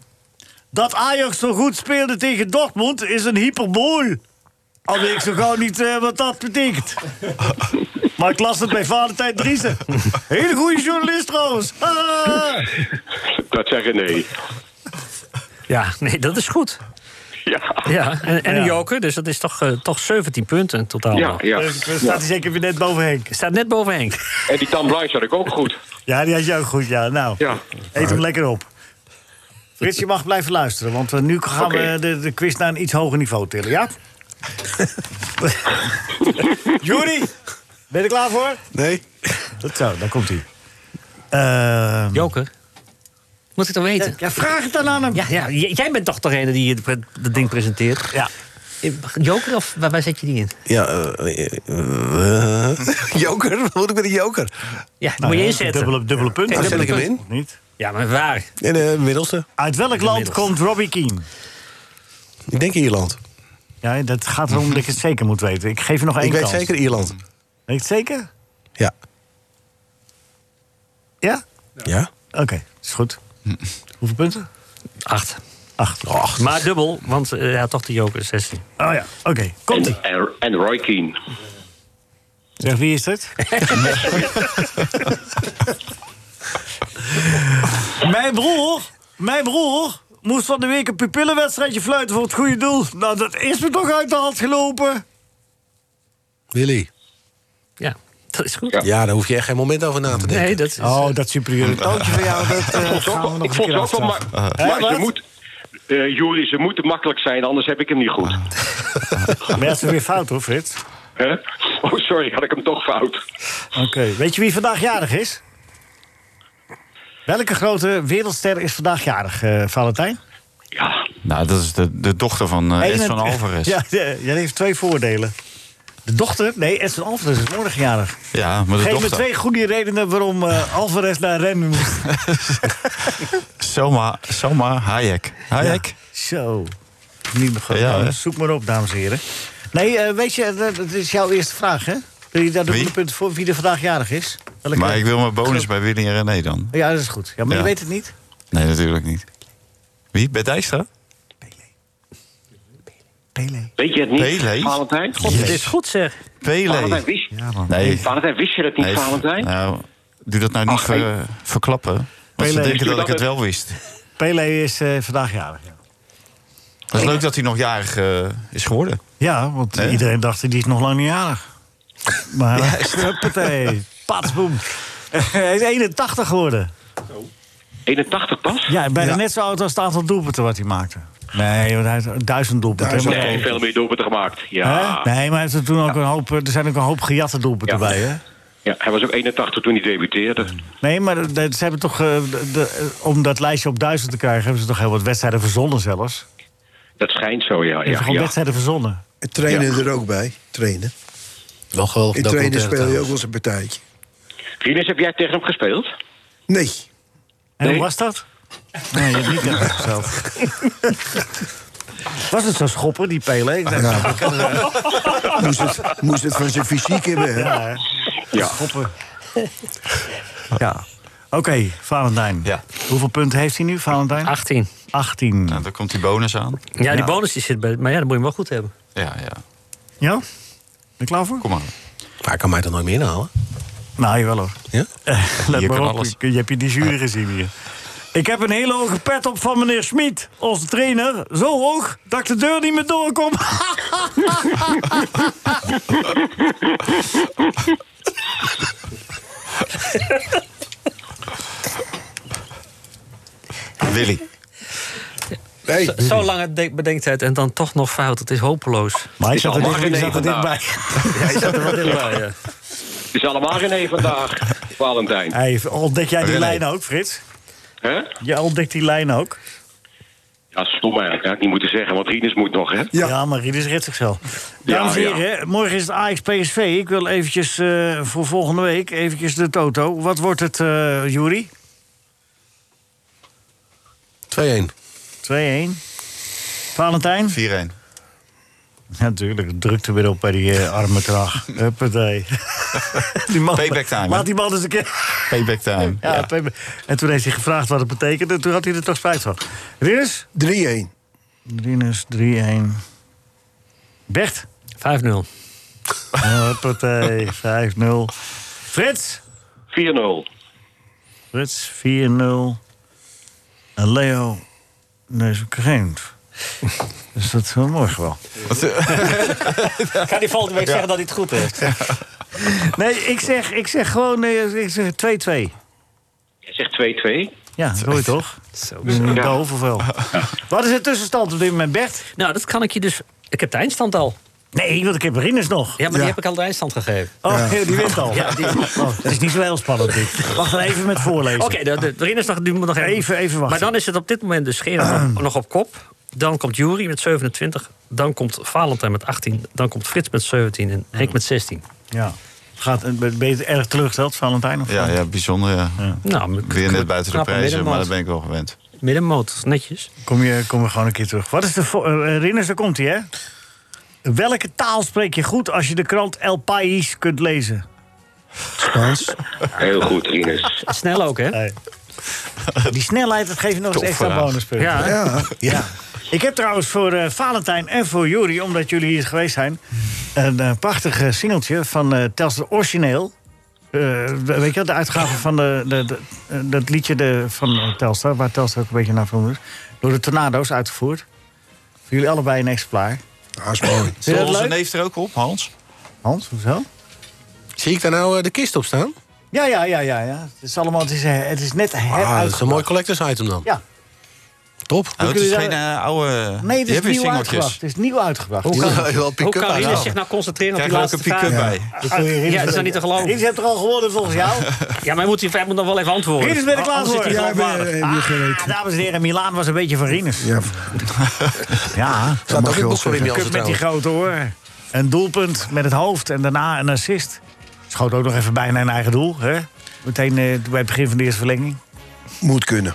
Speaker 3: Dat Ajax zo goed speelde tegen Dortmund is een hyperbool. Al weet ik zo gauw niet eh, wat dat betekent. Maar ik las het bij vader tijd Driesen. Hele goede journalist trouwens. Ah!
Speaker 14: Dat zeggen nee.
Speaker 7: Ja, nee, dat is goed.
Speaker 14: Ja.
Speaker 7: Ja, en, en
Speaker 3: Ja.
Speaker 7: een joker, dus dat is toch, eh, toch 17 punten in totaal.
Speaker 14: Ja, ja.
Speaker 3: Dus dan staat hij zeker weer net boven Henk.
Speaker 7: Staat net boven Henk.
Speaker 14: En die Tam Bryce had ik ook goed.
Speaker 3: Ja, die had je ook goed. Ja, nou,
Speaker 14: Ja.
Speaker 3: eet hem lekker op. Frits, je mag blijven luisteren, want eh, nu gaan
Speaker 14: Oké.
Speaker 3: we de, de quiz naar een iets hoger niveau tillen,
Speaker 14: [LAUGHS]
Speaker 3: ja? Jury, ben je er klaar voor?
Speaker 4: Nee.
Speaker 3: Dat zo, daar komt hij. Ehm
Speaker 7: Joker? Moet ik dan weten?
Speaker 3: ja, vraag het dan aan hem.
Speaker 7: Ja, ja, j- jij bent toch degene die je de pre- dat ding presenteert?
Speaker 3: Ja.
Speaker 7: Joker of waar, waar zet je die in?
Speaker 5: Ja, eh, eh, eh, joker? Wat moet ik met een joker?
Speaker 7: Ja, die
Speaker 3: Nou
Speaker 7: moet je
Speaker 3: ja,
Speaker 7: inzetten.
Speaker 3: Dubbele, dubbele punt.
Speaker 5: Dan Oh, zet
Speaker 7: dubbele
Speaker 5: ik hem
Speaker 7: punt.
Speaker 5: in.
Speaker 3: Of niet?
Speaker 7: Ja, maar waar?
Speaker 5: In de middelste.
Speaker 3: Uit welk land
Speaker 7: Inmiddels.
Speaker 3: komt Robbie Keane?
Speaker 5: Ik denk Ierland.
Speaker 3: Ja, dat gaat erom dat ik het zeker moet weten. Ik geef je nog één
Speaker 5: Ik weet
Speaker 3: kans.
Speaker 5: zeker Ierland.
Speaker 3: Weet je het zeker?
Speaker 5: Ja.
Speaker 3: Ja?
Speaker 5: Ja?
Speaker 3: Oké, is goed.
Speaker 5: Hm.
Speaker 3: Hoeveel punten?
Speaker 7: Acht.
Speaker 3: Acht.
Speaker 5: Och,
Speaker 7: Maar dubbel, want eh, ja, toch de joker 16.
Speaker 3: Oh ja, oké. Komt ie.
Speaker 14: En, en, en Roy Keane.
Speaker 3: Zeg, wie is [LAUGHS] het? mijn broer, mijn broer moest van de week een pupillenwedstrijdje fluiten voor het goede doel. Nou, dat is me toch uit de hand gelopen.
Speaker 5: Willy.
Speaker 7: Ja, dat is goed.
Speaker 14: Ja.
Speaker 5: Ja, daar hoef je echt geen moment over na te denken.
Speaker 7: Nee, dat is... eh,
Speaker 3: Oh, dat
Speaker 5: [LAUGHS]
Speaker 3: superieure toontje van jou, dat eh, gaan we nog
Speaker 14: Ik
Speaker 3: een keer
Speaker 14: vond het ook wel
Speaker 3: afslaan.
Speaker 14: maar. Maar
Speaker 3: wat?
Speaker 14: ze moet. eh Jury, ze moeten makkelijk zijn, anders heb ik hem niet goed.
Speaker 3: Ah. Maar dat is weer fout hoor, Frits.
Speaker 14: Hè? Oh, sorry, had ik hem toch fout.
Speaker 3: Oké, weet je wie vandaag jarig is? Welke grote wereldster is vandaag jarig, eh, Valentijn?
Speaker 14: Ja,
Speaker 6: Nou, dat is de, de dochter van eh Ed van
Speaker 3: Eenent-
Speaker 6: Alvarez.
Speaker 3: [LAUGHS] Ja,
Speaker 6: Ja,
Speaker 3: ja, jij heeft twee voordelen. De dochter? Nee, Ed van Alvarez is morgen jarig.
Speaker 6: Ah, maar de
Speaker 3: Geef me
Speaker 6: dochter.
Speaker 3: twee goede redenen waarom eh, Alvarez naar Rennes moest.
Speaker 6: Selma, Selma Hayek. Hayek?
Speaker 3: Zo. Niet
Speaker 6: [LAUGHS]
Speaker 3: begonnen.
Speaker 6: Ja,
Speaker 3: Nou,
Speaker 6: hè?
Speaker 3: zoek maar op, dames en heren. Nee, eh, weet je, dat, dat is jouw eerste vraag, hè? Wil je daar dubbele
Speaker 6: Wie?
Speaker 3: punten voor wie er vandaag jarig is? Welke-
Speaker 6: Maar ik wil mijn bonus bij Willy en René dan.
Speaker 3: Ja, dat is goed. Ja, maar je
Speaker 6: Ja.
Speaker 3: weet het niet?
Speaker 6: Nee, natuurlijk niet. Wie? Bij Dijkstra?
Speaker 3: Pele.
Speaker 14: weet je het niet,
Speaker 6: Pele?
Speaker 14: Valentijn?
Speaker 7: God, dit is goed zeg.
Speaker 6: Pele.
Speaker 14: Valentijn, wist,
Speaker 6: Nee.
Speaker 14: Valentijn, wist je dat niet,
Speaker 6: Nee,
Speaker 14: Valentijn? Oh,
Speaker 6: Nou, doe dat nou niet
Speaker 14: Ach,
Speaker 6: ver-
Speaker 14: hey.
Speaker 6: verklappen. Want ze
Speaker 3: Pele.
Speaker 6: denken dat ik het
Speaker 14: dat
Speaker 6: wel wist.
Speaker 3: Pele is eh, vandaag jarig, ja.
Speaker 6: Het is leuk dat hij nog jarig eh, is geworden.
Speaker 3: Ja, want
Speaker 6: Hè?
Speaker 3: iedereen dacht, die is nog lang niet jarig. Maar, [LAUGHS] huppatee, patsboom. Hij is 81 geworden.
Speaker 14: 81 pas?
Speaker 3: Ja, bijna net zo oud als het aantal doelpunten wat hij maakte. Nee, want hij heeft duizend doelpunten. hè,
Speaker 14: Nee,
Speaker 3: maar-
Speaker 14: veel meer doelpunten gemaakt. Ja.
Speaker 3: Hè? Nee, maar hij heeft er toen ook een hoop, er zijn ook een hoop gejatte doelpunten
Speaker 14: Ja.
Speaker 3: bij, hè? Mm.
Speaker 14: ja. Hij was ook 81 toen hij debuteerde.
Speaker 3: Nee, maar dat- ze hebben toch, eh, de- de- eh, om dat lijstje op duizend te krijgen... hebben ze toch heel wat wedstrijden verzonnen zelfs. Ze
Speaker 14: Dat schijnt zo, ja.
Speaker 3: hebben
Speaker 14: ja,
Speaker 3: gewoon
Speaker 14: ja.
Speaker 3: wedstrijden verzonnen.
Speaker 4: Trainen er ook bij. Trainen.
Speaker 5: Wel geweldig.
Speaker 4: In trainen
Speaker 5: documentaire
Speaker 4: speel je ook
Speaker 5: trouwens.
Speaker 4: wel eens een partijtje.
Speaker 14: Rinus, heb jij tegen hem gespeeld?
Speaker 4: Nee.
Speaker 3: En
Speaker 14: Nee.
Speaker 3: hoe was dat? Nee, je hebt niet echt zelf. [LAUGHS] Was het zo schoppen, die Pele? Ik eh, dacht,
Speaker 4: Ja. [LAUGHS] moest, het, moest het van zijn fysiek hebben. Hè?
Speaker 3: Ja, ja.
Speaker 14: Ja.
Speaker 3: schoppen. Ja. Oké, Valentijn.
Speaker 6: Ja.
Speaker 3: Hoeveel punten heeft hij nu, Valentijn?
Speaker 7: 18.
Speaker 3: 18.
Speaker 6: Nou, daar komt die bonus aan.
Speaker 7: Ja,
Speaker 3: Ja.
Speaker 7: die bonus die zit bij... Maar ja, dat moet je hem wel goed hebben.
Speaker 6: Ja, ja.
Speaker 3: Ja? Ben je klaar voor?
Speaker 6: Kom maar.
Speaker 5: Maar hij kan mij dan nooit meer inhalen.
Speaker 3: Nou, jawel hoor.
Speaker 5: Ja?
Speaker 3: [LAUGHS] Let
Speaker 6: Hier
Speaker 3: maar
Speaker 6: kan
Speaker 3: op,
Speaker 6: alles.
Speaker 3: ik- je hebt je die jury gezien hier. Ik heb een hele hoge pet op van meneer Smit, onze trainer. Zo hoog dat ik de deur niet meer doorkom. [LAUGHS]
Speaker 6: Willy.
Speaker 4: Nee.
Speaker 7: Zo lange de- bedenktijd en dan toch nog fout. Het is hopeloos.
Speaker 3: Maar ik zat er,
Speaker 14: allemaal
Speaker 3: dicht, ik
Speaker 14: René
Speaker 3: zat er dichtbij. [LAUGHS]
Speaker 7: Hij zat er wat in bij, ja.
Speaker 14: Het is allemaal René
Speaker 3: [LAUGHS]
Speaker 14: vandaag, Valentijn.
Speaker 3: Hey, ontdek jij die
Speaker 6: René.
Speaker 3: lijn ook, Frits?
Speaker 14: Hè?
Speaker 3: Jij ontdekt die lijn ook?
Speaker 14: Ja, stom eigenlijk. Had ik niet moeten zeggen, want Rinus moet nog, hè?
Speaker 3: Ja,
Speaker 4: Ja.
Speaker 3: maar Rieders redt zichzelf. Dames en
Speaker 14: ja.
Speaker 3: heren, morgen is het Ajax-PSV. Ik wil eventjes eh, voor volgende week eventjes de toto. Wat wordt het, eh Jury?
Speaker 5: 2-1.
Speaker 3: 2-1. Valentijn?
Speaker 6: 4-1.
Speaker 3: Natuurlijk, het drukt er weer op bij die eh, arme [LAUGHS] kraag. Huppatee. die man,
Speaker 6: Payback time, hè?
Speaker 3: Laat die man eens een keer...
Speaker 6: Payback time.
Speaker 3: Ja,
Speaker 6: Ja.
Speaker 3: payback. En toen heeft hij gevraagd wat het betekende. En toen had hij er toch spijt van. Rinus?
Speaker 4: 3-1.
Speaker 3: Rinus, 3-1. Bert?
Speaker 7: 5-0.
Speaker 3: Hoppatee, 5-0. Frits?
Speaker 14: 4-0.
Speaker 3: Frits, 4-0. En Leo, nee, ze geen. Dus dat is wel mooi gewoon. Nou. [LAUGHS]
Speaker 7: Ik ga die volgende week zeggen dat hij het goed heeft.
Speaker 3: Nee, ik zeg, ik zeg gewoon nee, ik zeg 2-2.
Speaker 14: Jij zegt 2-2.
Speaker 3: Ja, sorry toch? Zo. Ja. Doof of wel? Wat is de tussenstand op dit moment, Bert?
Speaker 7: Nou, dat kan ik je dus... Ik heb de eindstand al.
Speaker 3: Nee, want ik heb Rinus nog.
Speaker 7: Ja, maar die heb ik al de eindstand gegeven.
Speaker 3: Oh, [LAUGHS] die wint al.
Speaker 7: Ja, die-
Speaker 3: Oh, het is niet zo heel spannend dit. Wacht even met voorlezen.
Speaker 7: Oké, de, de, de Rinners nog- die moet nog even.
Speaker 3: Even- even wachten. Ah.
Speaker 7: Maar dan is het op dit moment dus Gerard nog op kop. Dan komt Jury met 27. Dan komt Valentijn met 18. Dan komt Frits met 17. En Henk met 16.
Speaker 3: Ja. Gaat, ben je het erg teleurgesteld, Valentijn? Of
Speaker 6: Ja, ja bijzonder. Ja.
Speaker 7: Nou, ik-
Speaker 6: Weer net buiten de
Speaker 7: knappe
Speaker 6: prijzen, maar
Speaker 7: middenmoot.
Speaker 6: dat ben ik wel gewend.
Speaker 7: Middenmoot, netjes.
Speaker 3: Kom je, kom je gewoon een keer terug. Wat is de vo- eh, eh, Rinners, daar komt hij, hè? Welke taal spreek je goed als je de krant El País kunt lezen?
Speaker 4: Spaans.
Speaker 14: Heel goed, Rinus.
Speaker 7: Snel ook, hè?
Speaker 3: Nee. [LAUGHS] Die snelheid, dat geeft nog eens extra
Speaker 6: Topvraag.
Speaker 3: bonuspunten.
Speaker 7: Ja.
Speaker 4: Ja.
Speaker 3: [LAUGHS] Ja. Ik heb trouwens voor eh, Valentijn en voor Juri, omdat jullie hier geweest zijn... een eh, prachtig eh, singeltje van eh Telstra Origineel. Eh, weet je wel, de uitgave van de, de, de- eh, dat liedje de, van eh, Telstra... waar Telstra ook een beetje naar vernoemd is... door de Tornado's uitgevoerd. Voor jullie allebei een exemplaar.
Speaker 4: Ja, is mooi.
Speaker 3: Vind je
Speaker 6: Stond
Speaker 3: dat
Speaker 6: onze
Speaker 3: leuk?
Speaker 6: neef er ook op, Hans?
Speaker 3: Ah, Hans, hoezo?
Speaker 5: Zie ik daar nou eh, de kist op staan?
Speaker 3: Ja, ja, ja, ja. ja. Het, is allemaal, het, is, eh, het is
Speaker 5: Ah,
Speaker 3: net
Speaker 5: dat is een
Speaker 3: heruitgebracht.
Speaker 5: mooi collectors item dan.
Speaker 3: Ja.
Speaker 5: Top.
Speaker 6: Nou, dat
Speaker 3: kun
Speaker 6: is
Speaker 3: je
Speaker 6: geen eh, oude...
Speaker 3: Nee, het
Speaker 6: die
Speaker 3: is
Speaker 6: hebben weer
Speaker 3: nieuw uitgebracht.
Speaker 6: singeltjes.
Speaker 3: Het is nieuw uitgebracht.
Speaker 5: Hoe kan wel
Speaker 7: Hoe
Speaker 5: pick-up
Speaker 7: kan Rinus
Speaker 5: uithalen?
Speaker 7: zich nou concentreren op
Speaker 6: Krijg
Speaker 7: die
Speaker 6: je ook
Speaker 7: laatste
Speaker 6: een pick-up
Speaker 7: vraag? Ah,
Speaker 6: bij.
Speaker 7: Ja, dat is dan niet te
Speaker 3: Dit
Speaker 7: geloven.
Speaker 3: heeft er al gewonnen volgens jou.
Speaker 7: Ja, maar hij moet, hij- hij moet nog wel even antwoorden. Ah,
Speaker 3: Rinus, ben ik klaar
Speaker 7: Anders
Speaker 3: voor? Oh,
Speaker 7: zit hij
Speaker 4: Ja, ik
Speaker 7: gewoon
Speaker 4: ben-
Speaker 7: op
Speaker 4: eh,
Speaker 7: waarde.
Speaker 4: weer
Speaker 3: Ah,
Speaker 4: gereden.
Speaker 3: dames en heren, Milaan was een beetje van Rinus.
Speaker 4: Ja,
Speaker 3: [LAUGHS] Ja,
Speaker 5: Staat ook in
Speaker 4: mag je
Speaker 5: het
Speaker 4: wel
Speaker 5: boek van Wim
Speaker 4: zeggen.
Speaker 5: Jansen
Speaker 3: cup met die
Speaker 5: trouwens.
Speaker 3: grote hoor. Een doelpunt met het hoofd en daarna een assist. Schoot ook nog even bijna een eigen doel. Hè? Meteen eh, bij het begin van de eerste verlenging.
Speaker 4: moet kunnen.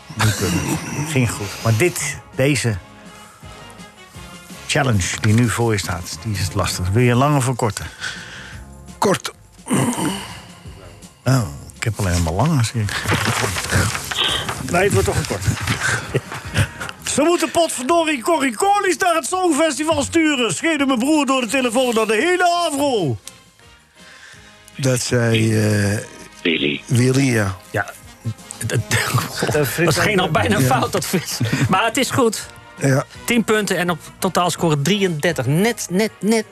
Speaker 3: Ging goed. Maar dit, deze challenge die nu voor je staat, die is lastig. Wil je lang of een korte?
Speaker 4: Kort.
Speaker 3: Oh, ik heb alleen maar lang zie ik. Nee, het wordt toch [LAUGHS] een korte. Ze moeten potverdorie Corrie Corliss naar het Songfestival sturen. Schreeuwde mijn broer door de telefoon naar de hele afrol.
Speaker 4: Dat zei eh
Speaker 14: Willy.
Speaker 4: Willy, ja.
Speaker 7: Ja. Dat ging nog bijna fout, dat vis. Maar het is goed.
Speaker 4: ja.
Speaker 7: 10 punten en op totaalscore 33. Net, net, net,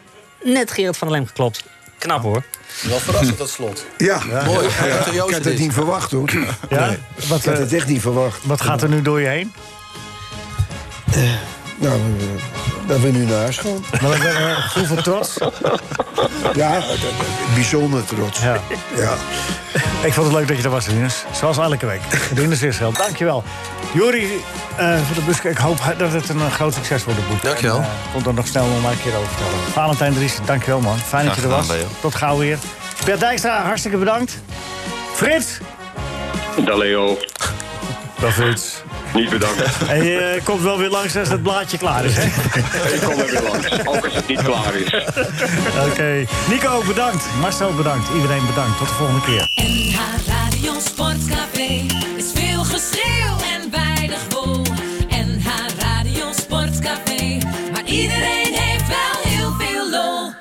Speaker 7: net Gerard van der Lem geklopt. Knap hoor.
Speaker 5: Wel verrassend dat slot.
Speaker 4: Ja.
Speaker 5: Mooi.
Speaker 4: Ik had het niet verwacht, hoor.
Speaker 3: Ja?
Speaker 4: Nee.
Speaker 3: Wat,
Speaker 4: Ik had
Speaker 3: eh,
Speaker 4: het echt niet verwacht.
Speaker 3: Wat gaat er nu door je heen?
Speaker 4: Nou, eh, dat we nu naar huis gaan.
Speaker 3: Eh, Hoeveel
Speaker 4: [LAUGHS]
Speaker 3: trots?
Speaker 4: Ja, dat- dat- bijzonder trots.
Speaker 3: Ja.
Speaker 4: Ja.
Speaker 3: Ik vond het leuk dat je er was, Rinus. Zoals elke week. Rinus Israël, dankjewel. Jori eh van de Buske, ik hoop dat het een eh, groot succes wordt, het boek.
Speaker 5: Dankjewel.
Speaker 3: En, eh, Komt er nog snel om een keer over te vertellen. Valentijn Dries, dankjewel man. Fijn dat je er
Speaker 6: Graag
Speaker 3: was.
Speaker 6: gedaan, Leo.
Speaker 3: Tot gauw weer. Bert Dijkstra, hartstikke bedankt. Frits.
Speaker 14: Da Leo.
Speaker 3: Dag Frits.
Speaker 14: Niet bedankt.
Speaker 3: En je eh, komt wel weer langs als het blaadje klaar is,
Speaker 6: [LAUGHS]
Speaker 3: hè?
Speaker 14: Ik kom er weer langs. Ook als het niet klaar is.
Speaker 3: Oké. Nico, bedankt. Marcel, bedankt. Iedereen bedankt. Tot de volgende keer.
Speaker 8: NH Radio Sportcafé is veel geschreeuw en weinig wol. NH Radio Sportcafé, maar iedereen heeft wel heel veel lol.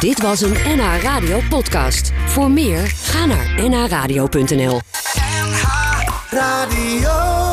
Speaker 1: Dit was een NH Radio podcast. Voor meer, ga naar nhradio.nl.
Speaker 15: Radio.